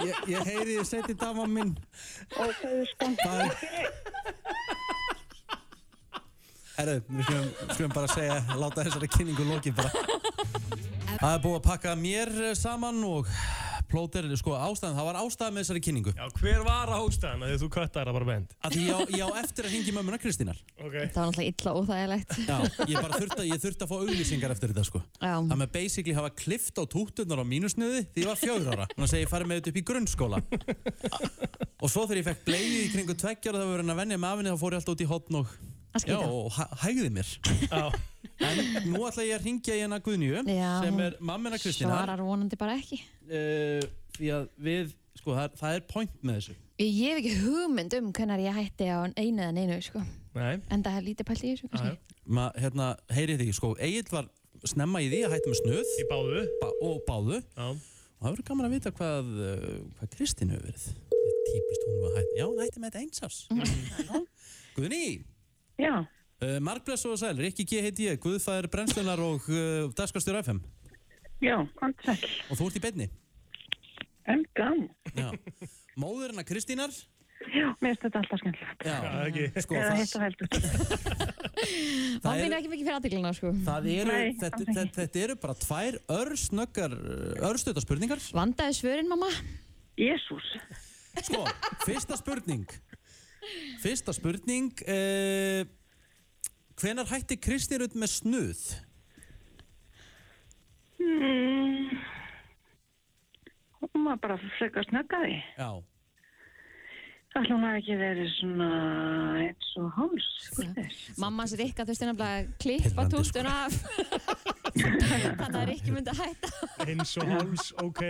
[SPEAKER 1] ég, ég heyri ég seti dama minn.
[SPEAKER 11] Ok, skan.
[SPEAKER 1] Bye. Herru, við skulum, skulum bara segja, láta þessari kynningu lokið bara. Það er búið að pakka mér eh, saman og plóter, sko ástæðan, það var ástæðan með þessari kynningu.
[SPEAKER 3] Já, hver var ástæðan að því þú köttar það bara bend?
[SPEAKER 1] Að því ég á- ég á eftir að hengi mömmuna Kristínar.
[SPEAKER 3] Ok.
[SPEAKER 2] Það var náttúrulega illa óþægilegt.
[SPEAKER 1] Já, ég bara þurfti að, ég þurfti að fá auglýsingar eftir þetta sko.
[SPEAKER 2] Já.
[SPEAKER 1] Það með basically hafa klift á tútunar á mínusniði því ég var fjögur ára. Þannig að segja ég farið með þetta upp í grunnskóla. og svo þegar ég fekk bleið í kringu tveggjar og það var verið að venja með afinni þá fór ég alltaf út í hotn og,
[SPEAKER 2] Að
[SPEAKER 1] já,
[SPEAKER 2] skýta.
[SPEAKER 1] og hæ hægði mér.
[SPEAKER 3] Já.
[SPEAKER 1] En nú ætla ég að ringja í hennar Guðnýju
[SPEAKER 2] Já,
[SPEAKER 1] sem
[SPEAKER 2] hún
[SPEAKER 1] er mammina Kristínar.
[SPEAKER 2] Svarar vonandi bara ekki.
[SPEAKER 1] Uh, því að við, sko, það, er- það er point með þessu.
[SPEAKER 2] Ég hef ekki hugmynd um hvernar ég hætti á einu eða neinu, sko.
[SPEAKER 3] Nei.
[SPEAKER 2] En það er lítið pælt í þessu, kannski.
[SPEAKER 1] Ma, hérna, heyrið þið ekki, sko, Egil var snemma í því að hætta með snuð
[SPEAKER 3] Í báðu.
[SPEAKER 1] ba og báðu.
[SPEAKER 3] Já.
[SPEAKER 1] Og það verður gaman að vita hvað, uh, hvað Kristín hefur verið. Ég Típist hún var hætti. Já, hún hætti með þetta einsás. Guðný,
[SPEAKER 11] Já.
[SPEAKER 1] uh, margbless og sæl, Rikki G heiti ég, Guðfæður Brennslunar og uh, Daskastur FM.
[SPEAKER 11] Já, komdu sæl.
[SPEAKER 1] Og þú ert í beinni.
[SPEAKER 11] En gaman.
[SPEAKER 1] Já. Móðurina Kristínar.
[SPEAKER 11] Já, mér finnst þetta alltaf skemmtilegt.
[SPEAKER 1] Já,
[SPEAKER 3] ekki.
[SPEAKER 1] Sko,
[SPEAKER 11] Eða
[SPEAKER 1] það,
[SPEAKER 11] hitt og heldur.
[SPEAKER 2] Má
[SPEAKER 1] það,
[SPEAKER 2] finnir
[SPEAKER 1] er,
[SPEAKER 2] ekki mikið fyrir aðdeglina, sko.
[SPEAKER 1] það eru,
[SPEAKER 11] Nei,
[SPEAKER 1] þetta,
[SPEAKER 11] alls ekki.
[SPEAKER 1] þetta, þetta eru bara tvær örsnöggar, örstuðar spurningar.
[SPEAKER 2] Vandaði svörin, mamma?
[SPEAKER 11] Jésús.
[SPEAKER 1] Sko, fyrsta spurning. Fyrsta spurning. Uh, hvenar hætti Kristín út með snuð?
[SPEAKER 11] Hmm. Hún var bara frekar snöggaði.
[SPEAKER 1] Já.
[SPEAKER 11] Ætla hún að ekki verið svona eins og háls.
[SPEAKER 2] Mamma sér Rikka þurfti nefnilega að klippa
[SPEAKER 1] Pirrandi, sko.
[SPEAKER 2] túltun af. Þannig að Rikki myndi að hætta.
[SPEAKER 3] Eins og háls, ok.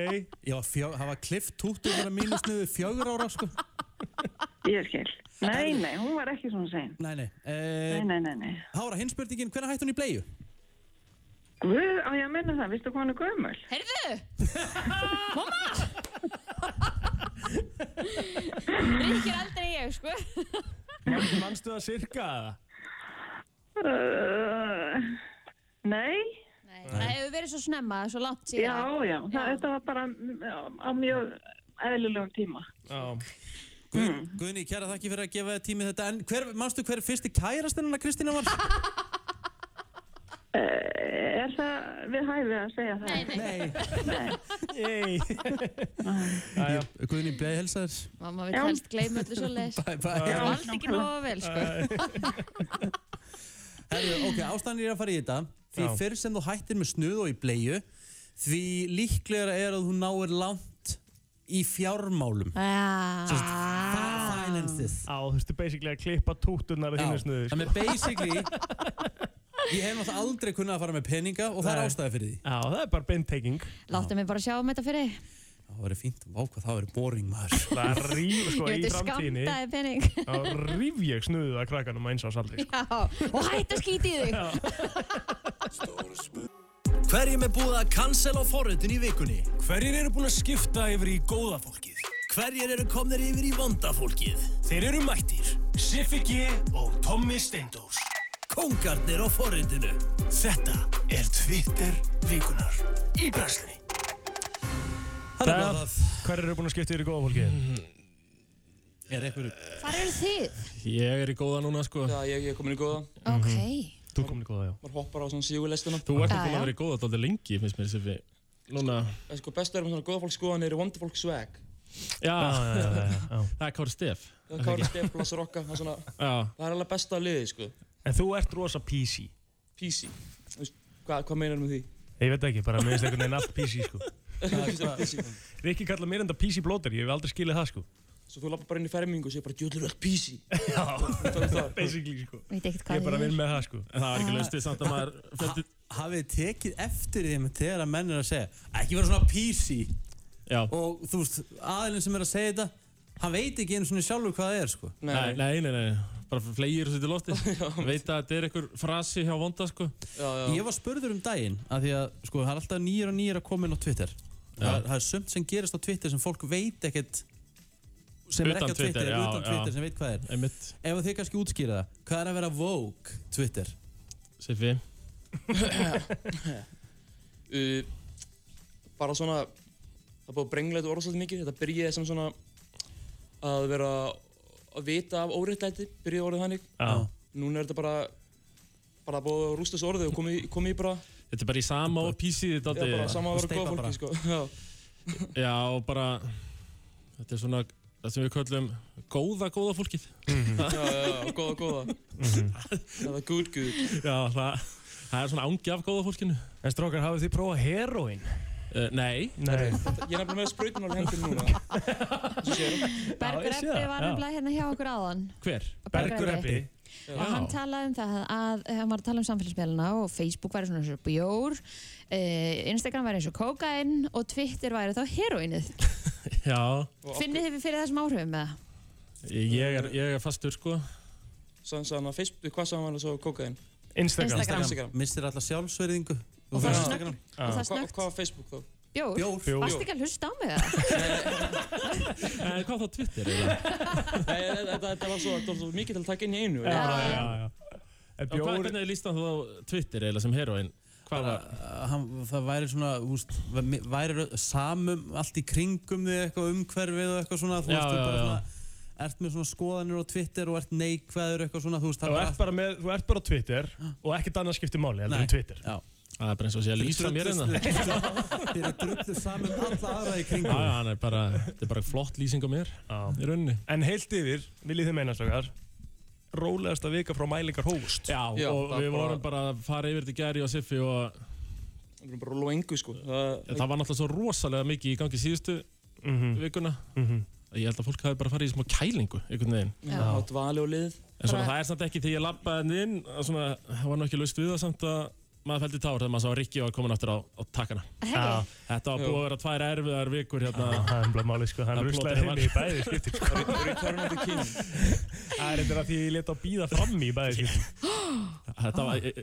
[SPEAKER 1] Ég var fjö, hafa klift túttugur að mínu snuðu fjögur ára, sko.
[SPEAKER 11] Ég skil. Nei, nei, hún var ekki svona sein.
[SPEAKER 1] Nei, nei. E,
[SPEAKER 11] Nei, nei, nei, nei.
[SPEAKER 1] Hára, hinn spurningin, hvenær hætti hún í bleiðu?
[SPEAKER 11] Guð, á ég að minna það, vistu hvað hún er gömul?
[SPEAKER 2] Heyrðu! mamma! Rikki er aldrei ég, sko.
[SPEAKER 3] Manstu það cirka?
[SPEAKER 11] Uh, nei,
[SPEAKER 2] Nei, Það hefur verið svo snemma, svo langt síðan.
[SPEAKER 11] Já, já, það, þetta var bara mm, á, á mjög eðlilegum tíma.
[SPEAKER 1] Guð,
[SPEAKER 11] Mm.
[SPEAKER 1] Guðni, kæra þakki fyrir að gefa þér tími þetta En hver, manstu hver fyrsti kærastinn hennar Kristína var?
[SPEAKER 11] Er það við hæfið að segja það? Nei,
[SPEAKER 3] nei.
[SPEAKER 1] Ég- Guðni, beði helsa þér
[SPEAKER 2] Mamma vil
[SPEAKER 11] Já.
[SPEAKER 2] helst gleyma öllu svo leis.
[SPEAKER 1] Bye, bye.
[SPEAKER 2] Ég vald ekki nóga vel, sko.
[SPEAKER 1] Herðu, ok, ástæðan er að fara í þetta Því
[SPEAKER 3] Já.
[SPEAKER 1] fyrr sem þú hættir með snuð og í bleiu Því líklegra er að þú náir langt í fjármálum
[SPEAKER 2] Ah.
[SPEAKER 1] Finances
[SPEAKER 3] Á, þú veist, basically að klippa tútunar að
[SPEAKER 1] Já,
[SPEAKER 3] þínu snuðu
[SPEAKER 1] þannig að basically Ég hef náttúrulega aldrei kunnað að fara með peninga og það er
[SPEAKER 3] Nei.
[SPEAKER 1] ástæði fyrir því
[SPEAKER 3] Já, það er bara beinteking
[SPEAKER 2] Láttu mig bara sjá um þetta fyrir. þig.
[SPEAKER 1] Það verður fínt, vá hvað það verður boring maður
[SPEAKER 3] Það er ríf, sko,
[SPEAKER 2] Ég
[SPEAKER 3] í
[SPEAKER 2] veit að
[SPEAKER 3] framtíðinni
[SPEAKER 2] skamtaði pening.
[SPEAKER 3] Þá ríf ég snuðuð að krakkanum eins og saldri
[SPEAKER 2] Já, og hætt að skýti þig.
[SPEAKER 12] Hverjum er búið að cancela forritin í vikunni? Hverjir eru búin að skipta yfir í góða fólkið? Hverjir eru komnir yfir í vonda fólkið? Þeir eru mættir, Siffi G og Tommi Steindós. Kongarnir á forritinu. Þetta er Twitter vikunar í brenslinni.
[SPEAKER 3] Það, hver eru búin að skipta yfir í góða
[SPEAKER 12] Mhm.
[SPEAKER 3] fólki?
[SPEAKER 1] Er einhver...
[SPEAKER 2] Hvar eru þið?
[SPEAKER 13] Ég er í góða núna sko Já, ég, ég er komin í góða
[SPEAKER 3] Mhm.
[SPEAKER 2] Ok.
[SPEAKER 3] Þú komin í góða, já
[SPEAKER 13] Maður hoppar á svona sígulestuna Þú ert
[SPEAKER 2] Já,
[SPEAKER 13] búin
[SPEAKER 2] já.
[SPEAKER 13] að vera í góða alltaf lengi, finnst mér Siffi Núna
[SPEAKER 14] Það er sko bestu er um svona góða fólk skoðan eru vonda fólk swag.
[SPEAKER 13] Já,
[SPEAKER 14] já, já, já, já.
[SPEAKER 13] Það er Kári Stef
[SPEAKER 14] Það er Kári Steff, Lasse Rokka, það er svona,
[SPEAKER 13] Já.
[SPEAKER 14] það er alveg besta að liði, sko.
[SPEAKER 3] En þú ert rosa PC
[SPEAKER 14] PC. Þú veist, Hvað, hvað meinar með því?
[SPEAKER 3] Ég veit ekki, bara minnst einhvern veginn allt PC, sko
[SPEAKER 14] Hvað-
[SPEAKER 3] Rikki kallar mér enda PC blóter, ég hef aldrei skilið það, sko
[SPEAKER 14] Svo þú lappar bara inn í fermingu og segir bara, djöðlur öll PC. Já,
[SPEAKER 3] basically, sko.
[SPEAKER 2] Veit
[SPEAKER 3] Ég
[SPEAKER 2] ekkert
[SPEAKER 3] er
[SPEAKER 2] hvað
[SPEAKER 3] bara
[SPEAKER 2] þið
[SPEAKER 3] vinn
[SPEAKER 2] er.
[SPEAKER 3] með það, sko
[SPEAKER 13] En það var ekki laust við samt að maður
[SPEAKER 1] Ah. Ha- Hafið þið tekið eftir því með þegar að menn er að segja ekki vera svona PC
[SPEAKER 13] Já.
[SPEAKER 1] og þú veist, aðilinn sem er að segja þetta hann veit ekki einu svona sjálfur hvað það er sko
[SPEAKER 13] Nei, nei, nei, nei. Bara flegir þessu til lofti Veit að þetta er einhver frasi hjá vonda sko
[SPEAKER 14] Já, já.
[SPEAKER 1] Ég var spurður um daginn að því að sko, það er alltaf nýjir og nýjir að koma inn á Twitter það, það er sumt sem gerist á Twitter sem fólk veit ekkert sem er
[SPEAKER 13] Utan
[SPEAKER 1] ekki á Twitter,
[SPEAKER 13] Twitter,
[SPEAKER 1] er
[SPEAKER 13] já,
[SPEAKER 1] utan Twitter
[SPEAKER 13] já.
[SPEAKER 1] sem veit hvað er
[SPEAKER 13] Einmitt.
[SPEAKER 1] Ef þið kannski útskýra það, hvað er að vera Vogue Twitter?
[SPEAKER 13] Siffi
[SPEAKER 14] uh, bara svona það er búið að brengla þetta orð svolítið mikið þetta byrjaði sem svona að vera að vita af óréttlæti byrjaði orðið hannig
[SPEAKER 13] Já.
[SPEAKER 14] núna er þetta bara bara búið að rústa þessu orðið og komið komi í bara
[SPEAKER 13] Þetta er bara í sama og písið
[SPEAKER 14] já,
[SPEAKER 13] þetta
[SPEAKER 14] bara sama að vera góða fólki sko já,
[SPEAKER 13] Já, og bara Þetta er svona það sem við köllum góða, góða fólkið
[SPEAKER 14] Mhm.
[SPEAKER 13] Mhm.
[SPEAKER 14] já, já, já, góða, góða það er good, good
[SPEAKER 13] Já, það, það er svona ángi af góða fólkinu
[SPEAKER 3] En strókar, hafið þið prófað heroin?
[SPEAKER 13] Uh, nei
[SPEAKER 3] Nei
[SPEAKER 14] ég er nefnilega með sprautin alveg hendur núna
[SPEAKER 2] Bergur
[SPEAKER 13] sé
[SPEAKER 2] Eppi
[SPEAKER 13] það,
[SPEAKER 2] var
[SPEAKER 13] já.
[SPEAKER 2] nefnilega hérna hjá okkur áðan.
[SPEAKER 13] Hver?
[SPEAKER 2] Bergur Ebbi.
[SPEAKER 13] Já.
[SPEAKER 2] og hann talaði um það að eh, hann var að tala um samfélagsmiðluna og Facebook væri svona eins og bjór eh, Instagram væri eins og kókain og Twitter væri þá heroinnið
[SPEAKER 13] Já,
[SPEAKER 2] finnið þið fyrir þessum áhrifum með
[SPEAKER 13] ég er, ég er fastur sko
[SPEAKER 14] sann sann að Facebook hvað sann hann að svo kókaðinn
[SPEAKER 1] Instagram.
[SPEAKER 14] Instagram.
[SPEAKER 1] Mistir alla sjálfsverðingu
[SPEAKER 14] Og það er snöggt.
[SPEAKER 1] Já.
[SPEAKER 14] Og það er snöggt. Hvað var Facebook þá?
[SPEAKER 2] bjór?
[SPEAKER 1] Bjór.
[SPEAKER 2] bjór. Varst ekki að hlusta á mig það?
[SPEAKER 13] En Eh, hvað þá Twitter eða?
[SPEAKER 14] Nei, þetta- þetta þetta var svo, þetta var svo mikið til að taka inn í einu.
[SPEAKER 13] Já, já,
[SPEAKER 3] En
[SPEAKER 13] já. bjór...
[SPEAKER 14] bjór-
[SPEAKER 13] Hvað, hvernig líst hann þá á Twitter eða sem heroin? Hvað var?
[SPEAKER 1] hann, það væri svona, þú veist, væ- væri rö- samum allt í kringum þig eitthvað umhverfið og eitthvað svona, þú
[SPEAKER 13] Já,
[SPEAKER 1] veist, þú
[SPEAKER 13] já,
[SPEAKER 1] bara
[SPEAKER 13] já.
[SPEAKER 1] svona ert með svona skoðanir á Twitter og ert neikvæður eitthvað svona, þú veist,
[SPEAKER 3] Þú ert bara með, þú ert bara á Twitter og ekkert annað skiptir máli heldur en Twitter
[SPEAKER 1] Já
[SPEAKER 13] Það er bara eins og sé að lýsa mér hérna.
[SPEAKER 1] Þeir eru drullu saman alla aðra í kringum
[SPEAKER 13] Já, já, hann er bara, þetta er bara flott lýsing á mér í rauninni.
[SPEAKER 3] En heilt yfir, viljið þið meina strókar rólegasta vika frá mælingar hóst
[SPEAKER 13] Já, og við vorum bara að fara yfir þetta í gæri og Siffi og
[SPEAKER 14] Við vorum bara að lóa engu sko.
[SPEAKER 13] það var náttúrulega svo rosalega mikið í gangi síðustu
[SPEAKER 3] Mhm.
[SPEAKER 13] vikuna. að Ég held að fólk hafi bara farið í smá kælingu einhvern veginn.
[SPEAKER 14] Já, Já. og dvali og lið.
[SPEAKER 13] En svona það er samt ekki þegar ég labbaði hann inn, að svona, það var nú ekki laust við það samt að maður fældi tár þegar maður sá að Rikki var komin aftur á, á takkana.
[SPEAKER 3] Hey. Já.
[SPEAKER 13] Þetta var búið að vera tvær erfiðar vikur hérna.
[SPEAKER 3] Það er bara máli sko, hann
[SPEAKER 13] Að
[SPEAKER 3] ruslaði
[SPEAKER 13] plóterið var-
[SPEAKER 3] henni í bæði skiptir sko.
[SPEAKER 14] Return of the King
[SPEAKER 3] Það er þetta því ég leta að býða fram í bæði skiptir
[SPEAKER 13] Þetta var, e-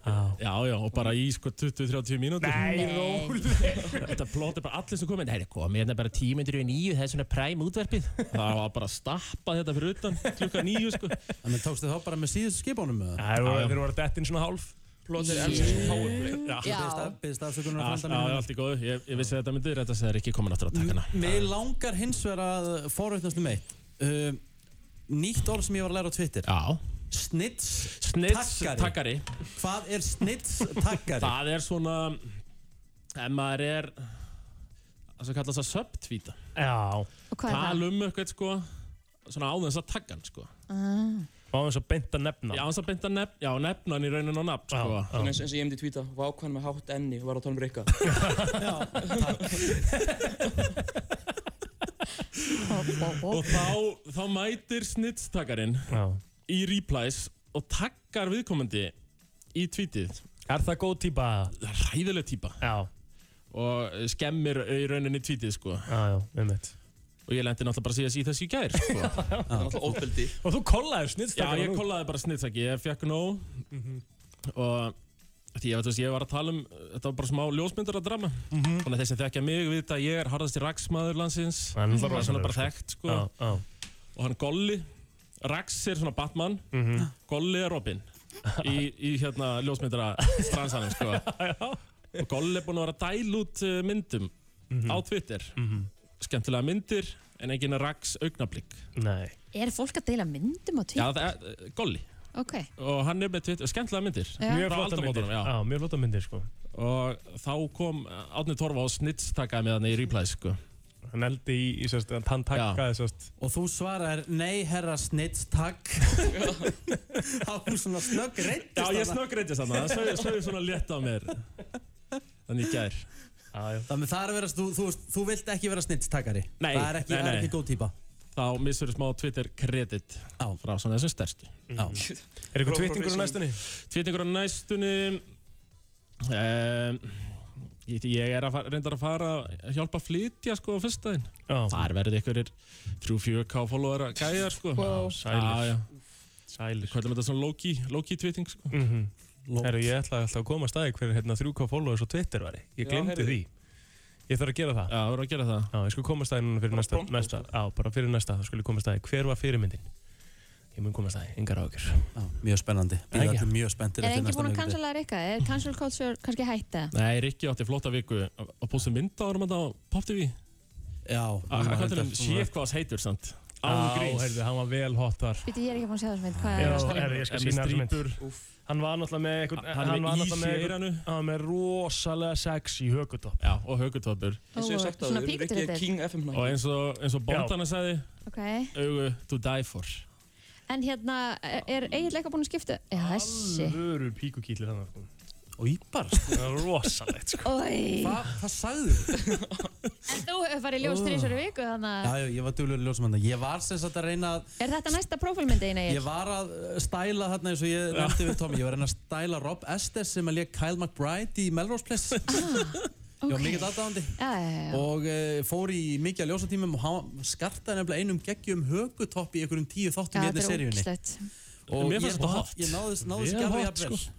[SPEAKER 13] já, já, og bara í sko 20-30 mínútur.
[SPEAKER 3] Nei,
[SPEAKER 13] róleg. Þetta plótið bara allir sem komið, nei, það komið hérna bara 10 minnir yfir nýju, það er svona præm útverfið. Það var bara að stappa þetta fyrir utan klukka nýju, sko.
[SPEAKER 1] En tókstu þá bara með síðustu skipunum með
[SPEAKER 3] Það voru- þeir voru dett inn svona hálf
[SPEAKER 14] plot er enn sem powerplay.
[SPEAKER 1] Byggðist afsökunar
[SPEAKER 13] Allt,
[SPEAKER 1] frænda
[SPEAKER 13] já,
[SPEAKER 1] mín.
[SPEAKER 13] allt í góðu, ég, ég vissi að þetta myndi rétt að segja ekki komin aftur að taka hana
[SPEAKER 1] Mér langar hins vegar að forutnast um eitt uh, Nýtt orð sem ég var að læra á Twitter
[SPEAKER 13] Já
[SPEAKER 1] Snits
[SPEAKER 13] Snits takkari
[SPEAKER 1] Hvað er snits takkari?
[SPEAKER 13] Það er svona ef maður er það sem kallast að subtvíta
[SPEAKER 3] Já
[SPEAKER 2] hvað er það?
[SPEAKER 13] Tala um eitthvað sko svona áðins að taka hann sko
[SPEAKER 2] Ah.
[SPEAKER 3] Áðins að beinta nefna
[SPEAKER 13] Já, áðins að beinta nefna, já, nefna hann í raunin og nafn sko
[SPEAKER 14] Svona eins, eins og ég myndi tvíta, vá hvað hann er með hátt enni, var að tala um Rikka.
[SPEAKER 13] og þá, þá mætir snitstakarinn í replies og takkar viðkomandi í tweetið.
[SPEAKER 3] Er það góð típa?
[SPEAKER 13] Ræðileg típa.
[SPEAKER 3] Já.
[SPEAKER 13] Og eh, skemmir í rauninni tweetið sko.
[SPEAKER 3] Já, já, einmitt.
[SPEAKER 13] Og ég lendi náttúrulega bara síðast í þessu í gær sko. Það er
[SPEAKER 14] náttúrulega óbeldi.
[SPEAKER 3] Og þú kollaðir snittstakar
[SPEAKER 13] Já, ég kollaði bara snittstakki, ég fekk nóg Mhm. og því ég veit þú veist, ég var að tala um, þetta var bara smá ljósmyndar að drama
[SPEAKER 3] Mhm.
[SPEAKER 13] þannig að þessi þekkja mig, við þetta ég er harðast í raksmaður landsins
[SPEAKER 3] Hann er náttúrulega
[SPEAKER 13] er svona
[SPEAKER 3] rosalegur,
[SPEAKER 13] bara
[SPEAKER 3] sko.
[SPEAKER 13] þekkt sko
[SPEAKER 3] Já, já.
[SPEAKER 13] og hann Golli, Rax er svona Batman
[SPEAKER 3] Mhm.
[SPEAKER 13] Golli er Robin í, í hérna ljósmyndara stransanum sko og Golli er búinn að vera að dæla út uh, myndum
[SPEAKER 3] Mhm.
[SPEAKER 13] á Twitter skemmtilega myndir en enginn Rax augnablík
[SPEAKER 3] Nei
[SPEAKER 2] Er fólk að deila myndum á Twitter?
[SPEAKER 13] Já, það er uh, Golli
[SPEAKER 2] Ok,
[SPEAKER 13] og hann er með Twitter, skemmtilega myndir
[SPEAKER 2] Já. Mjög
[SPEAKER 13] Frá
[SPEAKER 3] flottar
[SPEAKER 13] aldamótunum,
[SPEAKER 3] myndir.
[SPEAKER 13] já.
[SPEAKER 3] Já, mjög flotta myndir sko
[SPEAKER 13] og þá kom Átni Torfa og Snitts takkaði með hann í replay sko.
[SPEAKER 3] hann eldi í, í sérst, hann takkaði sérst
[SPEAKER 1] Og þú svarar Nei herra snits takk Þá hún svona snögg reyndist
[SPEAKER 13] Já, ég snöggreitist þarna, það sögðu- sögðu svona létt á mér Þannig gær
[SPEAKER 1] Þannig það er að vera, þú, þú, veist, þú vilt ekki vera snits takkari
[SPEAKER 13] Nei,
[SPEAKER 1] Það er ekki,
[SPEAKER 13] nei,
[SPEAKER 1] það er
[SPEAKER 13] nei.
[SPEAKER 1] ekki góð típa
[SPEAKER 13] þá missur smá Twitter kredit frá svona þessum stærstu
[SPEAKER 1] Já.
[SPEAKER 3] Er eitthvað twittningur á næstunni?
[SPEAKER 13] Twittningur á næstunni um, ég, ég er að fara, reyndar að fara að hjálpa að flytja sko á fyrstaðinn Þar verður einhverjir 3-4k followar að gæjar sko
[SPEAKER 3] Wow.
[SPEAKER 13] Já, já.
[SPEAKER 3] Sælir
[SPEAKER 13] Hvað er þetta svona Loki, Loki tweeting sko?
[SPEAKER 3] mm Herru, ég ætlaði alltaf að koma að staði hver hérna, 3K followers á Twitter væri Ég
[SPEAKER 13] Já,
[SPEAKER 3] glemdi
[SPEAKER 13] heyrðu.
[SPEAKER 3] því Ég þarf að gera það
[SPEAKER 13] Já, þú verður að gera það
[SPEAKER 3] Já, ég skal koma að staði núna fyrir næsta, næsta Já, bara fyrir næsta, þá skulle ég koma að staði Hver var fyrirmyndin? Ég mun koma að staði, engar ágjur
[SPEAKER 1] Mjög spennandi,
[SPEAKER 3] Bíða
[SPEAKER 1] allir mjög spenntir
[SPEAKER 2] er enginn búinn að cancela Rikka? Er cancel culture kannski hætta?
[SPEAKER 13] Nei, Rikki átti flotta viku að posta mynda árum þetta á Pop TV
[SPEAKER 1] Já
[SPEAKER 13] Hvað um er þetta? Shit hvað þess heitur samt
[SPEAKER 3] Á, heyrðu, hann var vel hot þar
[SPEAKER 2] Býti, ég er ekki búinn að sjá þessum mynd, hvað
[SPEAKER 3] Já,
[SPEAKER 2] er það?
[SPEAKER 3] herri, ég skal
[SPEAKER 13] En með
[SPEAKER 3] sína þessa mynd.
[SPEAKER 13] strípur.
[SPEAKER 3] Hann var náttúrulega með einhvern,
[SPEAKER 13] Hann- hann er með ís í eyranu.
[SPEAKER 3] hann var með rosalega sex í högutopp.
[SPEAKER 13] Já, og högutoppur.
[SPEAKER 14] Eins og ég hef sagt að
[SPEAKER 2] Svona
[SPEAKER 14] við erum
[SPEAKER 2] píkutrillur.
[SPEAKER 14] ekki King FM
[SPEAKER 13] Og eins og, eins og bóndana
[SPEAKER 3] Já.
[SPEAKER 13] sagði
[SPEAKER 2] Ok,
[SPEAKER 13] Augu to die for
[SPEAKER 2] en hérna, er- er Egil eitthvað búinn að skipta? Já, þessi.
[SPEAKER 3] Vöru píkukýtlir hann sko.
[SPEAKER 1] Og sko. íbar
[SPEAKER 3] Það var rosalegt sko.
[SPEAKER 2] Oi.
[SPEAKER 1] Hva, Hvað sagðu þú?
[SPEAKER 2] En þú hefur farið í ljós þrísveru viku, þannig
[SPEAKER 1] Já,
[SPEAKER 2] að...
[SPEAKER 1] já, ég var duglegur ljósmanna Ég var sem sagt að reyna að
[SPEAKER 2] Er þetta næsta prófílmyndi eina
[SPEAKER 1] Ég
[SPEAKER 2] Egil?
[SPEAKER 1] var að uh, stæla þarna eins og ég nefndi við Tommy Ég var að reyna að stæla Rob Estes sem að lék Kyle McBride í Melrose Place Ég var mikill aðdáðandi
[SPEAKER 2] Já, já, Ah, já.
[SPEAKER 1] og uh, fór í mikið að ljósatímum og hann skartaði nefnilega einum geggjum högutopp í einhverjum tíu þáttum
[SPEAKER 2] Já,
[SPEAKER 1] hérna í
[SPEAKER 2] þetta er
[SPEAKER 1] einni seríunni
[SPEAKER 2] ógislegt.
[SPEAKER 1] og
[SPEAKER 13] Mér
[SPEAKER 1] ég,
[SPEAKER 13] fannst þetta hot.
[SPEAKER 1] ég náðist, náðist
[SPEAKER 13] Vel
[SPEAKER 1] ekki alveg
[SPEAKER 13] hot,
[SPEAKER 1] jafnvel
[SPEAKER 13] sko.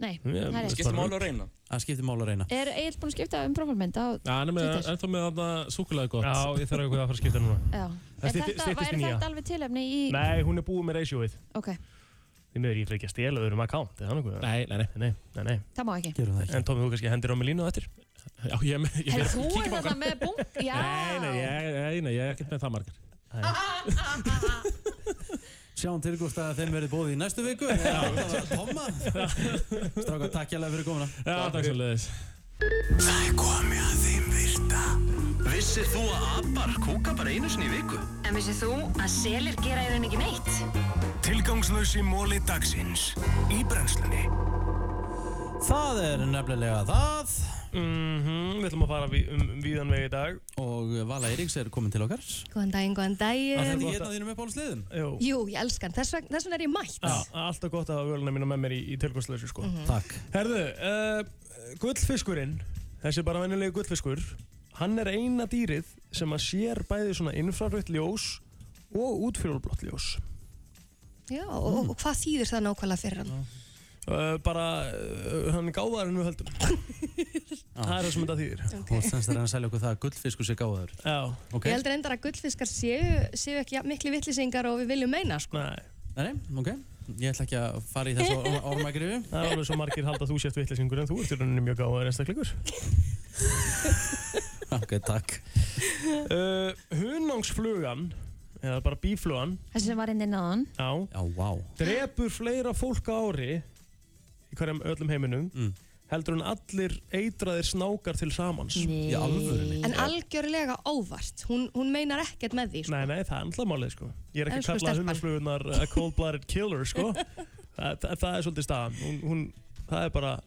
[SPEAKER 2] Nei,
[SPEAKER 13] Mér-
[SPEAKER 2] það er
[SPEAKER 13] skiptir
[SPEAKER 2] ekki.
[SPEAKER 13] máli.
[SPEAKER 14] Mál að reyna
[SPEAKER 1] Það skiptir mál að reyna
[SPEAKER 2] Er Egil búinn að skipta um prófílmynd á
[SPEAKER 13] Já, hann er með,
[SPEAKER 2] Twitter?
[SPEAKER 13] ennþá með þarna súkulega gott
[SPEAKER 3] Já, ég þarf eitthvað að fara að skipta núna.
[SPEAKER 2] Já.
[SPEAKER 3] Það
[SPEAKER 2] Er
[SPEAKER 3] stytti-
[SPEAKER 2] þetta,
[SPEAKER 3] styttist
[SPEAKER 2] væri
[SPEAKER 3] í nýja.
[SPEAKER 2] þetta alveg tilefni í...
[SPEAKER 3] Nei, hún er búið með reisjóið.
[SPEAKER 2] Ok,
[SPEAKER 3] Því miður ég ætla ekki að stela öðrum account, eða þannig að...
[SPEAKER 13] Nei, nei, nei
[SPEAKER 3] Nei, nei, nei.
[SPEAKER 2] það má ekki.
[SPEAKER 1] Gerum það
[SPEAKER 3] En Tómi, þú kannski hendir á mig línu á eftir?
[SPEAKER 13] Já, ég er með ég
[SPEAKER 2] Herri,
[SPEAKER 13] er-
[SPEAKER 2] þú er
[SPEAKER 13] kíkjum á
[SPEAKER 2] þarna með búinn?
[SPEAKER 1] Ah.
[SPEAKER 2] Já.
[SPEAKER 13] Nei, nei, ég, nei, nei, ég er ekkert með það margar
[SPEAKER 1] Sjáum til hvort að þeim verið bóðið í næstu viku Það var Tomma Stráka, takk hjálpa fyrir komuna
[SPEAKER 13] Já, takk svo leiðis
[SPEAKER 12] Það er komið að þeim virta Vissir þú að abar kúka bara einu sinni í viku?
[SPEAKER 8] En vissið þú að selir gera í raun ekki neitt?
[SPEAKER 12] Tilgangslösi móli dagsins Í brennslunni
[SPEAKER 1] Það er nefnilega það
[SPEAKER 3] Mhm, við ætlum að fara við, um, um víðan veg í dag.
[SPEAKER 1] Og Vala Eiríks er komin til okkar
[SPEAKER 15] Góðan daginn, góðan
[SPEAKER 1] Það er
[SPEAKER 15] daginn.
[SPEAKER 1] þetta ekki einn af þínum uppáhaldsliðum?
[SPEAKER 3] Jú.
[SPEAKER 15] Jú, ég elskan. Þess vegna, þess vegna er ég mætt.
[SPEAKER 3] Já, alltaf gott að hafa völuna mína með mér í, í tilgangslösu sko.
[SPEAKER 15] Mhm.
[SPEAKER 1] Takk.
[SPEAKER 3] Herðu, uh, gullfiskurinn, þessi bara venjulegi gullfiskur, hann er eina dýrið sem að sér bæði svona infrarött ljós og útfjólblott ljós.
[SPEAKER 15] Já, og, og- og hvað þýðir það nákvæmlega fyrir hann?
[SPEAKER 3] Uh, bara, uh, hann er gáðar en við höldum. það er það sem þetta þýðir.
[SPEAKER 1] Þú ert semst að reyna að selja okkur það að gullfiskur sé gáður
[SPEAKER 3] Já
[SPEAKER 1] Ok,
[SPEAKER 15] Ég heldur endar að gullfiskar séu, séu ekki jafn miklu vittlisingar og við viljum meina, sko.
[SPEAKER 3] Nei.
[SPEAKER 1] Nei, nei, ok Ég ætla ekki að fara í þessu or- ormagrifu
[SPEAKER 3] Það er alveg svo margir halda að þú sért vittlesingur en þú ert í rauninni mjög gáðaður einstaklingur.
[SPEAKER 1] Ok, takk.
[SPEAKER 3] Uh, Hunangsflugan, eða bara bíflugan,
[SPEAKER 2] Þessi sem var hérna inn inn á hann.
[SPEAKER 3] á,
[SPEAKER 1] Já, vá.
[SPEAKER 3] drepur fleira fólk á ári í hverjum öllum heiminum
[SPEAKER 1] Mm.
[SPEAKER 3] heldur en allir eitraðir snákar til samans. Nei. Í alvörunni.
[SPEAKER 15] En algjörlega óvart, hún, hún meinar ekkert með því sko.
[SPEAKER 3] Nei, nei, það er alltaf málið sko. Ég er ekki
[SPEAKER 15] Elsku
[SPEAKER 3] að kalla
[SPEAKER 15] stelpan.
[SPEAKER 3] hunangsflugunar a cold-blooded killer sko. það, það, það er svolítið staðan. Hún, hún, það er bara,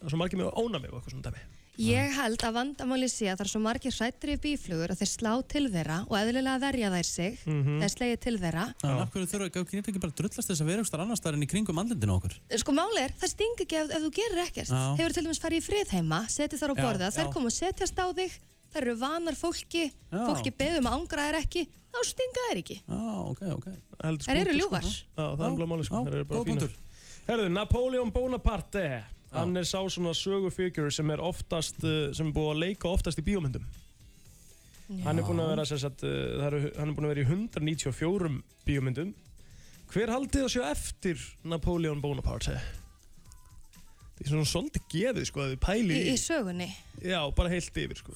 [SPEAKER 3] það er svo margir mjög ónami og eitthvað svona dæmi.
[SPEAKER 15] Ég held að vandamáli sé að það er svo margir hrættri bíflugur að þeir slá til þeirra og eðlilega verja þær sig
[SPEAKER 1] Mhm.
[SPEAKER 15] þeir slegið til þeirra
[SPEAKER 1] En af hverju þurfa ekki, ekki bara að drullast þess að vera einhverstaðar annar staðar en í kringum andlindinu á okkur?
[SPEAKER 15] Sko máli er, það sting ekki ef, ef þú gerir ekkert
[SPEAKER 1] Já.
[SPEAKER 15] Hefur til dæmis farið í frið heima, setið þar á
[SPEAKER 1] Já,
[SPEAKER 15] borða þær
[SPEAKER 1] já.
[SPEAKER 15] koma og setjast á þig, þær eru vanar fólki
[SPEAKER 3] Já.
[SPEAKER 15] fólki beðum að ángra þær ekki þá stinga þær ekki
[SPEAKER 1] Já, ok, ok.
[SPEAKER 3] Heldur
[SPEAKER 15] Þær eru
[SPEAKER 3] punktur,
[SPEAKER 15] ljúfar.
[SPEAKER 3] Sko. Já, það er alveg máli sko. Það eru bara
[SPEAKER 1] góð punktur.
[SPEAKER 3] fínar. Herðu, Napoleon Bonaparte, hann er sá svona sögufíkur sem er oftast, uh, sem er búið að leika oftast í bíómyndum. Hann er búin að vera, sem sagt, uh, það eru, hann er búin að vera í 194 bíómyndum. Hver haldið að sjá eftir Napoleon Bonaparte? Það er svona svolítið gefið, sko, að við
[SPEAKER 15] í,
[SPEAKER 3] pæli
[SPEAKER 15] í sögunni
[SPEAKER 3] Já, bara heilt yfir, sko.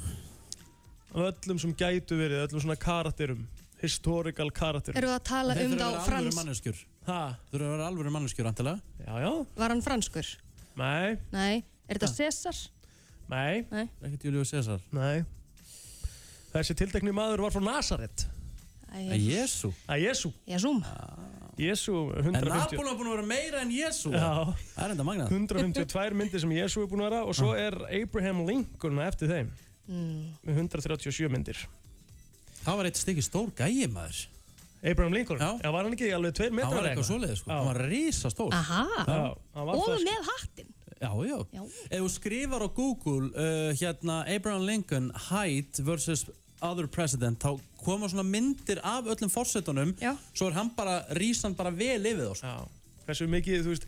[SPEAKER 3] Af öllum sem gætu verið, öllum svona karakterum, historical karakterum.
[SPEAKER 15] Eru það að tala um þá frans
[SPEAKER 1] manneskjur.
[SPEAKER 3] Ha?
[SPEAKER 1] Þurfa að vera alvöru manneskjur, antilega.
[SPEAKER 3] Já, já.
[SPEAKER 15] Var hann franskur?
[SPEAKER 3] Nei.
[SPEAKER 15] Nei, er þetta César?
[SPEAKER 3] Nei.
[SPEAKER 15] Nei.
[SPEAKER 1] Ekkert Július César.
[SPEAKER 3] Nei. Þessi tiltekni maður var frá Nazaret.
[SPEAKER 1] Að Jésu.
[SPEAKER 3] Að Jésu.
[SPEAKER 15] Jésúm.
[SPEAKER 3] Jésu,
[SPEAKER 1] En
[SPEAKER 3] 150.
[SPEAKER 1] Napóleon er búin að vera meira en Jésu.
[SPEAKER 3] Já.
[SPEAKER 1] Það er enda magnað.
[SPEAKER 3] 152 myndir sem Jésu er búin að vera og svo er Abraham Lincoln á eftir þeim
[SPEAKER 15] Mm.
[SPEAKER 3] með 137 myndir.
[SPEAKER 1] Það var eitt stykki stór gæi maður.
[SPEAKER 3] Abraham Lincoln? Já. var hann ekki alveg tveir metrar
[SPEAKER 1] Hann var
[SPEAKER 3] eða
[SPEAKER 1] eitthvað
[SPEAKER 3] eitthvað?
[SPEAKER 1] svoleiðið sko.
[SPEAKER 3] Já.
[SPEAKER 1] Hann var risastór.
[SPEAKER 15] Aha.
[SPEAKER 1] Já, hann var
[SPEAKER 15] Og
[SPEAKER 1] það, sko.
[SPEAKER 15] með hattin
[SPEAKER 1] Já, já. Ef þú skrifar á Google uh, hérna Abraham Lincoln height versus other president þá koma svona myndir af öllum fórsetunum svo er hann bara, rísan bara vel yfir þá sko.
[SPEAKER 3] Já. Hversu mikið, þú veist,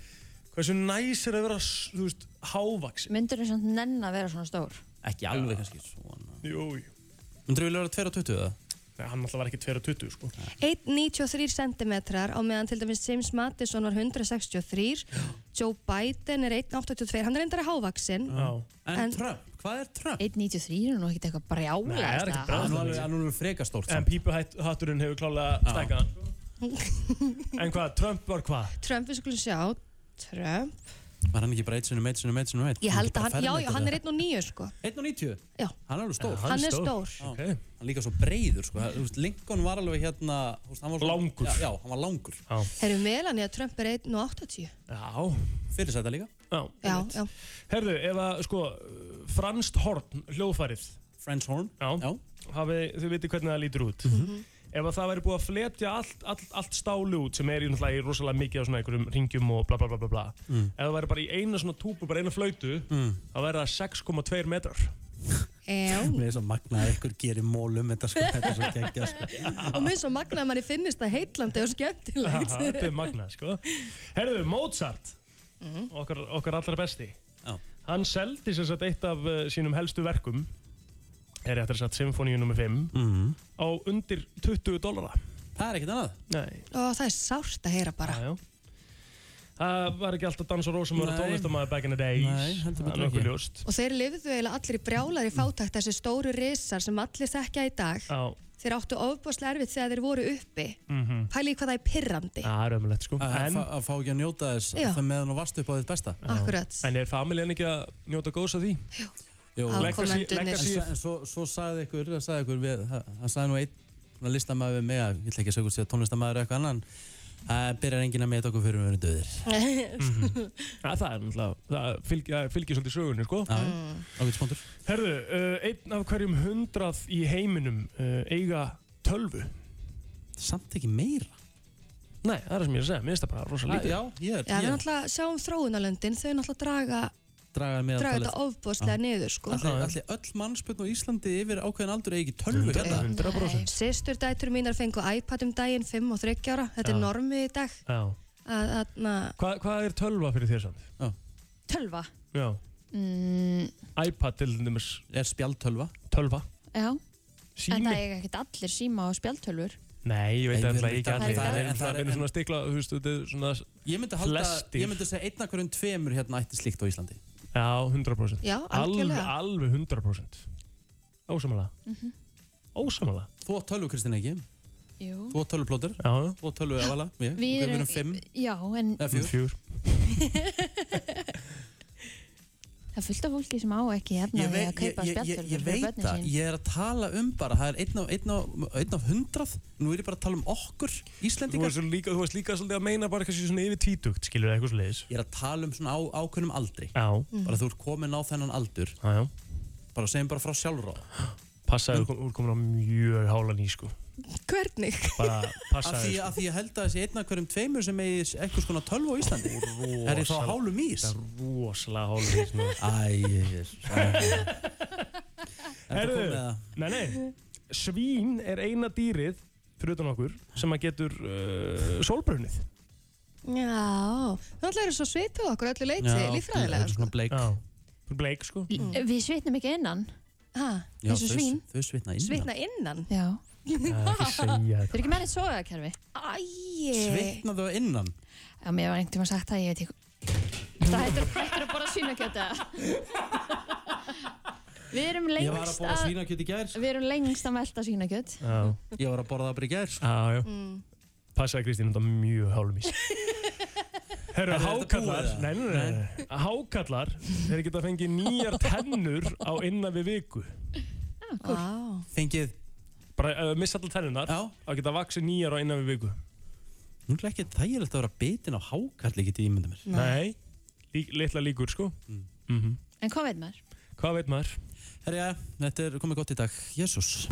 [SPEAKER 3] hversu næs er að vera, þú veist, hávaksin?
[SPEAKER 2] Myndur þú samt nenn að vera svona stór?
[SPEAKER 1] Ekki alveg kannski svona.
[SPEAKER 3] Jú, jú.
[SPEAKER 1] Myndur þú vilja vera 22 eða?
[SPEAKER 3] Nei, hann alltaf var ekki 22 sko.
[SPEAKER 15] 1,93 cm á meðan til dæmis James Madison var 163 Joe Biden er 1,82 hann er reyndar að hávaksin
[SPEAKER 3] Já.
[SPEAKER 1] En Trump, hvað er Trump?
[SPEAKER 2] 1.93 er nú ekkert eitthvað brjálega
[SPEAKER 1] Hann er frekastórt.
[SPEAKER 3] En pípuhatturinn hefur klálega stækkaðan. En hvað, Trump var hvað?
[SPEAKER 15] Trump, við skulum sjá Trump,
[SPEAKER 1] Var hann ekki bara 1 sinum, 1 sinum, 1 sinum, 1?
[SPEAKER 15] ég held að hann, já, já, hann er 1,9 sko
[SPEAKER 1] 1,90?
[SPEAKER 15] Já.
[SPEAKER 1] Hann er alveg stór.
[SPEAKER 15] Já, hann Hann er er stór. stór.
[SPEAKER 1] Já. Hann er líka svo breiður, sko. Það- Þú veist, Lincoln var alveg hérna... þú Veist, hann var langur. Já, já, hann var langur.
[SPEAKER 3] Já.
[SPEAKER 15] Herru Melania Trump er 1,80
[SPEAKER 3] Já.
[SPEAKER 1] Fyrir sæta líka.
[SPEAKER 3] Já.
[SPEAKER 15] Já, já,
[SPEAKER 3] Herðu, ef að, sko, franskt horn, hljóðfærið.
[SPEAKER 1] French horn.
[SPEAKER 3] Já. já. Hafi, þau viti hvernig það lítur út. Ef að það væri búið að fletja allt, allt, allt stálu út sem er í náttúrulega í rosalega mikið á svona einhverjum ringjum og bla bla bla bla bla.
[SPEAKER 1] Mm.
[SPEAKER 3] Ef það væri bara í eina svona túpu, bara eina flautu, mm. þá væri það 6,2 metrar.
[SPEAKER 15] já.
[SPEAKER 1] Mér er svo magnað að ykkur gerir mól um þetta, sko. Þetta er svo geggjað, sko.
[SPEAKER 15] og mér er svo magnað að manni finnist það heitlandi og
[SPEAKER 3] Aha,
[SPEAKER 15] skemmtilegt
[SPEAKER 3] Þetta er magnað, sko. Herðu, Mozart,
[SPEAKER 15] Mm.
[SPEAKER 3] okkar, okkar allra besti,
[SPEAKER 1] Já.
[SPEAKER 3] hann seldi sem sagt eitt af uh, sínum helstu verkum, er eftir sagt Symfóníu nr. 5,
[SPEAKER 1] Mhm.
[SPEAKER 3] á undir 20 dollara.
[SPEAKER 1] Það er ekkert annað.
[SPEAKER 3] Nei.
[SPEAKER 15] og það er sárt að heyra bara
[SPEAKER 3] já, já. Það var ekki alltaf dans og rósum að vera
[SPEAKER 1] Nei.
[SPEAKER 3] tónlistamæður back in the days.
[SPEAKER 1] Nei, heldur
[SPEAKER 3] Það er
[SPEAKER 1] betur
[SPEAKER 3] nokkuð
[SPEAKER 1] ekki.
[SPEAKER 3] ljóst.
[SPEAKER 15] Og þeir lifðu eiginlega allir í brjálari fátækt þessi stóru risar sem allir þekkja í dag.
[SPEAKER 3] Mm. Já.
[SPEAKER 15] Þeir áttu ofbáslega erfitt þegar þeir voru uppi.
[SPEAKER 3] Mm
[SPEAKER 15] Pæli í hvað það er pirrandi.
[SPEAKER 3] Það er ömulegt, sko.
[SPEAKER 1] Að,
[SPEAKER 3] En-
[SPEAKER 1] en... að fá ekki að njóta þess
[SPEAKER 15] Já.
[SPEAKER 1] það meðan og varst upp á þitt besta.
[SPEAKER 15] Akkurat.
[SPEAKER 3] En er familjan ekki að njóta góðs að því?
[SPEAKER 1] Jú,
[SPEAKER 3] Legacy-
[SPEAKER 1] En
[SPEAKER 3] legacy-
[SPEAKER 1] svo, en svo, svo sagði ykkur, það sagði ykkur við, það það sagði nú einn svona listamæður við mig að, ég ætla ekki að segja hvort sé að tónlistamæður eða eitthvað annan, að byrjar enginn að meta okkur fyrir við verðum döðir.
[SPEAKER 3] Mhm. Ja, það er náttúrulega, það fylgir, það fylgir svolítið sögunni, sko.
[SPEAKER 1] Mm. Ágætt spóndur.
[SPEAKER 3] Herðu, uh, einn af hverjum hundrað í heiminum uh, eiga tölvu.
[SPEAKER 1] Samt ekki meira.
[SPEAKER 3] Nei, það er það sem ég er að segja, mér finnst það bara rosa lítið.
[SPEAKER 1] Já, ég
[SPEAKER 15] Já, við náttúrulega sjáum þróunalöndin, þau náttúrulega draga,
[SPEAKER 1] Draga
[SPEAKER 15] draga þetta ofbáslega niður, sko.
[SPEAKER 1] Allir, allir öll mannspötn á Íslandi yfir ákveðin aldur eigi ekki tölvu hérna.
[SPEAKER 3] 100%.
[SPEAKER 15] Sistur dætur mínar fengu iPad um daginn, 5 og 30 ára. Þetta
[SPEAKER 3] Já.
[SPEAKER 15] er normið í dag.
[SPEAKER 3] Já.
[SPEAKER 15] Að, að, að,
[SPEAKER 3] Hva, hvað er tölva fyrir þér samt?
[SPEAKER 1] Já.
[SPEAKER 2] Tölva.
[SPEAKER 3] Já.
[SPEAKER 2] Mm,
[SPEAKER 3] iPad til dæmis.
[SPEAKER 1] Er spjaldtölva?
[SPEAKER 3] Tölva.
[SPEAKER 2] já.
[SPEAKER 3] Sími?
[SPEAKER 2] En það er ekkert allir síma og spjaltölfur.
[SPEAKER 3] Nei, ég veit
[SPEAKER 1] Nei, við
[SPEAKER 3] alltaf
[SPEAKER 1] erum
[SPEAKER 3] ekki
[SPEAKER 1] ekki
[SPEAKER 3] allir.
[SPEAKER 1] allir.
[SPEAKER 3] Það er
[SPEAKER 1] En það er-
[SPEAKER 3] einhvern svona stikla, þú veist, þetta er svona
[SPEAKER 1] Ég myndi halda,
[SPEAKER 3] flestir.
[SPEAKER 1] ég myndi segja einn af hverjum tveimur hérna ætti slíkt á Íslandi.
[SPEAKER 3] Já, 100%.
[SPEAKER 1] Já, algjörlega.
[SPEAKER 3] Alveg, alveg 100%. Ósamalega.
[SPEAKER 1] Mhm.
[SPEAKER 3] Ósamalega.
[SPEAKER 1] Þú átt tölvu, Kristinn, ekki?
[SPEAKER 2] Jú.
[SPEAKER 1] Þú átt tölvu plótur.
[SPEAKER 3] Já.
[SPEAKER 1] Þú átt tölvu evala.
[SPEAKER 2] Við
[SPEAKER 1] Við okay, við
[SPEAKER 2] erum-
[SPEAKER 1] erum fimm.
[SPEAKER 2] Já, en
[SPEAKER 1] Eða fjör.
[SPEAKER 3] Fjör.
[SPEAKER 2] það er fullt af fólki sem á ekki efna
[SPEAKER 1] Ég,
[SPEAKER 2] því
[SPEAKER 1] vei,
[SPEAKER 2] að
[SPEAKER 1] ég,
[SPEAKER 2] kaupa
[SPEAKER 1] ég, ég,
[SPEAKER 2] spjaldtölvur
[SPEAKER 1] ég
[SPEAKER 2] fyrir
[SPEAKER 1] veit
[SPEAKER 2] börnin
[SPEAKER 1] það,
[SPEAKER 2] sín.
[SPEAKER 1] ég er að tala um bara, það er einn af, einn af, einn af hundrað, nú er ég bara að tala um okkur,
[SPEAKER 3] Þú
[SPEAKER 1] Íslendingar.
[SPEAKER 3] varst líka, þú varst líka svolítið að meina bara kannski svona yfir tvítugt, skilur það eitthvað svo leiðis.
[SPEAKER 1] Ég er að tala um svona á, ákveðnum aldri.
[SPEAKER 3] Já.
[SPEAKER 1] Mm. Bara þú ert komin á þennan aldur.
[SPEAKER 3] Já, já.
[SPEAKER 1] Bara segjum bara frá sjálfráð.
[SPEAKER 3] Passaðu, þú ert komin á mjög hálan í, sko.
[SPEAKER 15] Hvernig?
[SPEAKER 3] Bara
[SPEAKER 1] Af því,
[SPEAKER 3] passaðu,
[SPEAKER 1] af því ég held að þessi einn af hverjum tveimur sem eigi eitthvað skona tölvu á Íslandi. Er ég þá
[SPEAKER 3] rosalega-
[SPEAKER 1] hálum ís?
[SPEAKER 3] Það er rosalega hálum ís, maður.
[SPEAKER 1] Æjir.
[SPEAKER 3] Herðu,
[SPEAKER 1] komið það?
[SPEAKER 3] nei, nei, svín er eina dýrið, fyrir utan okkur, sem að getur uh, sólbrunnið.
[SPEAKER 15] Já, þannig eru svo svipið okkur öllu leiti, líffræðilega.
[SPEAKER 1] svona bleik.
[SPEAKER 3] Já, bleik sko.
[SPEAKER 15] Mm.
[SPEAKER 2] L- Eh, Við svitnum ekki innan.
[SPEAKER 15] Hæ?
[SPEAKER 1] Mm. Já,
[SPEAKER 2] Eins og
[SPEAKER 1] þau-
[SPEAKER 2] svín.
[SPEAKER 1] Þau svitna inn.
[SPEAKER 15] Svitna innan?
[SPEAKER 2] Já.
[SPEAKER 3] Það er ekki segja
[SPEAKER 2] Þau eru ekki með neitt sogakerfi.
[SPEAKER 15] Æj.
[SPEAKER 1] Svitna þau innan?
[SPEAKER 2] Já, mér var einhvern tíma sagt það, ég veit ekki. Það hættir hættir að borða svínakjöta. Við erum
[SPEAKER 1] Ég var að
[SPEAKER 2] lengst
[SPEAKER 1] borða svínakjöt í gær.
[SPEAKER 2] Við erum lengst að melta svínakjöt.
[SPEAKER 3] Já.
[SPEAKER 1] Ég var að borða það bara í gær.
[SPEAKER 3] Já, já.
[SPEAKER 2] Mm.
[SPEAKER 3] Passaðu Kristín undan mjög hálum ís. Herru,
[SPEAKER 1] Er þetta
[SPEAKER 3] hákallar,
[SPEAKER 1] búið, eða?
[SPEAKER 3] nei, nei, nei, nei. hákallar, þeir geta fengið nýjar tennur á innan við viku.
[SPEAKER 15] Vá.
[SPEAKER 1] Fengið?
[SPEAKER 3] Bara uh, missa allar tennunar og geta vaksið nýjar á innan við viku.
[SPEAKER 1] Nú er ekki þægilegt að vera bitin á hákall ekki til ímyndum mér.
[SPEAKER 3] Nei, Lí, litla líkur sko.
[SPEAKER 2] En hvað veit maður?
[SPEAKER 3] Hvað veit maður?
[SPEAKER 1] Herja, þetta er komið gott í dag. Jésús.